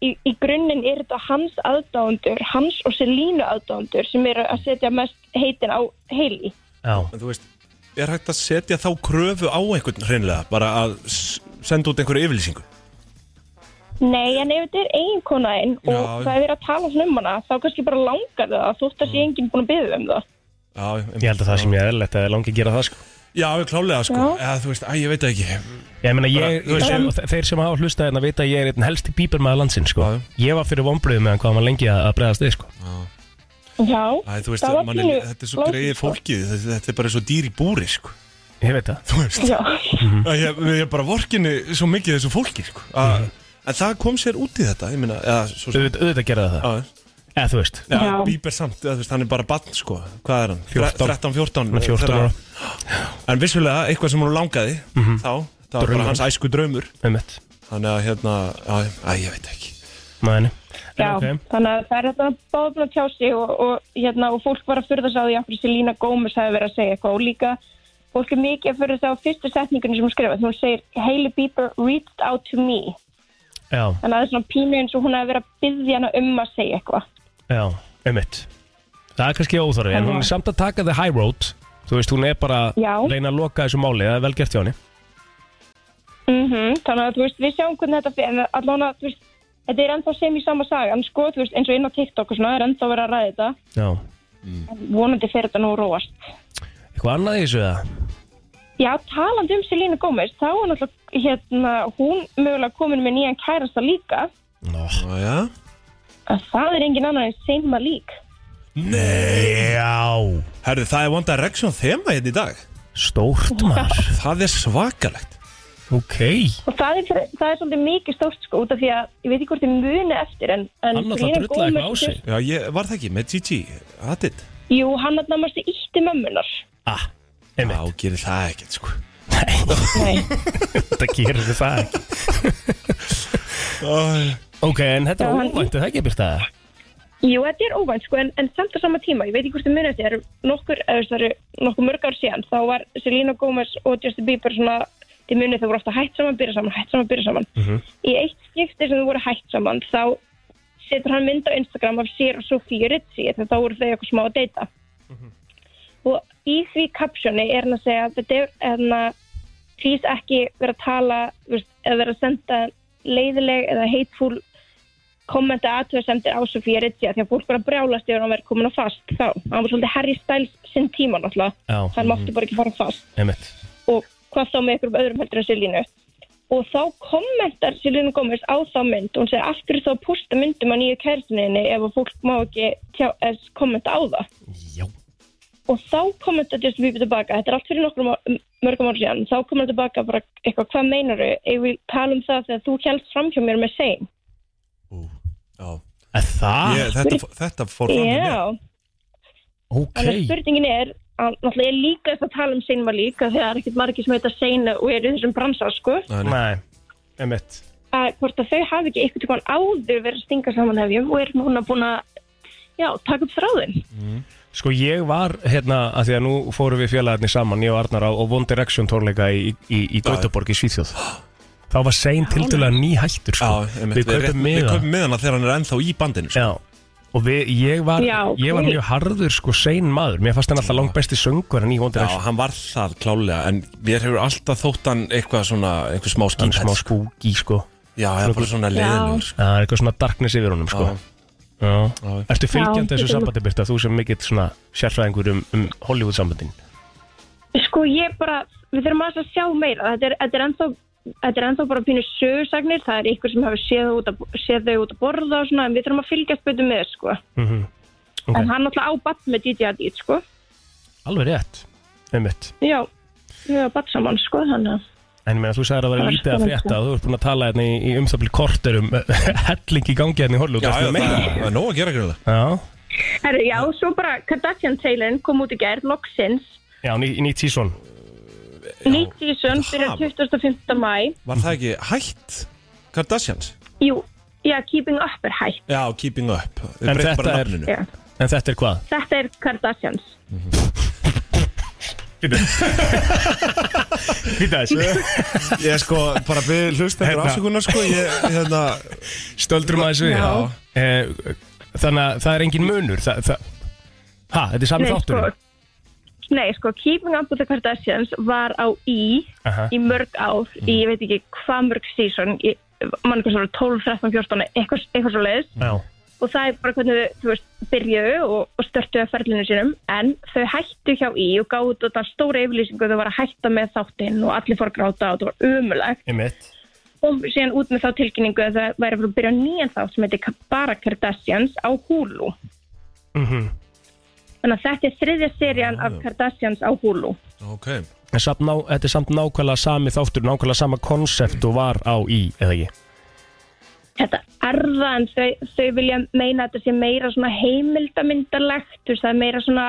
S9: í, í grunninn er þetta hans aðdáðundur, hans og Selínu aðdáðundur sem eru að setja mest heitin á heili.
S4: já,
S1: En þú veist Er hægt að setja þá kröfu á einhvern hreinlega Bara að s- senda út einhverju yfirlýsingu
S9: Nei, en ef þetta er eiginkona einn og
S1: Já.
S9: það er verið að tala svona um hana þá kannski bara langar það þótt að sé enginn búin að byggja um það
S1: Já,
S4: ég held að það sem ég er erlegt að það langi að gera það sko
S1: Já, við klálega sko
S9: Já.
S1: Eða, Þú veist, æ, ég veit það ekki
S4: Ég meina, ég,
S1: Bara, þú veist,
S4: ég, þeir sem hafa hlustað hérna vita að ég er einn helsti bíber maður landsinn, sko. Ég var fyrir vonbröðu meðan hvað hann var lengi að að bregðast þig, sko.
S9: Já,
S1: Æ, þú veist,
S9: það var
S1: manni,
S9: pínu
S1: þetta er svo
S9: flókið,
S1: greið
S9: sko.
S1: fólkið þetta, þetta er bara svo dýr í búri sko
S4: Ég veit það.
S1: Þú veist,
S9: Já,
S4: Mhm.
S1: að ég, ég bara vorkinni svo mikið þessu fólki sko að, En það kom sér út í þetta, ég meina eða, svo,
S4: Mhm. Auðvitað, auðvitað gerði það.
S1: að,
S4: Eða, þú veist.
S1: Já,
S9: Já.
S1: Bieber samt, eða, þú veist, hann er bara barn sko Hvað er hann?
S4: 14.
S1: 13, 14
S4: Hann er 14 ára. Mhm.
S1: En vissulega, eitthvað sem hún langaði Þá, það var
S4: Draumur.
S1: bara hans æsku draumur
S4: Um mitt.
S1: Þannig að hérna, að, að ég veit ekki
S4: Mæni.
S9: já þannig að það er þetta báðum að tjá sig og, og, hérna, og fólk var að furða sig á því af hverju Selína Gómez hafi verið að segja eitthvað og líka fólk er mikið að furða sig á fyrstu setningunni sem hún skrifaði. Hún segir, Hailey Bieber reached out to me.
S4: Já,
S9: Þannig að það er svona pínu eins og hún hafi verið að byggja hana um að segja eitthvað.
S4: já, um mitt. Það er kannski óþorri, en hún er samt að taka the high road. Þú veist, hún er bara
S9: Já.
S4: að reyna að loka þessu máli, það er vel gert hjá henni.
S9: Mm Þannig að þú veist, við sjáum hvernig þetta fyrir, en allan að þú veist, þetta er ennþá sem í sama sagan, sko, þú veist, eins og inn á TikTok og svona, er ennþá verið að ræða þetta,
S4: Já.
S9: en vonandi fer þetta nú að róast.
S4: Eitthvað annað í þessu, eða?
S9: Já, talandi um Selína Gómez, þá er náttúrulega, hérna, hún mögulega komin með nýjan kærasta líka,
S1: Ó, já.
S9: að það er engin annar en Saint Malik.
S4: Já.
S1: Herðu, það er One Direction þema hérna í dag
S4: Stórt maður.
S1: Það er svakalegt
S4: Ok.
S9: Og það er, fyrir, það er svolítið mikið stórt, sko, út af því að, ég veit ekki hvort þið muni eftir, en, en
S4: Hann alltaf drullaði eitthvað á sig.
S1: Já, ég var það ekki með Gigi Hattit
S9: jú, hann að námastu ítti mömmunar.
S4: Ah, um
S1: Já, gerir það ekkert sko
S9: Nei,
S4: Þetta gerir þið það ekki Ok, en þetta
S9: Já,
S4: var
S9: hann-
S4: óvænt, er það ekki byrta það?
S9: Jú, þetta er óvænt sko, en, en samt á sama tíma, ég veit ekki hvort þið munið eftir, það eru nokkur, eða það eru nokkur mörg ár síðan, þá var Selena Gomez og Justin Bieber svona, þið munið þau voru ofta hætt saman, byrja saman, hætt saman, byrja saman. Í eitt skipti sem þau voru hætt saman, þá setur hann mynd á Instagram af sér og Sofíu Ritzi, þegar þá voru þau eitthvað smá að deyta. Og í því kapsjóni er hann að segja að þetta er, hérna, please ekki vera að tala, þú veist, eða vera að senda leiðileg eða hateful kommenta aðtöðasemdir á Sofía Ritja því að fólk var að brjálast yfir að hann verið komin á fast þá, hann var svolítið Harry Styles sinn tíma náttúrulega,
S4: Já,
S9: hann mátti bara ekki fara á fast
S4: einmitt
S9: og hvað þá með ykkur öðrum heldur en Silínu og þá kommentar Silínu Gómez á þá mynd og hún segir af hverju þá að posta myndum á nýju kærtuninni ef að fólk má ekki tjá, eða kommenta á það
S4: Já,
S9: og þá kom þetta Justin Bieber tilbaka þetta er allt fyrir nokkrum á- mörgum ára síðan þá kom þetta tilbaka bara eitthvað hvað meinaru ef við tala um það þegar þú kjælst fram hjá mér með sein
S1: Já
S4: að það?
S1: ég, þetta, fó- þetta fór fram hjá mér.
S9: já,
S4: ok
S9: Þannig að spurningin er að náttúrulega ég er líka eftir að tala um sein var líka þegar það er ekkert margir sem heita sein og er í þessum bransa sko
S1: Nei, nei.
S4: Nei, einmitt
S9: að hvort að þau hafi ekki eitthvað tíma áður verið að stinga saman hefjum og er núna búin að já, taka upp þráðin
S4: Sko ég var hérna, að því að nú fórum við félagarnir saman, ég og Arnar á og One Direction tórleika í, í, í Göteborg í Svíþjóð Þá var sein tildulega nýhættur sko.
S1: Já, einmitt,
S4: Við
S1: rétt-
S4: kaupum
S1: Við
S4: miða
S1: kaupum miðana þegar hann er ennþá í bandinu sko.
S4: Já Og við, ég, var,
S9: Já,
S4: ég var
S9: ok.
S4: mjög harður sko sein maður Mér fannst hann alltaf langt besti söngur en í One
S1: Já,
S4: Direction
S1: hann var það klálega En mér hefur alltaf þótt hann eitthvað svona Eitthvað smá
S4: Hann
S1: skýnt
S4: er smá skúki sko
S1: Já, það er bara svona leiðinur sko.
S4: Já, það er eitthvað svona darkness yfir honum sko.
S1: Já.
S4: Já.
S1: Já.
S4: Ertu fylgjandi
S9: Já,
S4: þessu
S9: getur-
S4: sambandi Birta, þú sem mikill svona sérfræðingur um, um Hollywood sambandin
S9: sko ég bara, við þurfum aðeins að sjá meira þetta er, þetta er ennþá Þetta er ennþá bara pínu sögursagnir, það er ykkur sem hafi séð, þau út að, séð þau út að borða og svona, en við þurfum að fylgjast betur með, sko.
S4: Mhm. Ok.
S9: En hann náttúrulega á batt með DJ Adid, sko.
S4: Alveg rétt, einmitt
S9: Já, við erum batt saman, sko, þannig að...
S4: En ég meina þú sagðir að það
S9: Það
S4: var
S9: er
S4: lítið að
S9: sko
S4: frétta
S9: rétt.
S4: og þú ert búin að tala hérna í, í umþapli korter um helling í gangi hérna í Hollywood
S1: Já, já,
S4: ertu
S1: það
S4: að meina
S1: það er nóg að gera grunna
S4: það?
S9: Herru, já, svo bara Kardashian-trailin kom út í gerð, loksins.
S4: Já, já ný, nýtt sísón
S9: Nýtt season byrjar
S1: Ha.
S9: 25. mæ.
S1: Var það ekki hætt Kardashians?
S9: Jú, já, Keeping Up er hægt.
S1: Já, Keeping Up Þau
S4: En
S1: breyttu bara
S4: þetta er-
S1: nafninu.
S9: Já.
S4: En þetta er hvað?
S9: Þetta er Kardashians.
S4: Býta þessu
S1: Ég sko, bara byrði hlusta
S4: Hérna.
S1: ykkur afsökunar sko Ég, hérna
S4: Stöldrum að þessu við
S1: Já.
S4: Eh, Þannig að það er engin munur það, það... Ha, þetta er sami þáttur
S9: sko. nei, sko, Keeping Up with the Kardashians var á í
S4: Aha.
S9: í mörg ár, í ég veit ekki hvað mörg season, í, mann eitthvað svona 12, 13, 14, eitthvað, eitthvað svo leiðis.
S4: Já,
S9: og það er bara hvernig þau þú veist, byrjuðu og, og störtuðu að ferlinu sínum en þau hættu hjá í og gáðu út þetta stóra yfirlýsingu þau var að hætta með þáttinn og allir fór að gráta og þetta var umulegt
S4: Einmitt.
S9: og síðan út með þá tilkynningu að það væri að fara að byrja nýjan þátt sem heitir bara Kardashians á Hulu
S4: Mhm.
S9: þannig að þetta er þriðja serían af Kardashians á Hulu
S1: Ok
S4: En samt ná, þetta er samt nákvæmlega sami þáttur, nákvæmlega sama konsept og var á í, eða ekki?
S9: þetta er það en þau, þau vilja meina að þetta sé meira svona heimildamyndalegt þú veist það er meira svona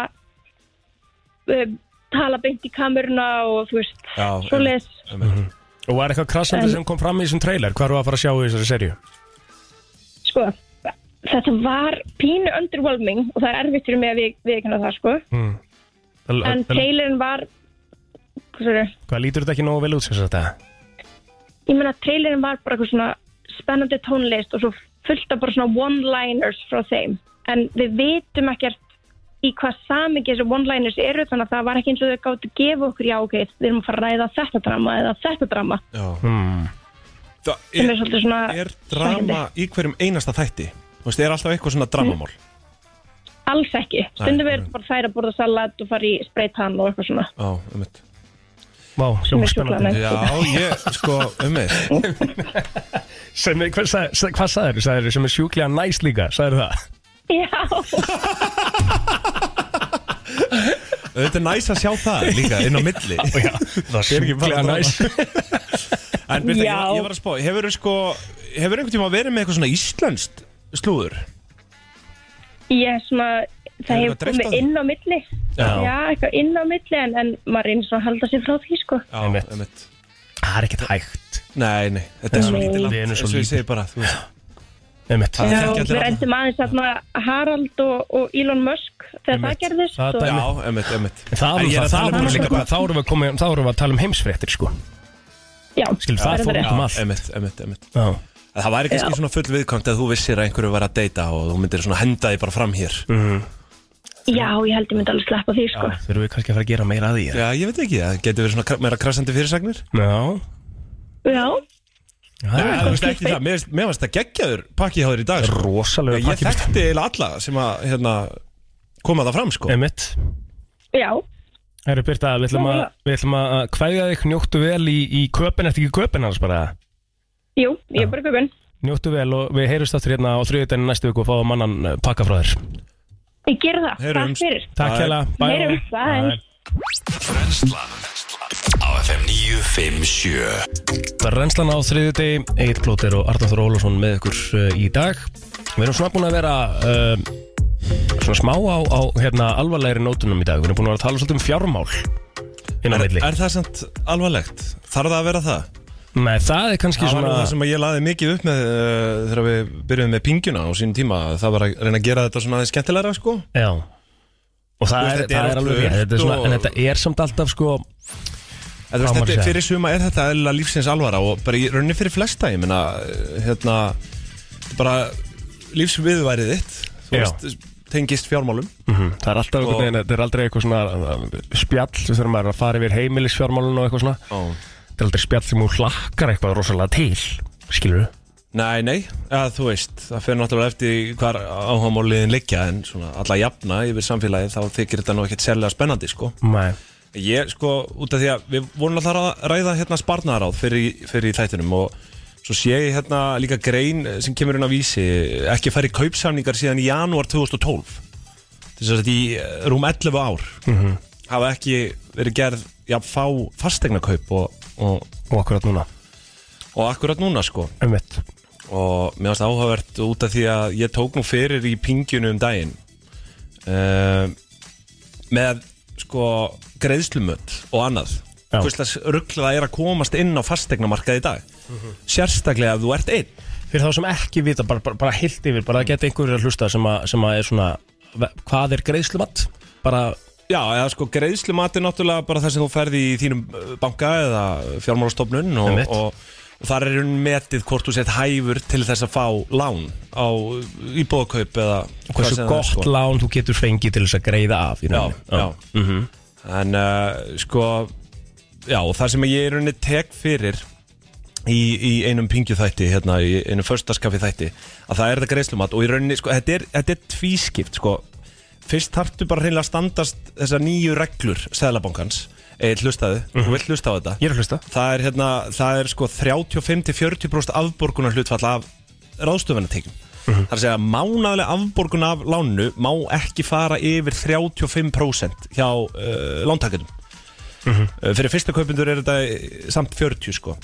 S9: um, tala beint í kameruna og þú veist
S1: Já,
S9: svoleiðis
S4: Mhm. Og var eitthvað krassandi
S9: En-
S4: sem kom fram í þessum trailer? Hvað eru að fara að sjá í þessari serju?
S9: sko þetta var pínu underwhelming og það er erfitt fyrir mig að við, viðkynna það sko
S4: Mm.
S9: en trailerin var hvað sér
S4: Hvað lítur þetta ekki nógu vel út sem þetta?
S9: ég meina trailerin var bara eitthvað svona spennandi tónlist og svo fullt af bara svona one-liners frá þeim en við vitum ekkert í hvað samingi þessi one-liners eru þannig að það var ekki eins og þau gáttu að gefa okkur já ok, við erum að fara að ræða þetta drama eða þetta drama
S1: Já
S4: Hmm.
S1: Það
S9: sem
S1: er,
S9: er svolítið svona
S1: er drama í hverjum einasta þætti Þú veist, er alltaf eitthvað svona dramamál
S9: Mm. alls ekki, stundum er bara þær að borða salat og fara í spreytan og eitthvað svona
S1: Já, um eitt
S4: Vá,
S9: sem
S4: hljóma
S9: er
S4: spennandi.
S1: Já, ég, sko, um eitt
S4: Sem, er- hvað sagði- sagði- hvað sagðið þér? Sagðið þér sem er sjúklega næs líka, sagðið það?
S9: sjúklaðan
S1: Þetta er næs að sjá það líka inn á milli
S4: Já, það er sjúklega
S1: drama.
S4: næs.
S1: En Birta, ég,
S9: Já.
S1: ég var að spá Hefur sko, hefur einhvern tíma verið með eitthvað svona íslenskt slúður?
S9: ég er svona það
S1: Hefur
S9: hefur
S1: eitthvað dreift á
S9: komið
S1: því?
S9: inn á milli
S4: Já.
S9: já, eitthvað inn á milli en, en maður reynir svona að halda sér frá því sko
S1: Já,
S4: Einmitt.
S1: einmitt.
S4: Það er ekkert hægt.
S1: Nei, nei, þetta er svo
S9: Nei.
S1: lítið land
S4: Við erum svo
S1: eins og ég
S4: lítið. Um
S1: segi bara, þú veist
S4: Einmitt.
S9: Já,
S1: Það þekkja allir
S9: við
S1: alla.
S9: reyndum aðeins þarna Harald og, og Elon Musk þegar
S4: Einmitt.
S9: það gerðist
S4: Það
S9: og,
S4: dæmi.
S1: Já, emitt, emitt
S4: En
S1: En
S4: Það
S1: ég er
S4: voru
S1: að tala um
S4: það, það voru
S1: það
S4: líka
S1: líka
S4: bara, þá erum við að koma, þá erum við að tala um heimsfréttir, sko.
S9: Já,
S4: Skil, það
S9: er
S4: fór
S9: rétt.
S4: út um allt.
S1: Emitt, emitt, emitt
S4: Já.
S1: Það væri kannski svona full viðkvæmt að þú vissir að einhverju var að deyta og þú myndir svona henda því bara fram hér
S9: Já, ég held ég myndi alveg sleppa því sko.
S4: Mhm. Þurfum við kannski að fara að gera meira að því, eða?
S1: Já, ég veit ekki, það getur verið svona kra- meira krassandi fyrirsagnir
S4: Já.
S9: Já,
S4: Það
S1: Nei,
S4: er
S1: þú veist ekki það, mér finnst- mér varst að geggjaður pakki hjá þér í dag sko.
S4: rosalega
S1: Ég
S4: pakki
S1: þekkti eiginlega alla sem að hérna, koma það fram sko
S4: Emmett
S9: já,
S4: Herru Birta, við ætlum að, við ætlum að að kveðja þig njóttu vel í, í köpinn eftir ekki köpinn annars bara
S9: jú, ég er bara guðun
S4: Njóttu vel og við heyrjumst aftur hérna á þriðutæni næstu viku og fáum mannan eh, pakka frá þér
S9: Ég ger það,
S1: Heyrumst.
S9: takk fyrir
S4: Takk
S1: Bye.
S4: hella, bæ
S9: Heyrjumst, bye.
S2: Brennslan á FM 957
S4: Renslan á þriðutegi, Egil Plóter og Arnáþór Ólafsson með ykkur eh, í dag Við erum svona búin að vera um, svona smá á, á hérna, alvarlegri nótunum í dag Við erum búin að vera að tala svolítið um fjármál inn á
S1: er,
S4: milli
S1: er það samt alvarlegt? Þarf það að vera það?
S4: Nei, það er kannski
S1: Það var nú
S4: svona
S1: það sem að ég laði mikið upp með uh, þegar við byrjuðum með pingjuna á sínum tíma það var að reyna að gera þetta svona aðeins skemmtilegra sko
S4: Já Og það,
S1: veist,
S4: er,
S1: þetta er
S4: það er
S1: allt
S4: alveg rétt
S1: aukt
S4: þetta er svona,
S1: og-
S4: En þetta er samt alltaf sko
S1: En þú veist,
S4: Hvað á maður að
S1: þetta,
S4: segja?
S1: fyrir suma er þetta eðlilega lífsins alvara og bara í rauninni fyrir flesta ég meina, eh, hérna þetta er bara lífsviðværið þitt þú
S4: Já. Mhm,
S1: veist, tengist fjármálum
S4: Það er alltaf einhvern veginn Þetta er aldrei eitthvað svona uh, spjall Þegar maður er að fara yfir heimilisfjármálun og eitthvað svona
S1: oh.
S4: Þetta er aldrei spjall sem hún hlakkar eitthvað rosalega til Skilur
S1: Nei, nei, eða, þú veist það fyrir náttúrulega eftir hvar áhámáliðin liggja en svona alla jafna yfir samfélagið þá þykir þetta nú ekkert sérlega spennandi sko
S4: Nei
S1: Ég sko, út af því að við vorum alltaf að ræða hérna sparnaráð fyrir, í- fyrir í þættinum og svo sé ég hérna líka grein sem kemur inn á vísi ekki færi kaupsamningar síðan í janúar 2012 þess að þetta í eh, rúm 11 ár
S4: Mhm.
S1: hafa ekki verið gerð já, fá fastegna kaup og, og,
S4: Og akkurat núna
S1: og akkurat núna sko
S4: Um mitt
S1: og mér finnst áhugavert út af því að ég tók nú fyrir í pingjunu um daginn uh, með sko greiðslumönd og annað
S4: Já.
S1: hverslega rugglaða er að komast inn á fastegnamarkað í dag sérstaklega ef þú ert einn
S4: Fyrir þá sem ekki vita Bara, bara, bara heilt yfir Bara að geta einhverjir að hlusta sem, að, sem að er svona ve- Hvað er greiðslumatt? Bara
S1: Já, eða sko greiðslumat er náttúrulega bara það sem þú ferði í þínum eh, banka eða fjármálastofnun og,
S4: Einmitt.
S1: og, og þar er hún metið hvort þú sett hæfur til þess að fá lán á íbúðakaup eða hvað
S4: Hversu
S1: sem það er, sko.
S4: gott lán þú getur fengið til þess að greiða af í
S1: já,
S4: rauninni.
S1: já. Mhm. en uh, sko já, og það sem ég í rauninni tek fyrir í, í einum pingju þætti hérna, í einum förstaskafi þætti að það er þetta greiðslumat og í rauninni, sko, þetta er, þetta er tvískipt sko. fyrst þarftu bara reynilega að standast þessar nýju reglur seðlabankans eða hlustaðu, þú vilt hlusta á þetta
S4: Mhm. Ég er að hlusta
S1: það er, hérna, það er sko 35-40% afborgunar hlutfall af ráðstöfunartekjum
S4: Mhm.
S1: Það er að segja að mánaðlega afborgun af lánu má ekki fara yfir 35% hjá uh, lántakendum
S4: Mhm.
S1: uh, Fyrir fyrsta kaupendur er þetta eh, samt 40 sko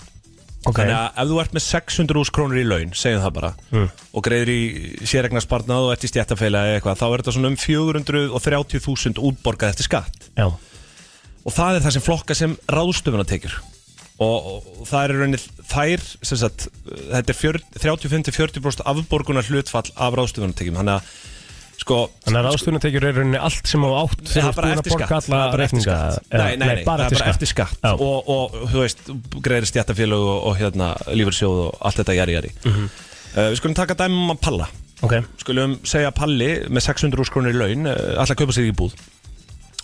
S4: Ok,
S1: Þannig að ef þú ert með 600 ús krónur í laun, segjum það bara
S4: Mhm.
S1: og greiður í sérregnarsparnað og ert í stjættafeila eða eitthvað, þá er þetta svona um 430.000 útborgað eftir skatt
S4: já,
S1: og það er það sem flokka sem ráðstöfunatekjur og, og það er í rauninni þær sem sagt, þetta er 40 35-40% afborgunar hlutfall af ráðstöfunatekjum þannig að sko
S4: þannig að ráðstöfunartekjur er í rauninni allt sem á átt
S1: Nei, það er bara
S4: þegar þú ert
S1: eftir
S4: búin að
S1: skatt það er
S4: borga alla
S1: bara eftir
S4: reikninga,
S1: skatt.
S4: eða-
S1: Nei, nei, nei, það er
S4: bara eftir
S1: bara
S4: skatt.
S1: eftir skatt
S4: Já.
S1: og, og þú veist, greiðir stjættafélög og, og hérna, lífursjóð og allt þetta jari jari uh, Við skulum taka dæmum að palla
S4: Mhm. Ok,
S1: Skulum segja að Palli með 600 úrskrónir í laun uh, ætlar að kaupa sér íbúð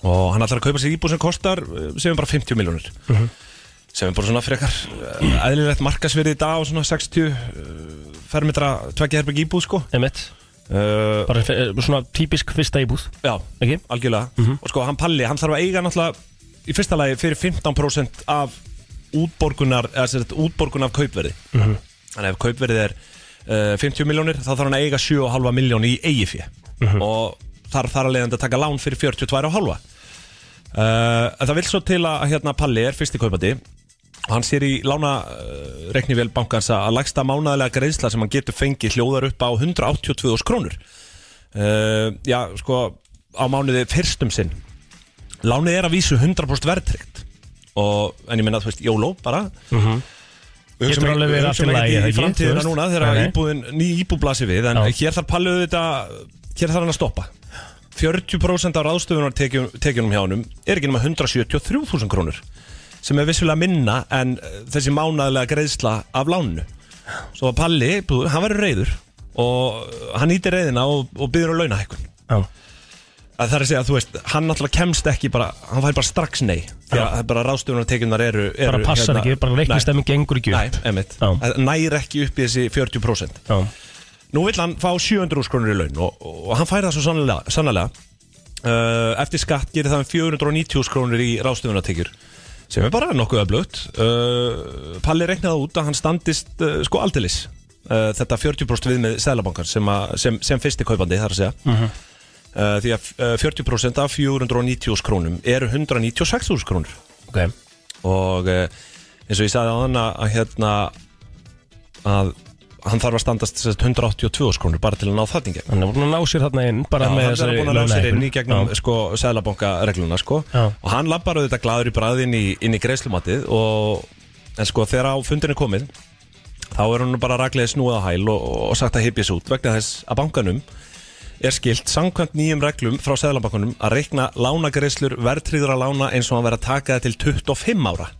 S1: og hann ætlar að kaupa sér íbúð sem kostar uh, sem er bara 50 miljónir
S4: Mhm.
S1: sem er bara svona frekar uh, eðlilegt markasverði í dag og svona 60 uh, fermetra tveggja herbygg íbúð sko
S4: emitt
S1: uh,
S4: Bara eh, svona típisk fyrsta íbúð
S1: Já,
S4: Ekki? Mhm.
S1: algjörlega Og sko, hann Palli, hann þarf að eiga náttúrulega í fyrsta lagi fyrir 15% af útborgunar, eða sér þetta útborgun af kaupverði
S4: Mhm.
S1: Þannig að ef kaupverðið er uh, 50 miljónir, þá þarf hann að eiga 7,5 miljón í eigi fé
S4: Mhm.
S1: og þar þarf að leiðandi að taka lán fyrir 42,5 Uh, en það vil svo til að hérna, Palli er fyrsti kaupandi og hann sér í lána uh, reiknivél bankans að lægsta mánaðlega greiðsla sem hann getur fengið hljóðar upp á 182.000 krónur uh, já, sko á mánuði fyrstum sinn lánið er að vísu 100% verðtryggt og, en ég minna, þú veist, YOLO bara Við
S4: Mhm. Getur
S1: hugsum ekki-
S4: alveg verið
S1: við
S4: allt í
S1: hugsum
S4: lagi,
S1: ekki
S4: eða
S1: í
S4: ekki,
S1: framtíðina
S4: þú veist?
S1: núna
S4: Nei,
S1: þegar
S4: nei.
S1: íbúðin, ný íbú blasir við en
S4: Já.
S1: hér þarf pallið þetta hér þarf hann að stoppa 40% af ráðstöfunartekjunum hjá honum er ekki nema 173.000 krónur sem er vissulega minna en eh, þessi mánaðlega greiðsla af lánu svo að Palli, bú, hann verður reyður og hann ítir reyðina og, og byrður á launahækkun
S4: Já,
S1: að það er að segja að þú veist, hann náttúrulega kemst ekki bara, hann fær bara strax nei því að bara ráðstöfunartekjunar eru, eru hérna,
S4: bara passar ekki, bara
S1: Nei.
S4: reikningstæmi gengur ekki
S1: Nei,
S4: upp
S1: emitt
S4: Já.
S1: Það Nær ekki upp í þessi 40%
S4: Já,
S1: Nú vill hann fá 700 úrskronur í laun og, og hann fær það svo sannlega, sannlega. Uh, Eftir skatt gerir það um 490 úrskronur í ráðstöfunatekjur sem er bara nokkuð öflugt uh, Palli reiknaði út að hann standist uh, sko aldeilis uh, þetta 40% viðmið Sælabankar sem, að- sem, sem fyrsti kaupandi þar að segja
S4: Mhm.
S1: uh, því að uh, 40% af 490 úrskronum eru 196 úrskronur
S4: ok
S1: og eh, eins og ég sagði á hann að að hérna að hann þarf að standast sem sagt, 182 skrónur bara til að ná það í gegn
S4: Hann er búin að ná sér þarna inn bara
S1: Já, hann
S4: með
S1: er
S4: þessari
S1: búin að ná sér inn í
S4: launahækkun.
S1: gegnum
S4: Já.
S1: sko, sæðlabanka regluna sko.
S4: Já.
S1: og hann lappar auðvitað glaður í bræði inn í, inn í greiðslumatið og, en sko þegar á fundinu komið þá er hann nú bara raglega snúið á hæl og, og sagt að hypja sig út vegna þess að bankanum er skilt samkvæmt nýjum reglum frá sæðlabankanum að reikna lánagreiðslur verðtryggðra lána eins og hann verið að taka það til 25 ára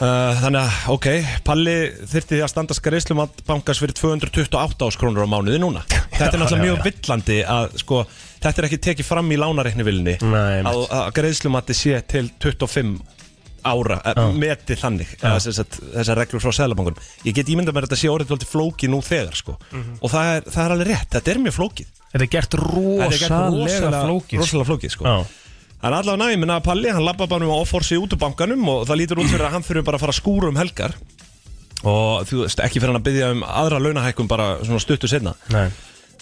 S1: Uh, þannig að, ok, Palli þyrfti að standa skreislumann bankans fyrir 228 áskrónur á mánuði núna Þetta er náttúrulega mjög villandi að, sko, þetta er ekki tekið fram í lánareiknivilni
S4: Nei,
S1: að, að greiðslumatti sé til 25 ára, ah. meti þannig ah. þessar, þessar reglur frá Sælabankunum Ég get ímynda mér að þetta sé orðið tólti flókið nú þegar, sko Og það er, það er alveg rétt, þetta er mjög flókið
S4: Mhm. Þetta er gert
S1: Þetta er gert
S4: rosalega flókið sko.
S1: Rosalega flókið, sko
S4: Já,
S1: Það er allavega næmi, menna að Palli, hann labba bara um að offorsi út úr bankanum og það lítur út fyrir að hann þurfi bara að fara að skúra um helgar og þú veist, ekki fyrir hann að byggja um aðra launahækkum bara svona stuttu setna.
S4: nei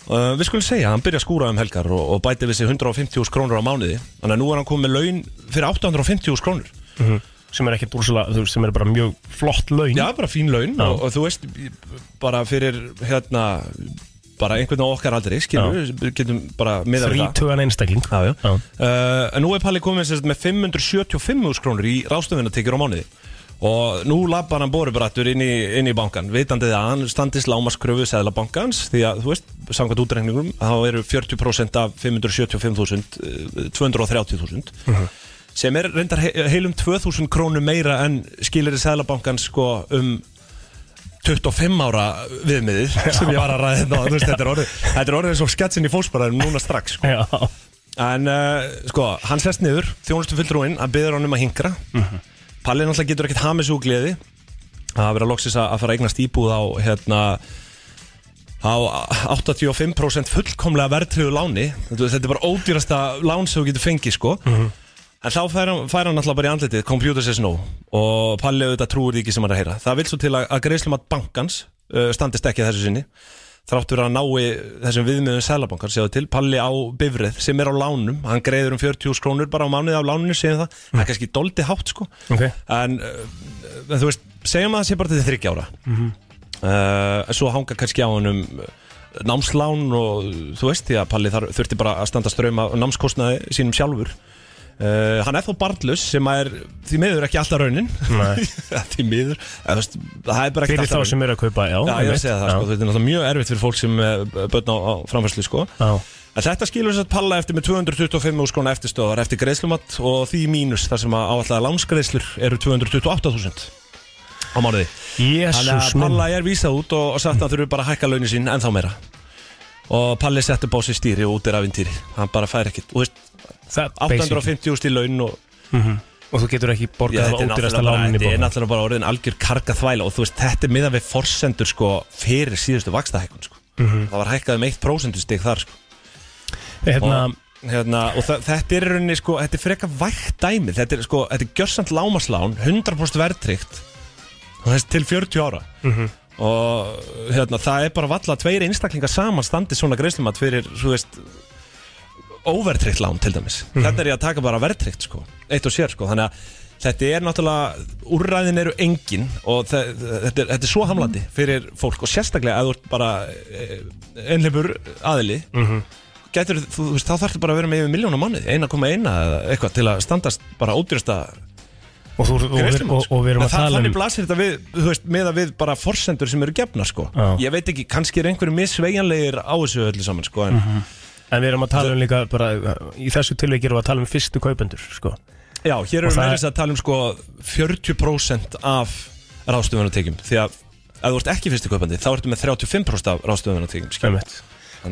S1: Uh, við skulum segja að hann byrja að skúra um helgar og, og bæti við sig 150.000 krónur á mánuði, þannig að nú er hann komið með laun fyrir 850.000 krónur.
S4: Mhm. sem er ekkert rosalega, þú veist, sem er bara mjög flott laun
S1: Já, bara fín laun
S4: Já.
S1: og, og þú veist, bara fyrir hérna, bara einhvern á okkar aldrei, skilur, við getum bara miðað við það.
S4: þrítugan einstakling
S1: já.
S4: Já.
S1: Uh, en nú er Palli komið sérst, með 575 úr krónur í ráðstöfunartekjur á mánuði og nú labbar hann borubrættur inn, í- inn í bankan vitandi það að hann standist lámaskröfu sæðla bankans því að þú veist, samkvæmt útreikningum þá eru 40% af 575.000 eh, 230.000 sem er reyndar he heilum 2.000 krónur meira en skilir í sæðla bankans sko um 25 ára viðmiðið sem ég var að ræða þetta á, þú veist, þetta er orðið þetta er orðið eins og sketsin í fósbaraðum núna strax sko.
S4: Já,
S1: En uh, sko, hann sest niður, þjónustu fulltrúinn, hann byður hann um að hingra. Palli náttúrulega getur ekkert hamið svo gleði. að vera loksis að að fara að eignast íbúð á hérna á 85% fullkomlega verðtriðu láni þetta þetta er bara ódýrasta lán sem þú getur fengið sko en þá fær hann, fær hann alltaf bara í andlitið computer says no og Palli auðvitað trúir því ekki sem hann er að heyra það vil svo til að, að greiðslumat bankans uh, standist ekki að þessu sinni þráttur að nái þessum viðmiðum sælabankar séu til, Palli á bifrið sem er á lánum, hann greiður um 40 krónur bara á mánuði á láninu, segjum það það er kannski doldi hátt sko
S4: Ok.
S1: en, uh, en þú veist, segjum að það sé bara til þryggja ára uh, svo hanga kannski á hann um námslán og þú veist því að Palli þar þurfti bara að standa ströma námskostnaði sínum sjálfur uh, hann er þó barnlaus sem að er því miður ekki alltaf raunin
S4: Nei.
S1: því miður, eða, þú veist, það er bara ekki
S4: Fyrir
S1: alltaf
S4: þá
S1: raunin
S4: sem eru að kaupa, já
S1: Já, ég
S4: einmitt,
S1: veit segja það, sko,
S4: já.
S1: þetta er náttúrulega mjög erfitt fyrir fólk sem eh, börn á, á framfærslu, sko
S4: Já.
S1: En þetta skilur þess að palla eftir með 225 úrskrona eftirstöðar eftir greiðslumat og því mínus þar sem að áallega lánsgreiðslur eru 228.000 á mánuði Þannig
S4: Jesús
S1: að
S4: minn
S1: Palla er vísað út og, og sagt að hann þurfi bara að hækka launin sín ennþá meira og Palli setti bósi stýri og út er afintýri hann bara fær ekkert, og veist,
S4: Það- basically. Mhm.
S1: 850 úrst í laun og
S4: Og þú getur ekki
S1: Já,
S4: borgað
S1: þetta er
S4: það
S1: náttúrulega
S4: ódýrasta
S1: bara-
S4: lánin í
S1: Þetta er
S4: bóðan
S1: náttúrulega bara orðin algjör karga þvæla og þú veist, þetta er miðan við forsendur sko fyrir síðustu vakstahækun sko.
S4: Mhm.
S1: Það var hækkað um 1% stig þar sko.
S4: Hérna,
S1: og, hérna, og þa- þetta er í rauninni sko, þetta er freka vægt dæmi þetta er, sko, þetta er gjörsamt lámaslán 100% verðtrygt og þess til 40 ára og hérna, það er bara valla tveir einstaklingar saman standið svona greiðslumat fyrir, þú veist óvertrygt lán til dæmis
S4: Mhm.
S1: þetta er ég að taka bara verðtrygt sko eitt og sér sko, þannig að þetta er náttúrulega úrræðin eru engin og þe- þetta er, þetta er svo hamlandi
S4: Mhm.
S1: fyrir fólk og sérstaklega að þú ert bara einleipur aðili
S4: Mhm.
S1: getur, þú, þú veist, þá þarftu bara að vera með yfir miljónum mánuði, 1,1 eða eitthvað til að standast bara ódýrasta
S4: og þú- og við-
S1: greiðslumat,
S4: og-
S1: sko.
S4: og við erum
S1: En
S4: að
S1: það-
S4: tala
S1: þannig
S4: um
S1: blasir þetta við, þú veist, meða við bara forsendur sem eru gefna, sko
S4: Já.
S1: ég veit ekki, kannski er einhverju missveigjanlegir á þessu öllu saman, sko, en
S4: Mhm. En við erum að tala um líka bara, í þessu tilveiki erum við að tala um fyrstu kaupendur, sko.
S1: Já, hér erum
S4: Og
S1: við
S4: það-
S1: meira þess að tala um sko 40% af ráðstöfunartekjum því að ef þú ert ekki fyrstu kaupandi þá ertu með 35% af ráðstöfunartekjum skilur.
S4: Einmitt.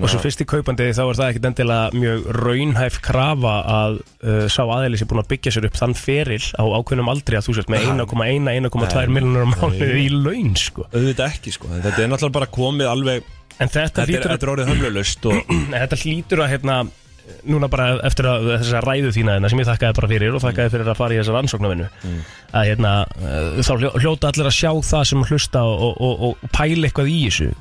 S4: Og svo fyrsti kaupandi þá er það ekkit endilega mjög raunhæf krafa að uh, sá aðeili sem búin að byggja sér upp þann feril á ákveðnum aldri að þú sért með 1,1, 1,2 miljonar mánuði í laun sko.
S1: auðvitað ekki sko, en þetta er náttúrulega bara komið alveg,
S4: En þetta
S1: þetta er,
S4: hlýtur að,
S1: þetta er orðið hömlulust og
S4: Nei, þetta hlýtur að hérna, núna bara eftir að þessa ræðu þína hérna, sem ég þakkaði bara fyrir og þakkaði fyrir að fara í þessa rannsóknarvinnu að hérna, uh, þá hljó- hljóta allir að sjá það sem hlusta og, og, og, og pæla eitthvað í þessu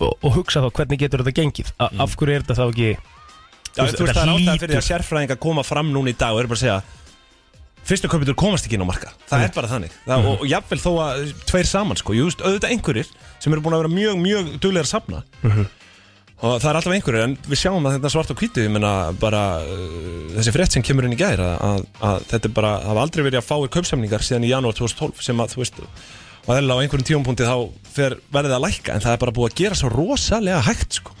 S4: og, og hugsa þá hvernig getur þetta gengið A, af hverju er þetta þá ekki
S1: Já, þú
S4: veist,
S1: veist, það
S4: þetta
S1: er ástæðan fyrir því
S4: hlýtur-
S1: að sérfræðingar koma fram núna í dag og eru bara að segja fyrstu kaupitur komast ekki inn á marka það er bara þannig það,
S4: Mhm.
S1: og, og jafnvel þó að tveir saman sko, just, auðvitað einhverjir sem eru búin að vera mjög, mjög duglega að safna
S4: Mhm.
S1: og það er alltaf einhverjir en við sjáum að þetta svart og hvítu ég menna bara uh, þessi frétt sem kemur inn í gær að, að, að þetta er bara, það hafa aldrei verið að fáir kaupsamningar síðan í janúar 2012 sem að þú veist og það á einhverjum tíumpunkti þá fer verðið að lækka en það er bara búið að gera svo rosalega hægt sko.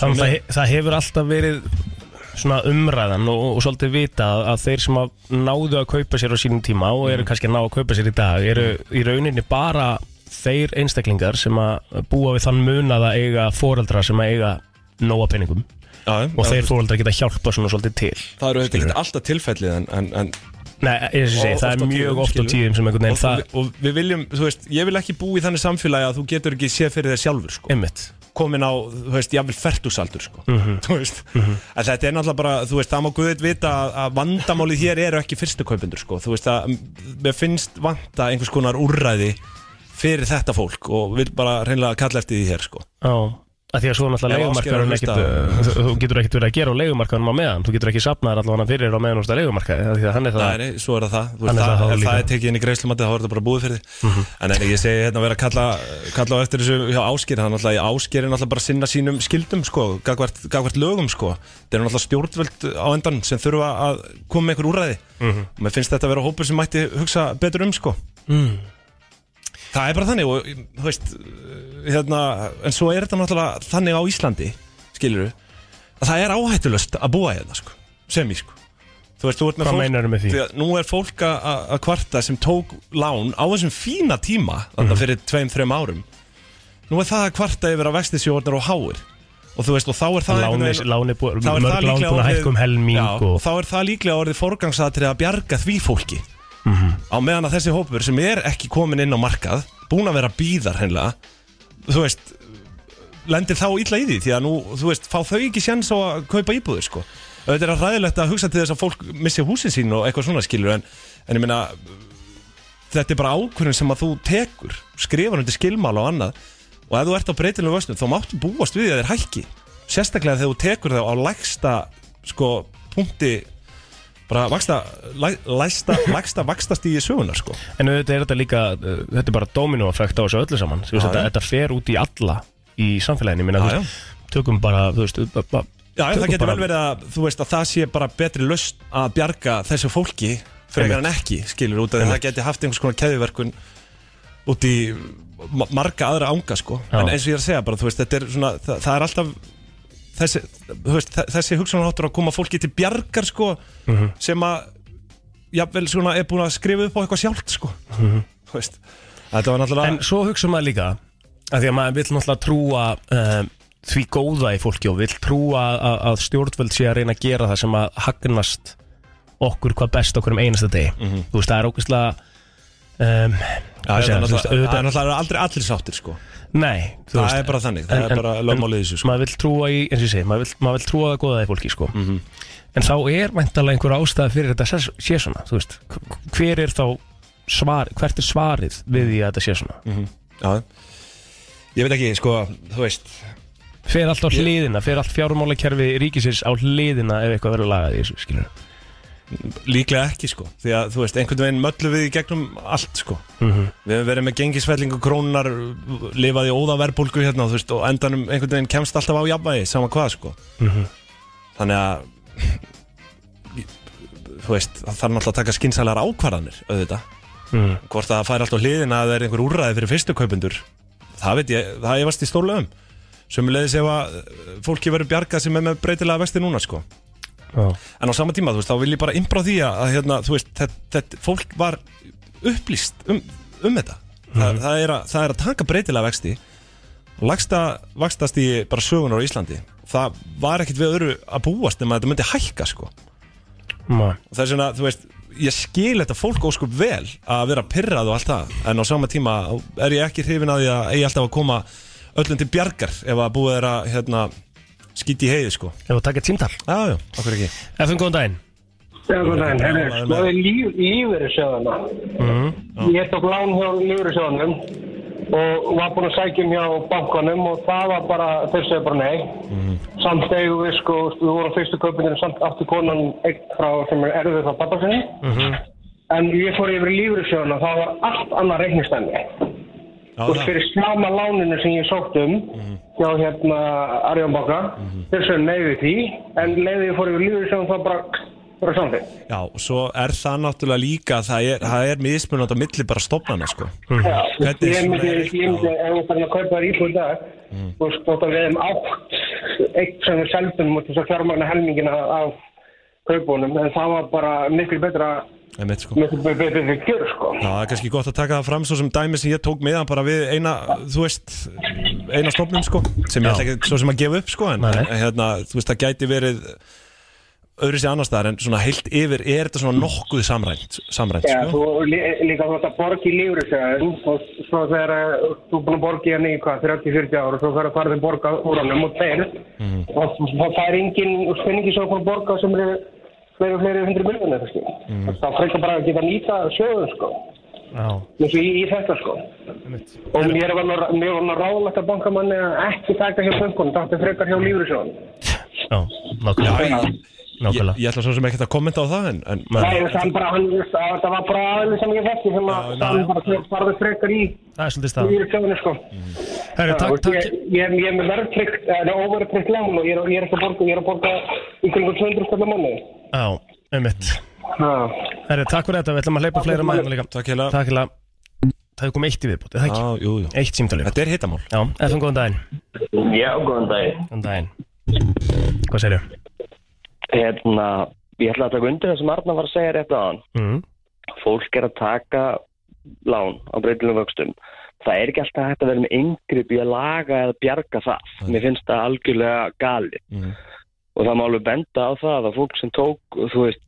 S4: Þannig að það- það hefur alltaf verið svona umræðan og, og svolítið vita að- að þeir sem að náðu að kaupa sér á sínum tíma og eru kannski að ná að kaupa sér í dag eru í rauninni bara þeir einstaklingar sem að búa við þann mun að eiga foreldra sem að eiga nóa peningum
S1: Já,
S4: og
S1: já,
S4: þeir foreldra geta hjálpa svona svolítið til
S1: það eru þetta ekki alltaf tilfellið en, en, en
S4: Nei, ég sé,
S1: Og
S4: það
S1: oft á
S4: er mjög
S1: tíðum,
S4: oft á
S1: skilur.
S4: tíðum sem einhvern
S1: og,
S4: veginn það,
S1: og við viljum, þú veist, ég vil ekki búa í þannig samfélagi að þú getur ekki séð fyrir þér sjálfur sko.
S4: einmitt Mm.
S1: komin á, þú veist, jafnvel fertúsaldur sko.
S4: Mhm.
S1: þú veist, en þetta er náttúrulega bara þú veist, það má guðið vita að- að vandamálið hér eru ekki fyrstu kaupendur sko. þú veist, að mér finnst vanta einhvers konar úrræði fyrir þetta fólk og vil bara reynilega kalla eftir því hér sko.
S4: Já, að því að svo náttúrulega
S1: Ef Ásgeir er að
S4: leigumarkaðurinn ekkit,
S1: hlusta.
S4: þú þú getur ekkert verið að gera á leigumarkaðunum á meðan, þú getur ekki sapnaðar allavega fyrir á meðan úr þetta leigumarkaði, af því að hann er það
S1: Nei, nei, svo er það það, Þú veist,
S4: Hann er það
S1: það,
S4: þá
S1: ef
S4: líka.
S1: það er tekið inn í greiðslumatið þá er þetta bara búið fyrir þig en, en ég segi hérna að vera að kalla, kalla á eftir þessu hjá Áskir hann alltaf, Áskir er náttúrulega bara að sinna sínum skildum sko, gagvart, gagvart lögum sko það er náttúrulega stjórnvöld á endan sem þurfa að koma með einhver úræði og mér finnst þetta að vera hópur sem mætti hugsa betur um sko
S4: Mhm.
S1: Það er bara þannig og þú veist hérna, en svo er þetta náttúrulega þannig á Íslandi, skilur að það er áhættulöst að búa hérna sko, sem í sko Þú veist, þú ert með
S4: Hvað
S1: fólk-
S4: meinarðu með því?
S1: að nú er fólk að- að að kvarta sem tók lán á þessum fína tíma þarna
S4: Mhm.
S1: fyrir tveim, þreim árum nú er það að kvarta yfir að vexti sjóðnar og háir og þú veist, og þá er það einhvern
S4: Láni,
S1: veginn-
S4: láni, bú-
S1: þá er
S4: mörg
S1: það
S4: lán
S1: líklega
S4: búin að hækka um helming
S1: já,
S4: og,
S1: og þá er það líklega orðið
S4: Mhm.
S1: forgangsatrið að bjarga því fólki á meðan að þessi hópur sem er ekki komin inn á markað búin að vera að bíðar hennilega þú veist lendir þá illa í því því að nú, þú veist, fá þau ekki sjans á að kaupa íbúður sko auðvitað er það ræðilegt að hugsa til þess að fólk missi húsin sín og eitthvað svona skilur en, en ég meina þetta er bara ákvörðin sem að þú tekur skrifar undir skilmál og annað og ef þú ert á breytilegu vöstum þá máttu búast við því að þeir hækki sérstaklega þegar þú tekur þau á lægsta sko punkti bara vaksta, læ, lægsta, lægsta vakstast í sögunar sko
S4: En auðvitað er þetta líka, uh, þetta er bara dominoeffekt á þessu öllu saman Þú veist,
S1: Já,
S4: þetta,
S1: já.
S4: þetta fer út í alla í samfélaginu minna,
S1: Já,
S4: þú veist, tökum bara, þú veist uh, bara,
S1: Já, en það
S4: tökum
S1: getur
S4: bara-
S1: vel verið að þú veist að það sé bara betri lausn að bjarga þessu fólki frekar en
S4: Einmitt.
S1: ekki, skilur út að það
S4: Einmitt.
S1: geti haft einhvers konar keðiverkun út í ma- marga aðra ánga sko,
S4: Já.
S1: en eins og ég er að segja bara þú veist, þetta er svona, það, það er alltaf þessi, þú veist, þe- þessi hugsanarháttur að koma fólki til bjargar sko
S4: Mhm,
S1: sem að, jafnvel svona er búin að skrifa upp á eitthvað sjálft sko þú veist, þetta var náttúrulega
S4: mhm. En svo hugsa maður líka að því að maður vill náttúrulega trúa um, því góða í fólki og vill trúa að, að stjórnvöld sé að reyna að gera það sem að hagnast okkur hvað best okkur um einasta degi Þú veist, það er ógæslega um,
S1: Mhm. Já, það er
S4: hvað segja, þú veist,
S1: náttúrulega- það er
S4: auðvitað-
S1: náttúrulega aldrei allir sáttir sko
S4: Nei, þú
S1: Það er bara þannig, það
S4: en-
S1: er
S4: en-
S1: bara
S4: en
S1: lögmálið í þessu, sko.
S4: Maður vill trúa í, eins og ég segi, maður vill, maður vill trúa að góða í fólki sko.
S1: Mhm.
S4: En þá er væntalega einhver ástæða fyrir þetta sé, sé svona þú veist, Hver er þá svar, hvert er svarið við því að þetta sé svona
S1: Mhm. Já, ég veit ekki sko, þú veist
S4: Fer allt á hliðina, fer allt fjármálakerfi ríkisins á hliðina ef eitthvað verður lagað í þessu skilur
S1: Líklega ekki sko Því að þú veist, einhvern veginn möllu við í gegnum allt sko
S4: Mm. Mhm,
S1: Við hefum verið með gengisfellingu krónar Lifað í óðaverbulgu hérna þú veist, Og endanum einhvern veginn kemst alltaf á jafnvægi Sama hvað sko
S4: mhm,
S1: Þannig að Þú veist, það þarf náttúrulega að taka skynsælar ákvarðanir Auðvitað
S4: Mhm.
S1: Hvort að það fær allt á hliðina að það er einhver úrræði fyrir fyrstu kaupendur Það veit ég, það ég varst í stórlegum Sumulegis ef að uh, fólki verður bjargað sem er með breytilega vesti núna sko
S4: Já.
S1: en á sama tíma, þú veist, þá vil ég bara imbra á því að, að hérna, þú veist, þetta, þetta fólk var upplýst um, um þetta Þa, það, er að, það er að taka breytilega vexti og lagsta, lagstast í bara sögunar á Íslandi það var ekkit við öðru að búast nema að þetta myndi hækka, sko og
S4: Ma.
S1: það er svona, þú veist, ég skil þetta fólk óskup vel að vera pyrrað og allt það en á sama tíma er ég ekki hrifin að því að eigi alltaf að koma öllum til bjargar ef að búið er að, hérna, skýti í heiði, sko
S4: Ef að taka tímtal
S1: Já, já, okkur ekki
S4: FM, góðan daginn
S8: Já, góðan daginn, herri,
S1: Ánægður með
S8: skoði líf, lífverðisjóðana. Ég tók lán hjá lífverðisjóðanum og var búinn að sækja um hjá bankanum og það var bara, þeir segja bara nei. Samt eigum við sko, við vorum á fyrstu kaupinir samt aftur konan eitt frá sem er erfið frá pappa sinni. En ég fór yfir í lífverðisjóðana, það var allt annað reiknistæmi.
S1: Já,
S8: Og
S1: það- Mhm.
S8: fyrir sama láninu sem ég sótt um hjá hérna Arjónbanka, þeir segja nei við því, en leiðið ég fór yfir lífverðisjóðan þá bara, bara samþykkt.
S1: Já, og svo er það náttúrulega líka að það er, það er mismunand á milli bara stofnana sko.
S4: Mhm.
S8: Já,
S1: Hvernig
S8: ég
S1: er svona Mm.
S8: myndi, ég myndi,
S1: reiknað?
S8: ef við farin að kaupa þér íbúð í dag, þú veist, þá við hefum átt um eitt sem við seldum og þess að fjármagna helmingina af kaupunum, en það var bara miklu betra,
S1: Einmitt, sko. Já,
S8: miklu betra, betra, betra kjör, sko.
S1: það er kannski gott að taka það fram svo sem dæmi sem ég tók meðan bara við eina, þú veist, eina stofnum sko, sem ég ætla ekki svo sem að gefa upp sko, en,
S4: Nei, nei.
S1: en hérna, þú veist, það gæti verið öðru sér annars staðar en svona heilt yfir er þetta svona nokkuð samrænt, samrænt
S8: Já,
S1: sko.
S8: þú lí, líka þú ætti að borga í lífrisöðun og svo þegar eh, þú er búin að borga í henni í hvað, 30-40 ára og svo fer að fara þeim borga um úr honum og þeir
S1: Mm.
S8: og það fær engin spenningi svo að borga sem eru fleiri og fleiri hundru miljonar kannski. Mm. Það frekar bara að geta nýta sjöðun sko,
S4: Já,
S8: eins og í, í þetta sko. Og mér var nú mér var nú ráðlagt að bankamanni að ekki taka hjá bankunum, þetta er frekar hjá lífrisöðun.
S4: já, nákvæmlega
S1: ég,
S4: Nákvæmlega
S1: ég ætla svo sem ekki að kommenta á það en, en
S8: Nei, það bara, hann, það var bara aðeins sem ég þekki sem að
S1: Já, já,
S8: það
S4: já.
S8: bara farði frekar í
S4: Það er svolítið staðan Mhm.
S8: lífrisöðunni sko.
S4: Herri,
S8: Já,
S4: takk,
S8: og
S4: takk
S8: Ég, ég, ég er með verðtryggt, eða overtryggt lán og ég er, ég er ekki að borga, ég er að borga ykkur 200 skallar manni.
S4: Já, einmitt Herri, takk fyrir þetta, við ætlum að hleypa fleira maður líka
S1: Takk hérlega.
S4: Takk hérlega Það hefur komið eitt í viðbútt, er það ekki?
S1: Já, jú, jú.
S4: Eitt símtalið
S1: þetta er hitamál
S4: Já, FM, góðan daginn
S6: Já, góðan dag
S4: Góðan daginn Hvað segirðu?
S6: Hérna, ég ætla að taka undir það sem Arna var að segja rétt á hann
S4: Mm.
S6: Fólk er að taka lán á breytilum vöxtum Það er ekki alltaf hægt að vera með yngrip í að laga eða bjarga það.
S1: Nei.
S6: Mér finnst það algjörlega gali.
S1: Mhm.
S6: Og það má alveg benda á það að fólk sem tók, þú veist,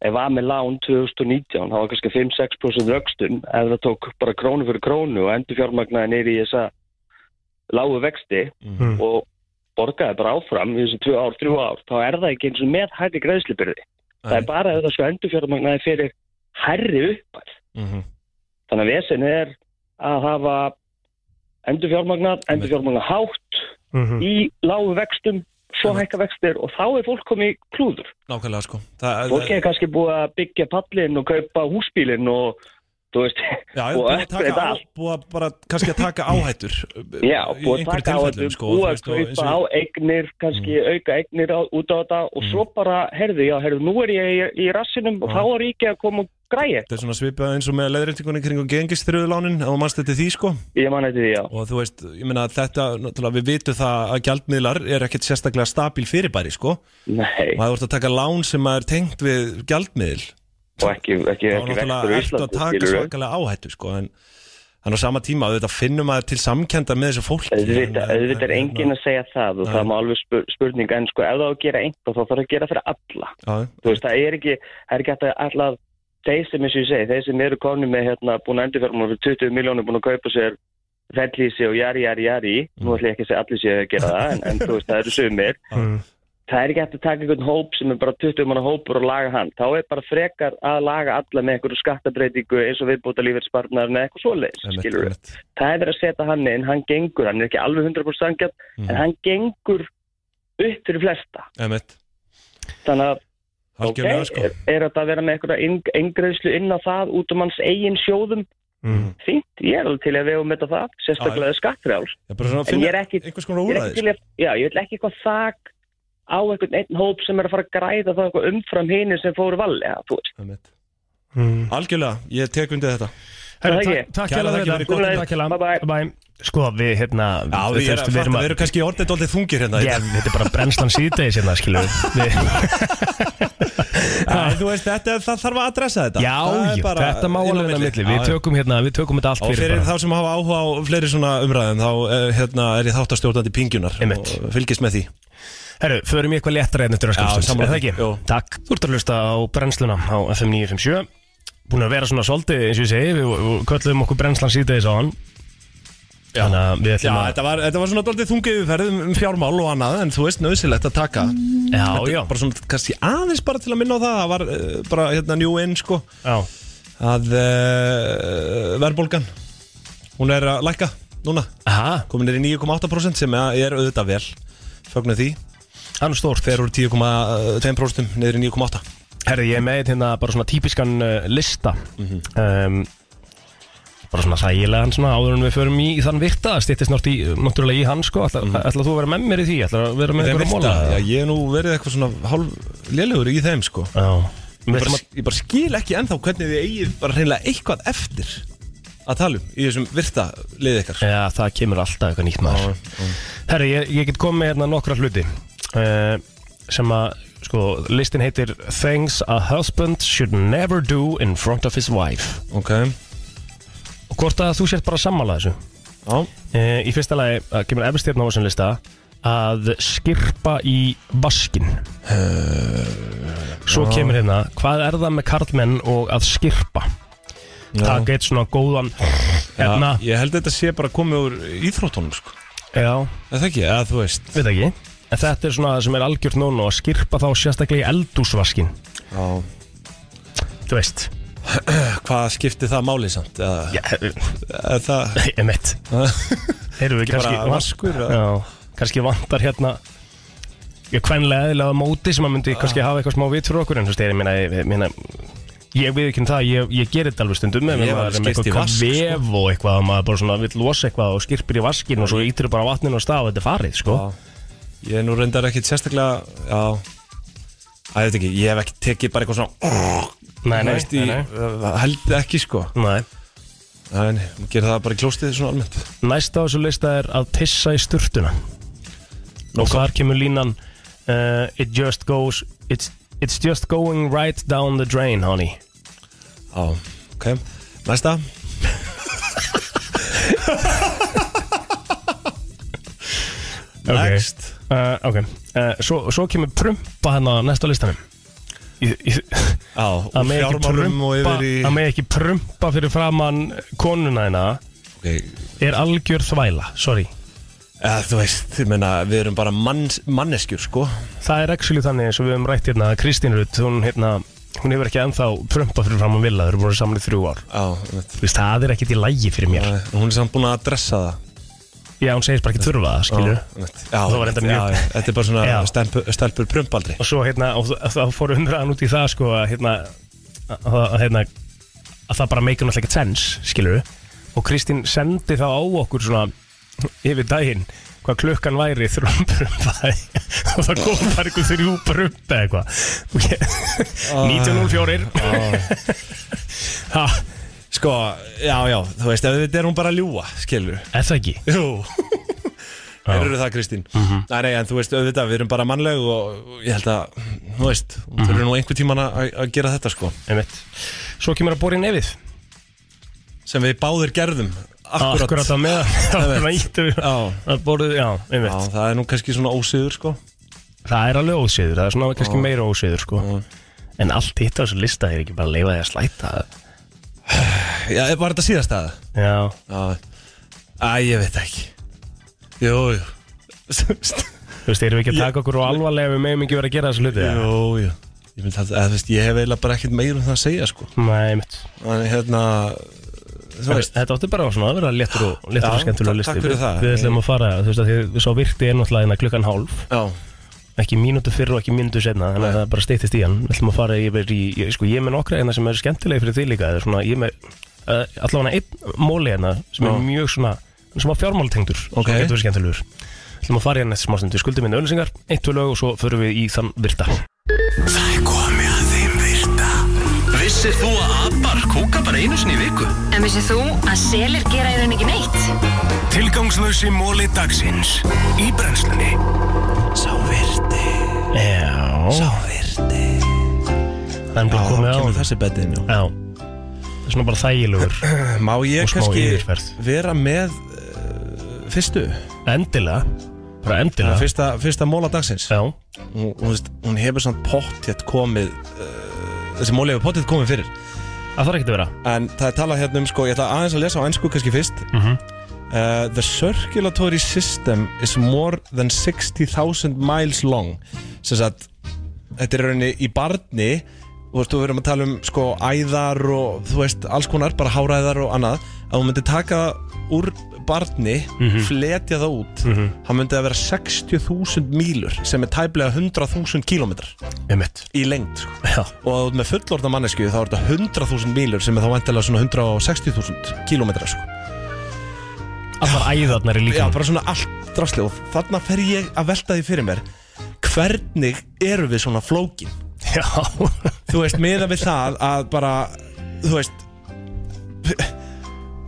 S10: ef var með lán 2019 þá var kannski 5-6% röxtun ef það tók bara krónu fyrir krónu og endur fjármagnaði neyri í þessa lágu vexti
S11: Mhm.
S10: og borgaði bara áfram í þessu 2 ár, 3 ár þá er það ekki eins og með hætti greiðslubyrði það er bara ef það sko endur fjármagnaði fyrir herri uppar þannig að vesin er að hafa endur fjármagnað, endur fjármagnað hátt
S1: Mm.
S4: Mhm.
S10: í lágu vextum svo hækka vextir og þá er fólk komið í klúður
S1: Nákvæmlega sko Það-
S10: fólk er kannski búið að byggja pallin og kaupa húsbílin og þú veist
S1: Já,
S10: og
S1: búið að
S10: öll
S1: taka
S10: þetta
S1: á-
S10: allt.
S1: búið að bara kannski að taka áhættur
S10: Já,
S1: í
S10: búið að
S1: einhverjum
S10: taka á
S1: tilfellum,
S10: þetta,
S1: sko,
S10: búið
S1: þú
S10: að
S1: veist, og eins
S10: kaupa á
S1: og- Mm.
S10: eignir, kannski auka eignir á, út á þetta og svo bara, herði, já, herði, nú er ég í, í rassinum og
S1: Já.
S10: þá er ekki að koma og græja.
S1: Þetta er svona svipað eins og með leðrýtingunni kringum gengistriðulánin, ef þú mannst þetta því sko
S10: Ég mann þetta því, já
S1: Og þú veist, ég meina þetta, náttúrulega við vitum það að gjaldmiðlar er ekkert sérstaklega stabil fyrirbæri sko
S10: Nei
S1: Og það voru að taka lán sem er tengt við gjaldmiðil
S10: Og ekki, ekki,
S1: Þá
S10: ekki
S1: náttúrulega ertu að taka svakalega áhættu sko En þannig á sama tíma, auðvitað finnum maður til samkendar með þessu fólki
S10: Auðvitað, auðvitað er enginn að segja það og það má alveg spur, spurning en sko ef það á að gera einhver þá þarf að gera fyrir alla
S1: Já,
S10: þú veist það er ekki, það er ekki hægt að alltaf þeir sem eins og ég segi, þeir sem eru konu með hérna búin að endurfjármál fyrir 20 miljónir búin að kaupa sér fellísi og jari jari jari nú ætlum ég ekki að segja allir séu að gera það en, en þú veist það eru sumir
S4: Mhm.
S10: það er ekki hægt að taka einhvern hóp sem er bara 20 manna hópur og laga hann, þá er bara frekar að laga alla með einhverju skattabreitingu eins og viðbúta lífeyrsspartnar með eitthvað svoleiðis skilur við, það er verið að setja hann inn hann gengur, hann er ekki alveg 100% sangjart
S1: Mhm.
S10: en hann gengur upp fyrir flesta
S1: Emmett
S10: þannig að ok,
S1: Algjörlega, sko.
S10: er, er þetta að vera með einhverja yngreðslu inn á það út um hans eigin sjóðum
S1: Mhm.
S10: fínt, ég er alveg til að vega með þetta það
S1: Já, já.
S10: sérstaklega skattfrjáls
S1: Ég bara svona að
S10: en
S1: finna
S10: ég er ekki, ég
S1: einhvers konar
S10: er
S1: úrræði, sko.
S10: ekki til að, já, ég vil ekki eitthvað þak á einhvern einn hóp sem er að fara að græða það eitthvað umfram hinu sem fóru valli ja, þú veist
S1: Algjörlega, ég tek undir þetta
S4: Herra, Mm. takk- Takk
S1: Kæra
S4: hérlega
S1: þakkir fyrir
S4: fyrir þetta.
S1: gott.
S4: Takk hérlega. Bye bye Sko við hérna Já
S1: við erum- fatta, við erum kannski orðið dólið þungir hérna í
S4: Já,
S1: dag.
S4: þetta er bara brennslan síðdegis hérna skilur við
S1: Æ, Þú veist, þetta, það þarf að adressa þetta
S4: Já,
S1: Það er
S4: já,
S1: bara
S4: þetta má
S1: inn á
S4: alveg vera milli Við
S1: Já, já.
S4: tökum hérna, við tökum þetta allt
S1: Og
S4: fyrir
S1: fyrir
S4: bara
S1: þá sem hafa áhuga á fleiri svona umræðum þá eh, hérna, er ég þáttastjórnandi pingjunar Einmitt. og fylgist með því
S4: Herru, förum í eitthvað léttara einn
S1: Já,
S4: eftir öskumstund,
S1: sammála
S4: er það
S1: því.
S4: ekki? Takk Þú ert að hlusta á brennsluna á FM 957 Búin að vera svona svolítið eins og ég segi Við við köllum okkur brennslan síðdegis á hann Þannig að við
S1: Já,
S4: ætlum að
S1: þetta var, þetta var svona dólið þungið yfirferð um, um fjármál og annað en þú veist nöðsilegt að taka
S4: Já,
S1: þetta, er
S4: já.
S1: Bara svona kannski aðeins bara til að minna á það það var uh, bara hérna New In sko
S4: Já
S1: að uh, verðbólgan hún er að lækka núna
S4: Aha.
S1: komin er í 9,8% sem er auðvitað vel fögnum því
S4: hann er stórt
S1: fer úr 10,2% niður í 9,8
S4: Herri, ég er með einn hérna bara svona típiskan uh, lista
S1: Mhm.
S4: um, Bara svona sægilegan svona áður en við förum í þann virta Stittist nátt í, náttúrulega í hann sko Ætlar, ætlar þú að vera með mér í því? Ætlar að vera með
S1: Þeim
S4: einhverjum
S1: Mhm. virta,
S4: móla?
S1: já, ég hef nú verið eitthvað svona hálf lélugur í þeim sko
S4: já.
S1: Ég, bara, ég bara skil ekki ennþá hvernig þið eigið bara hreinlega eitthvað eftir að tala um í þessum virta liðið ykkar
S4: Já, það kemur alltaf eitthvað nýtt maður Herri, ég, ég get komið með hérna nokkra hluti uh, Sem að, sko, listin heitir Things a husband should never do in front of his wife
S1: Ok
S4: Og hvort að þú sért bara sammála þessu
S1: Já
S4: Eh, Í fyrsta lagi að kemur efst hérna á þessum lista Að skirpa í vaskin Svo
S1: já.
S4: kemur hérna Hvað er það með karlmenn og að skirpa Taka eitt svona góðan Hérna
S1: já, Ég held að þetta sé bara komið úr íþróttunum sko
S4: Já
S1: Er það ekki, eða þú veist
S4: Veit ekki En þetta er svona það sem er algjört nónu Að skirpa þá sérstaklega í eldúsvaskin
S1: Já
S4: Þú veist
S1: Hvað skipti það máli samt? Eða, eða það
S4: Ég mitt Heyrðu við
S1: Ekki bara
S4: kannski
S1: vaskur, eða?
S4: Já Kannski vantar hérna Já, kvænlega eðlilega móti sem að myndi
S1: Ah.
S4: kannski hafa eitthvað smá vit fyrir okkur En þú veist, ég meina, ég meina Ég við ekki um það, ég, ég gerir þetta alveg
S1: Ég
S4: stundum Ef
S1: hef
S4: maður
S1: alveg
S4: er með
S1: skeyrt í
S4: eitthvað
S1: vask, sko.
S4: vef og eitthvað Og maður bara svona vill losa eitthvað og skirpir í vaskin Og svo ítir bara vatninu á stað og þetta er farið, sko
S1: Ég er nú reyndar ekkit sérstaklega Já Æ, ég veit ekki, ég hef ekki tekið bara eitthvað svona
S4: Nei, nei,
S1: Þú veist, í-
S4: nei,
S1: það Held ekki sko
S4: Nei
S1: Nei, nei, maður gerir það bara í klóstið svona almennt
S4: Næsta á þessu lista er að pissa í sturtuna Og hvar kemur línan uh, It just goes it's, it's just going right down the drain, honey
S1: Já, ok Næsta
S4: Eh, Next Ok, uh, okay. Uh, svo, svo kemur prumpa hérna á næsta listanum
S1: Já,
S4: Það með ekki
S1: fjármálum og
S4: prumpa-
S1: yfir í-
S4: það megi ekki prumpa fyrir framann konuna hérna er algjör þvæla, sorry
S1: Ja, þú veist, ég meina, við erum bara manns, manneskjur, sko
S4: Það er actually þannig eins og við höfum rætt hérna að Kristín Rutt, hún, hérna, hún hefur ekki ennþá prumpa fyrir framann villa, þau eru búin að samla í þrjú ár
S1: Já,
S4: Vist, Það er ekkit í lægi fyrir mér
S1: Hún er samt búin að dressa það
S4: Já, hún segist bara ekki þurfa það, skilur
S1: Já,
S4: Það var enda
S1: já,
S4: mjög
S1: já, þetta er bara
S4: Já.
S1: svona stelpur, stelpur prumpaldri
S4: og svo hérna, og þ- þá fór umræðan út í það sko að hérna, að, að, hérna, að það bara meikar náttúrulega ekkert sense, skilur og Kristín sendi þá á okkur svona yfir daginn hvað klukkan væri þrjum brumpa og það kom bara einhver þrjú brumpa eitthvað Og ég- 1904
S1: Ah.
S4: ah.
S1: Sko, já, já, þú veist, ef þetta er hún bara að ljúa, skilur
S4: Er það ekki?
S1: Jú Erur það, Kristín?
S4: Mhm.
S1: Nei, nei, en þú veist, auðvitað, við erum bara mannleg og ég held að, þú veist, þú mm nú einhver tíman að að gera þetta, sko
S4: Mhm. Einmitt. Svo kemur að bóra í nefið
S1: Sem við báðir gerðum Akkurat
S4: Akkurat, Akkurat á meðan Akkurat íttu við Að borðið, já, einmitt
S1: Já, það er nú kannski svona ósiður, sko
S4: Það er alveg ósiður, það er svona kannski
S1: Já.
S4: meira ósiður sko.
S1: Ah.
S4: En allt hitt á þessu lista er ekki bara að leifa því að slæta það.
S1: Já, var þetta síðast aða?
S4: Já
S1: Æ, ég veit ekki Jú, jú
S4: Þú veist, erum við ekki að taka okkur og alvarlega ef við meðum ekki verið að gera þessu hluti eða?
S1: Jú, jú Ég, mynd, að, að, þú veist, ég hef eiginlega bara ekkert meira um það að segja sko.
S4: Nei, mitt
S1: Þannig hérna Þú
S4: En
S1: veist
S4: Þetta átti bara svona að vera léttur og, léttur og
S1: Já,
S4: skemmtulega
S1: takk-
S4: listi
S1: takk fyrir það.
S4: Við ætlum að fara, þú veist að því svo virti er náttúrulega hérna klukkan hálf
S1: Já
S4: Ekki mínútu fyrr og ekki mínútu senna Þannig að það bara steytist í hann Við ætlum að fara yfir í, ég, sko, ég er með nokkra hérna sem eru skemmtilegi fyrir því líka eða svona, ég er með uh, allavega einn móli hérna sem er
S1: Já.
S4: mjög svona sem var fjármáltengdur
S1: Ok.
S4: sem getur verið skemmtilegur Við ætlum að fara hérna eftir smástundu skuldum minna auðlýsingar eitt, tvö lög og svo förum við í þann virta
S2: Það er komið að þeim virta Vissir þú að abar kúka bara einu sinni í viku?
S3: En vissið þú að selir gera í raun ekki neitt?
S2: Tilgangslösi móli dagsins Í brennslunni Sá virti
S4: Já
S2: Sá virti
S4: Það er bara
S1: Já,
S4: komið á
S1: kemur
S4: honum.
S1: þessi beddin
S4: Já Það er svona bara þægilegur
S1: Má ég
S4: Og smá
S1: kannski
S4: yfirferð.
S1: vera með uh, fyrstu
S4: Endilega Bara endilega
S1: fyrsta, fyrsta móla dagsins
S4: Já
S1: hún, hún, veist, hún hefur svona pottjett komið uh, þessi móli hefur pottjett komið fyrir
S4: Það þarf ekki að vera
S1: en það er talað hérna um sko, ég ætla aðeins að lesa á ennsku kannski fyrst
S4: Mhm.
S1: uh, The circulatory system is more than 60,000 miles long sem sagt þetta er í rauninni í barni þú veist, þú verðum að tala um sko æðar og þú veist, alls konar, bara háræðar og annað að hún myndi taka það úr barni,
S4: Mhm.
S1: fletja það út hann myndi að vera 60.000 mílur sem er tæplega 100.000 kílómetrar
S4: Einmitt
S1: í lengd sko
S4: Já
S1: og að þú ert með fullorðna mannesku þá er þetta 100.000 mílur sem er þá vantilega svona 160.000 kílómetra sko.
S4: Allar æðarnar í
S1: Já,
S4: líka
S1: bara svona allt drasli og þarna fer ég að velta því fyrir mér hvernig eru við svona flókin
S4: Já
S1: þú veist, meða við það að bara þú veist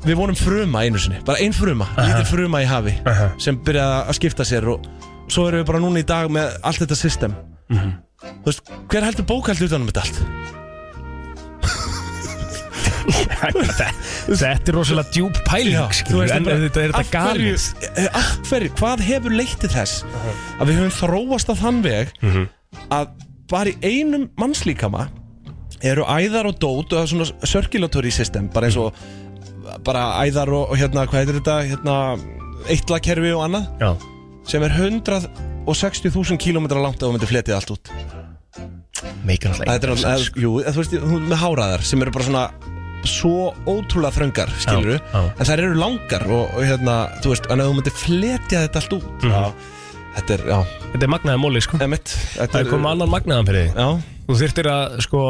S1: við vorum fruma einu sinni bara ein fruma, lítil fruma í hafi sem byrjaði að skipta sér og svo erum við bara núna í dag með allt þetta system
S4: Mhm.
S1: þú veist, hver heldur bókald utanum þetta allt?
S4: Þetta er rosalega djúp pæling
S1: Þú
S4: skilur,
S1: veist,
S4: En
S1: bara,
S4: þetta er
S1: af
S4: þetta
S1: hverju-
S4: galið
S1: eh, Af hverju, hvað hefur leitt til þess að við höfum þróast á þann veg
S4: Mhm.
S1: að bara í einum mannslíkama eru æðar og dót og það er svona circulatory system bara eins og bara æðar og, og hérna, hvað heitir þetta hérna, eitlakerfi og annað
S4: Já
S1: sem er 160.000 km langt ef þú myndir fletið allt út Þetta er
S4: Meikar náttúrulega
S1: sko.
S4: engan sens.
S1: náttúrulega, jú, en þú veist, hún er með háraðar sem eru bara svona svo ótrúlega þröngar, skilur
S4: Já, já.
S1: en þær eru langar og, og hérna, þú veist, en að þú myndir fletja þetta allt út
S4: Mhm.
S1: Já, þetta er, já,
S4: Þetta er magnaði móli sko
S1: emitt
S4: Það er komið annan magnaðan fyrir þig
S1: Já,
S4: Þú þurftir að sko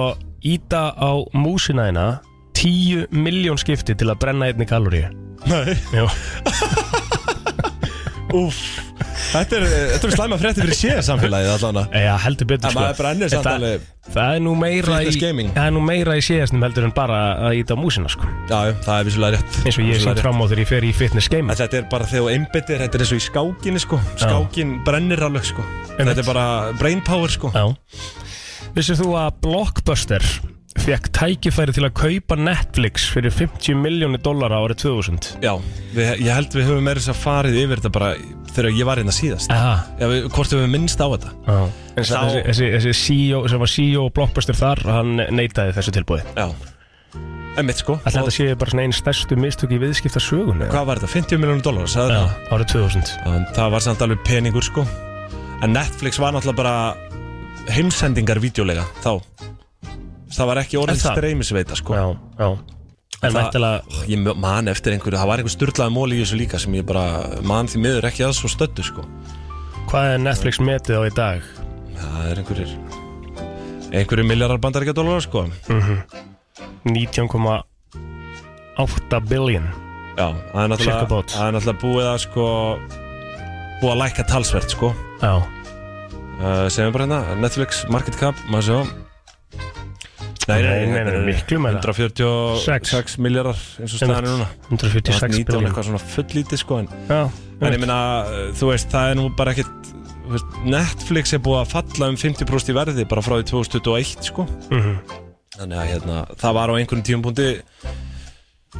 S4: Íta á músina þína 10 miljón skipti til að brenna einni kaloríu
S1: nei,
S4: Jú
S1: úff Þetta er, eh, þetta er slæma frétti fyrir séð samfélagið allan að
S4: Já, heldur betur
S1: En
S4: sko
S1: maður brennir samt
S4: En það-
S1: alveg
S4: Það er nú meira í
S1: fitness gaming.
S4: Það er nú meira í séðastum heldur en bara að íta á músina sko
S1: Já, já, það er vissulega rétt
S4: Eins og ég
S1: Vissulega
S4: er sínt
S1: rétt.
S4: fram á þegar ég fer í fitness game
S1: En þetta er bara þegar þú einbyttir, þetta er eins og í skákinni sko Skákin brennir alveg sko
S4: Einmitt.
S1: Þetta er bara brain power sko
S4: Já Vissir þú að Blockbuster fekk tækifæri til að kaupa Netflix fyrir 50 miljónir dólar árið 2000
S1: Já, við, ég held við höfum meira þess að farið yfir þetta bara þegar ég var hérna síðast
S4: Aha.
S1: Já, við, hvort við minnst á þetta
S4: Já. En
S1: Sá-
S4: þessi, þessi, þessi CEO, sem var CEO og blockbuster þar, hann neitaði þessu tilbúi.
S1: Já, emmitt sko
S4: Alltaf þetta séu bara svona einn stærstu mistök í viðskipta sögunni.
S1: Hvað var þetta? 50 miljónum dólar, sagði
S4: Já,
S1: það
S4: árið 2000.
S1: En það var samt alveg peningur sko En Netflix var náttúrulega bara heimsendingar vídeolega þá Það var ekki
S4: Er
S1: orðin
S4: það?
S1: streymisveita sko
S4: Já, já En
S1: Það-
S4: væntanlega-
S1: Ég man eftir einhverju, það var einhver sturlaði mól í þessu líka sem ég bara man því miður ekki að svo stöddu sko
S4: Hvað er Netflix metið á í dag?
S1: Það er einhverjir einhverjir miljardar bandaríkja dólar sko
S4: Mhm. 19,8 billion.
S1: Já, það er
S4: Check
S1: náttúrulega,
S4: about.
S1: það er náttúrulega búið að sko búið að lækka talsvert sko
S4: Já,
S1: uh, segjum bara hérna, Netflix, Market Cap maður sjá Nei,
S4: Nei, nei, nei, miklu meira.
S1: 146 miljardar eins og staðan er núna
S4: 146
S1: Það var 19
S4: billion.
S1: eitthvað svona fulllítið sko en,
S4: já
S1: en ég meina, uh, þú veist, það er nú bara ekkit þú veist, Netflix er búið að falla um 50% í verði bara frá því 2021 sko
S4: Mhm.
S1: þannig að hérna, það var á einhverjum tíumpunkti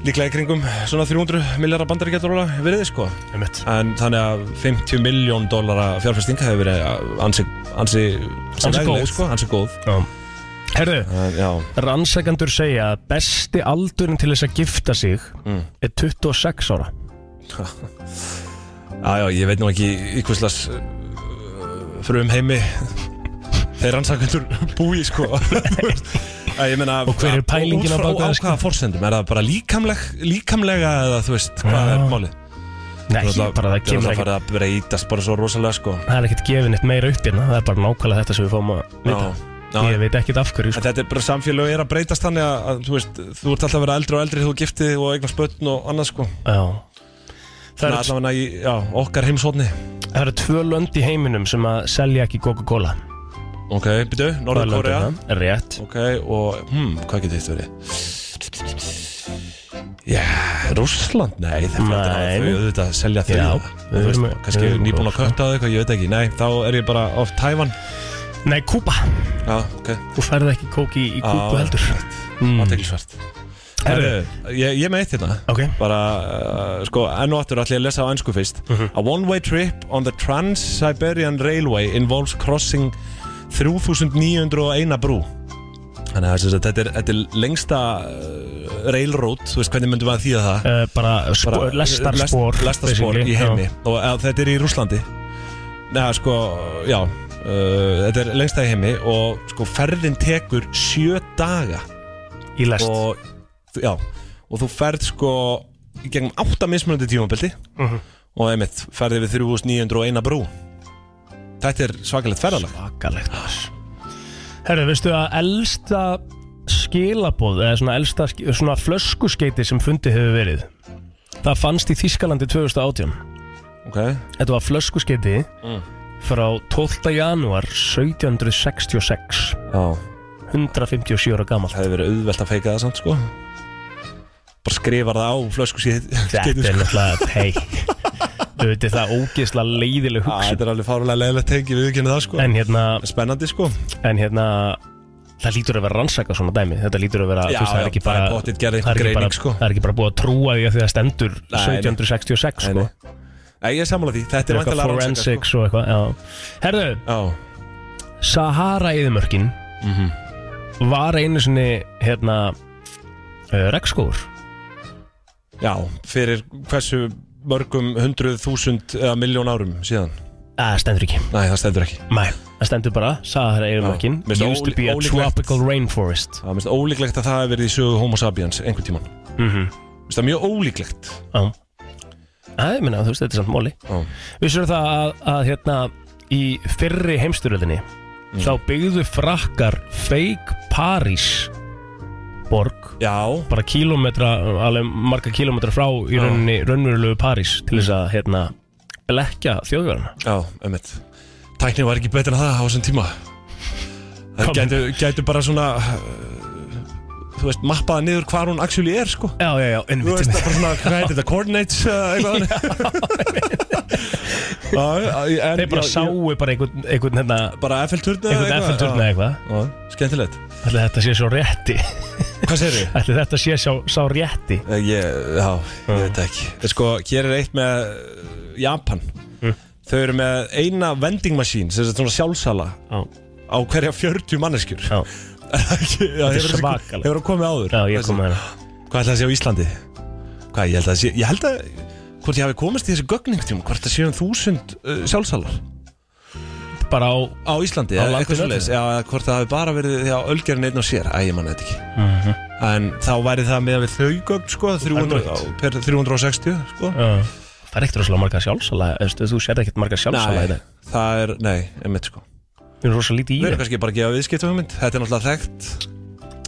S1: líklega í kringum svona 300 miljardar bandaríkjadólara veriði sko
S4: Einmitt.
S1: en þannig að 50 miljón dólara fjárfesting hefur verið uh, ansi ansi,
S4: Ansi
S1: eðlileg,
S4: góð.
S1: sko, ansi góð
S4: Já. Herðu,
S1: en, já,
S4: rannsakandur segja að besti aldurinn til þess að gifta sig
S1: Mm.
S4: er 26 ára.
S1: já, já, ég veit nú ekki í eh, hverslas uh, frum heimi þeir ansakvendur búi sko Að ég meina,
S4: Og hver er pælingin
S1: á
S4: á
S1: baka
S4: bak við
S1: á
S4: það, sko?
S1: hvaða forsendum, er það bara líkamleg, líkamlega eða þú veist, hvað
S4: Já.
S1: er málið
S4: Nei,
S1: Náttúrulega-
S4: bara það kemur
S1: náttúrulega
S4: ekki.
S1: farið að breytast bara svo rosalega sko
S4: Það er ekkert gefið neitt meira upp hérna. Það er bara nákvæmlega þetta sem við fáum að vita.
S1: Já, já.
S4: Ég veit ekkert af
S1: En
S4: hverju. Sko.
S1: þetta er bara samfélög er að breytast þannig að, að þú veist, þú ert alltaf að vera eldri og eldri þú giftið og eignast börn og annað sko
S4: Já. Það
S1: Þannig
S4: eru-
S1: allavega í, já, okkar heimsóðni
S4: það eru tvö lönd í heiminum sem að selja ekki Coca-Cola.
S1: Ok, byrju,
S4: Hvaða lönd
S1: Norður-Korea
S4: eru það? Rétt.
S1: Ok, og, hmm, hvað getur þetta verið? Já, Rússland, nei, það er flott að
S4: Nei.
S1: þau auðvitað selja þau
S4: Já,
S1: Þú
S4: við
S1: veist,
S4: erum-
S1: kannski
S4: við erum
S1: nýbúin að
S4: Rússland.
S1: kötta á þau, eitthvað, ég veit ekki Nei, þá er ég bara off Tævan
S4: Nei, Kúpa.
S1: Já, ok, Ah,
S4: Þú færði ekki kóki í, í Kúpu
S1: Já,
S4: heldur.
S1: mm.
S4: Mm.
S1: aðteglisvært Ég, ég er með eitt hérna
S4: Ok.
S1: bara, uh, sko, enn og aftur ætlum ég að lesa á ennsku fyrst
S4: Mhm.
S1: A one-way trip on the Trans-Siberian Railway involves crossing 3901 brú Þannig að sem sagt, þetta er, þetta er lengsta uh, railroad, þú veist hvernig myndum við að þýða það
S4: Uh, bara
S1: Bara, eh,
S4: spor, lestarspor
S1: lest- lestarspor
S4: basically.
S1: í heimi
S4: Já.
S1: og eða, þetta er í Rúslandi Neða, sko, já uh, þetta er lengsta í heimi og sko ferðin tekur sjö daga
S4: Í lest
S1: og, þú- já, og þú ferð sko í gegnum átta mismunandi tímabildi
S4: Mhm.
S1: og einmitt ferði við 3901 brú Þetta er svakalegt ferðalag
S4: Svakalegt Herru, veistu að elsta skilaboð eða svona, elsta, sk- svona flöskuskeiti sem fundið hefur verið það fannst í Þískalandi 2018
S1: Ok,
S4: Þetta var flöskuskeiti
S1: Mm.
S4: frá 12. janúar 1766
S1: já,
S4: 157 ára gamalt
S1: það hefur verið auðvelt að feika það samt sko bara skrifar það á flösku síð sko.
S4: Þetta er náttúrulega, hei Þetta er það ógeðslega leiðileg hugsun
S1: Þetta er alveg fárlega leiðilegt tengi við ekki það sko
S4: En hérna,
S1: Spennandi sko
S4: en hérna það lítur að vera rannsaka svona dæmi þetta lítur að vera
S1: Já,
S4: þú
S1: já,
S4: það er ekki
S1: það er
S4: bara
S1: pottitt gerð einhver
S4: það er ekki
S1: greining,
S4: bara-
S1: sko.
S4: það er ekki bara búið að trúa því að því það stendur
S1: nei.
S4: 1766 sko
S1: Nei, Nei, ég er sammála því, þetta er sko.
S4: eitthvað
S1: vantilega
S4: forensics og eitthvað já. herðu,
S1: Já, Mhm.
S4: Sahara yðumörkin var einu sinni hérna uh, rekskóður
S1: já, fyrir hversu mörgum hundruð þúsund eða miljón árum síðan
S4: það stendur ekki
S1: Nei, það stendur ekki
S4: Nei. það stendur bara Sahara yðumörkin
S1: Já, mér finnst
S4: used to be a
S1: ólíklegt.
S4: tropical rainforest
S1: Það minnst ólíklegt að það hefur verið í sögu homo sapiens einhvern tíman
S4: mm
S1: Mhm.
S4: -hmm.
S1: Minnst það mjög ólíklegt
S4: Já Það er minna, þú veist, þetta er samt móli
S1: Já.
S4: Við sérum það að, að hérna í fyrri heimstyrjöldinni
S1: Mm.
S4: þá byggðu frakkar fake París borg
S1: Já,
S4: bara kílómetra, alveg marga kílómetra frá í rauninni, raunverulegu París til þess að hérna blekja þjóðverðina
S1: Já, einmitt Tæknin var ekki betur en það á þessum tíma Það
S4: Kom.
S1: gætu, gætu bara svona uh, Þú veist, mappaða niður hvar hún actually er, sko
S4: Já, já, já,
S1: Þú
S4: einmitt
S1: veist, það er bara svona, hvað heitir þetta, coordinates eða eitthvað Já, já, en-
S4: Þeir bara
S1: já, ég-
S4: sáu bara einhvern, einhvern hérna
S1: Bara Eiffelturni
S4: einhvern Eiffelturni eða eitthvað
S1: eitthvað Já, Skemmtilegt
S4: Ætli þetta sé svo rétti
S1: Hvað segir þið?
S4: Ætli þetta sé sá, sá rétti
S1: Eh,
S4: Mm.
S1: Ég, já, ég veit það ekki Sko, hér er eitt með uh, eh, Japan Þau eru með eina vending machine sem er svona sjálfsala á, hverja 40 manneskjur Já,
S4: Þetta er
S1: hefur þessi-
S4: svakalegt.
S1: Hefur það komið áður?
S4: Já, ég kom með
S1: Hvað ætlaði að sé á Íslandi? Hvað, ég held að sé Ég held að, hvort ég hafi komist í þessi gögningtjum Hvort það séu um þúsund uh, sjálfsalar
S4: Bara á
S1: Á Íslandi,
S4: Á
S1: eða
S4: landinu
S1: eitthvað svoleiðis
S4: öllu?
S1: Já, eða hvort það hafi bara verið því að ölgerinn einn og sér Æ, ég manna þetta ekki En þá væri það með við þau gögn, sko 300,
S4: Erfitt.
S1: á- per 360, sko
S4: Það er ekkert rosalega marga sjálfsala Þú, þú sér ekkert marga sjálfsala í
S1: Nei,
S4: dag
S1: það er, nei, emitt sko
S4: Við erum rosalega lítið í
S1: Við erum
S4: þeim.
S1: kannski bara að gefa viðskiptum hugmynd Þetta er náttúrulega þekkt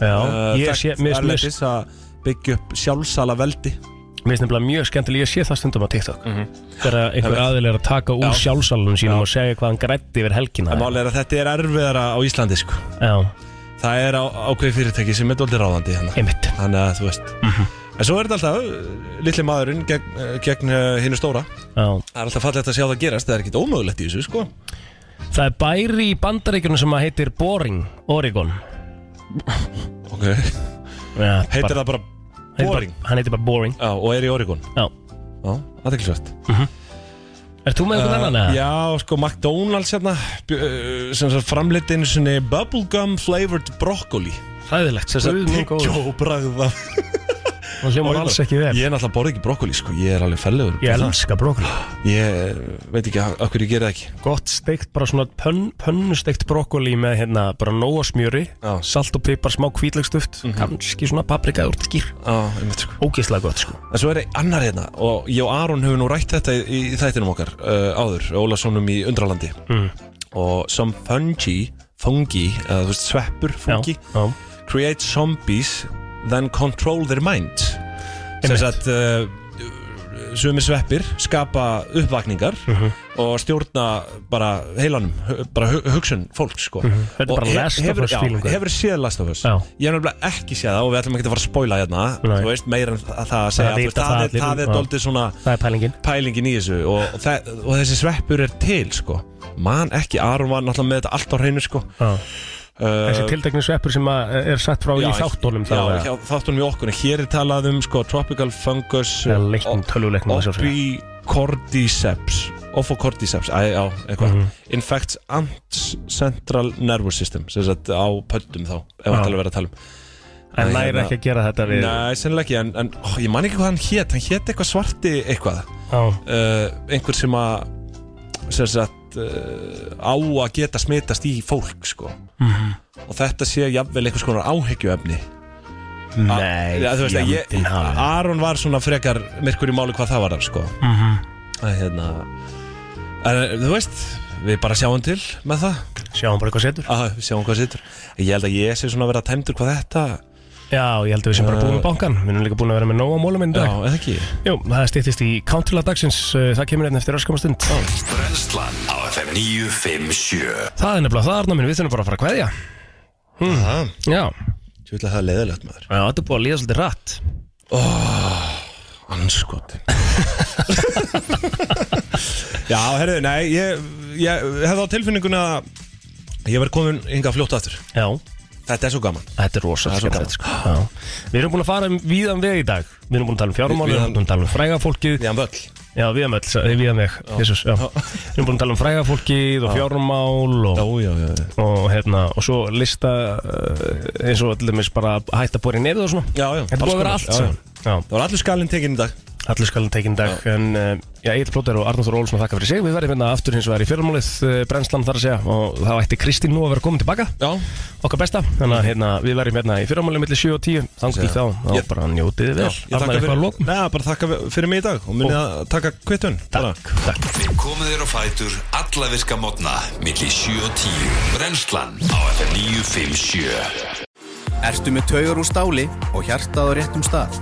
S4: Já,
S1: Eh, Þekkt
S4: ég sé mér finnst- mér
S1: erlendis að byggja upp sjálfsala veldi
S4: finnst- mér finnst nefnilega mjög skemmtilega Ég sé það stundum á TikTok Þegar einhver
S1: Einmitt.
S4: aðil er að taka úr
S1: Mhm. Já.
S4: sjálfsalunum sínum og segja hvað hann grætti yfir helgina
S1: En máli er að þetta er erfiðara á Íslandi sko
S4: Já,
S1: Það er á, ákveði fyrirtæki sem er dóldi ráðandi hérna
S4: einmitt Mhm.
S1: Þannig að þú veist En svo er þetta alltaf, uh, litli maðurinn gegn, uh, gegn uh, hinu stóra
S4: Já
S1: Það er alltaf fallegt að sjá það gerast, það er ekkit ómögulegt í þessu sko
S4: Það er bæri í bandaríkjunum sem að heitir Boring, Oregon
S1: Ok
S4: Já,
S1: Heitir
S4: bara-
S1: það bara
S4: heitir bara-
S1: Boring
S4: Hann heitir bara Boring
S1: Já, og er í Oregon
S4: Já Mhm.
S1: Já, aðeinsvægt
S4: Er þú með einhvern annan eða?
S1: Já, sko, McDonalds hérna bjö- uh, sem svo framleitt einu svona bubblegum flavored broccoli
S4: Hræðilegt, sem sagt
S1: Tyggjó bragð af
S4: Hún hljómar alls ekki vel
S1: Ég er náttúrulega borð ekki brokkoli sko, ég er alveg fellegur
S4: Ég elska brokkoli
S1: Ég veit ekki að hverju ég gera það ekki
S4: Gott steikt, bara svona pönn, pönnusteikt brokkoli með hérna bara nóa smjöri
S1: Já.
S4: Salt og pipar, smá kvítlögstuft Kanski svona paprika úr skýr
S1: Á, einmitt sko
S4: Ógeðslega gott sko
S1: En svo er ein- annar hérna og ég og Aron hefur nú rætt þetta í, í þættinum okkar uh, áður, Ólasonum í Undralandi
S4: Mm.
S1: og some fungi fungi, eða þú veist sveppur fungi,
S4: Já, já.
S1: create zombies then control their minds sem
S4: Einmitt.
S1: sagt uh, sumi sveppir skapa uppvakningar
S4: Mhm.
S1: og stjórna bara heilanum hu- bara hu- hugsun fólk sko.
S4: Mhm. Þetta er
S1: Og
S4: bara
S1: he-
S4: Last of
S1: hefur-
S4: Us
S1: já,
S4: feeling, hvað?
S1: hefur séð Last of Us
S4: Já.
S1: ég hef nefnilega ekki séð það og við ætlum ekki að fara að spoila hérna
S4: Nei.
S1: þú veist meira en þa- það að segja
S4: Það
S1: þú
S4: vita
S1: veist, það,
S4: það
S1: er-
S4: allir,
S1: það er
S4: já.
S1: doldið svona
S4: Það er pælingin
S1: pælingin í þessu og, þe og þessi sveppur er til sko. man ekki, Aron var náttúrulega með þetta allt á hreinu sko.
S4: Já.
S1: uh,
S4: Þessi tiltekni sveppur sem að eh, er sett frá í þáttunum þá
S1: já,
S4: eða?
S1: hjá þáttunum í okkur hér er talað um sko, tropical fungus
S4: Eða leiknum, tölvuleiknum að sjálfsögðu.
S1: opicordyceps ophocordyceps, æ, já, eitthvað
S4: Mhm.
S1: infects ants central nervous system sem sagt á pöldum þá ef
S4: Já.
S1: það er verið að tala um
S4: En
S1: Nei,
S4: læra
S1: hérna-
S4: ekki að gera þetta við
S1: Nei, sennilega ekki, en, en ó, ég man ekki hvað hann hét hann hét eitthvað svarti eitthvað
S4: Já.
S1: uh, einhver sem að sem sagt uh, á að geta smitast í fólk sko og þetta sé jafnvel einhvers konar áhyggjuefni
S4: Nei,
S1: Já, þú veist að ég,
S4: fjandinn hafi.
S1: Aron var svona frekar myrkur í máli hvað það var þar, sko mm hérna en, þú veist, við bara sjáum til með það,
S4: Sjáum bara hvað setur
S1: að við sjáum hvað sittur ég held að ég sé svona að vera tæmdur hvað þetta
S4: Já, ég held að við sem bara búin með bankan Við erum líka búin að vera með nóg á mólum einn
S1: já,
S4: dag
S1: eða ekki
S4: Jú, það stýttist í Countryla dagsins uh, Það kemur einn eftir öskama stund
S2: Brennslan á FM 957
S4: Það er nefnilega það, Arna minn, við þurfum bara að fara að kveðja Hmm.
S1: mm.
S4: Já,
S1: ég vil að það er leiðilegt maður
S4: Já þetta er búin að líða svolítið rætt
S1: anskotin já, herru, nei ég, ég hefði á tilfinninguna að ég verið komin hingað fljótt aftur
S4: Já,
S1: þetta er svo gaman
S4: þetta er
S1: Það er
S4: rosalega
S1: svo
S4: skemmtilegt sko. Já. Við erum búin að fara um víðan veg í dag Við erum búin að tala um fjármáli, við
S1: Víðan-
S4: erum búin að tala um frægafólkið
S1: Líðan völl
S4: Já, víðan veg, eh, víðan veg, jésús Við erum búin að tala um frægafólkið og fjármál og,
S1: já, já, já
S4: og, hérna, og svo lista uh, eins og allir mis bara að hætta að bóri nefið og svona
S1: Já, já,
S4: Þetta er búin að vera
S1: alls
S4: allt
S1: konar. Já, já.
S4: saman Já,
S1: Það var allur skalinn tekinn í dag
S4: Allir skalum tekinn dag En uh, já, Egil Plóter og Arnóður Ólfsson þakka fyrir sig Við verðum hérna aftur hins vegar í fyrramálið uh, Brennslan þar að segja Og þá ætti Kristín nú að vera komin tilbaka
S1: Já,
S4: Okkar besta Þannig að hérna, við verðum hérna í fyrramálið Millir 7 og 10 Þannig til þá Þá
S1: Ég-
S4: bara njótið þið vel
S1: ég
S4: Arnar,
S1: þakka
S4: eitthvað að
S1: fyrir,
S4: lokum?
S1: neða, bara þakka fyrir mig í dag og munið að taka kvittun
S4: Takk, takk
S2: Við komum þér á fætur alla virka modna milli 7 og 10 Brennslan á FM 957
S11: Ertu með taugar úr stáli og hjartað á réttum stað?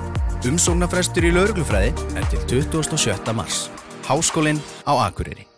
S11: Umsóknarfrestur í lauruglufræði er til 27. mars. Háskólinn á Akureyri.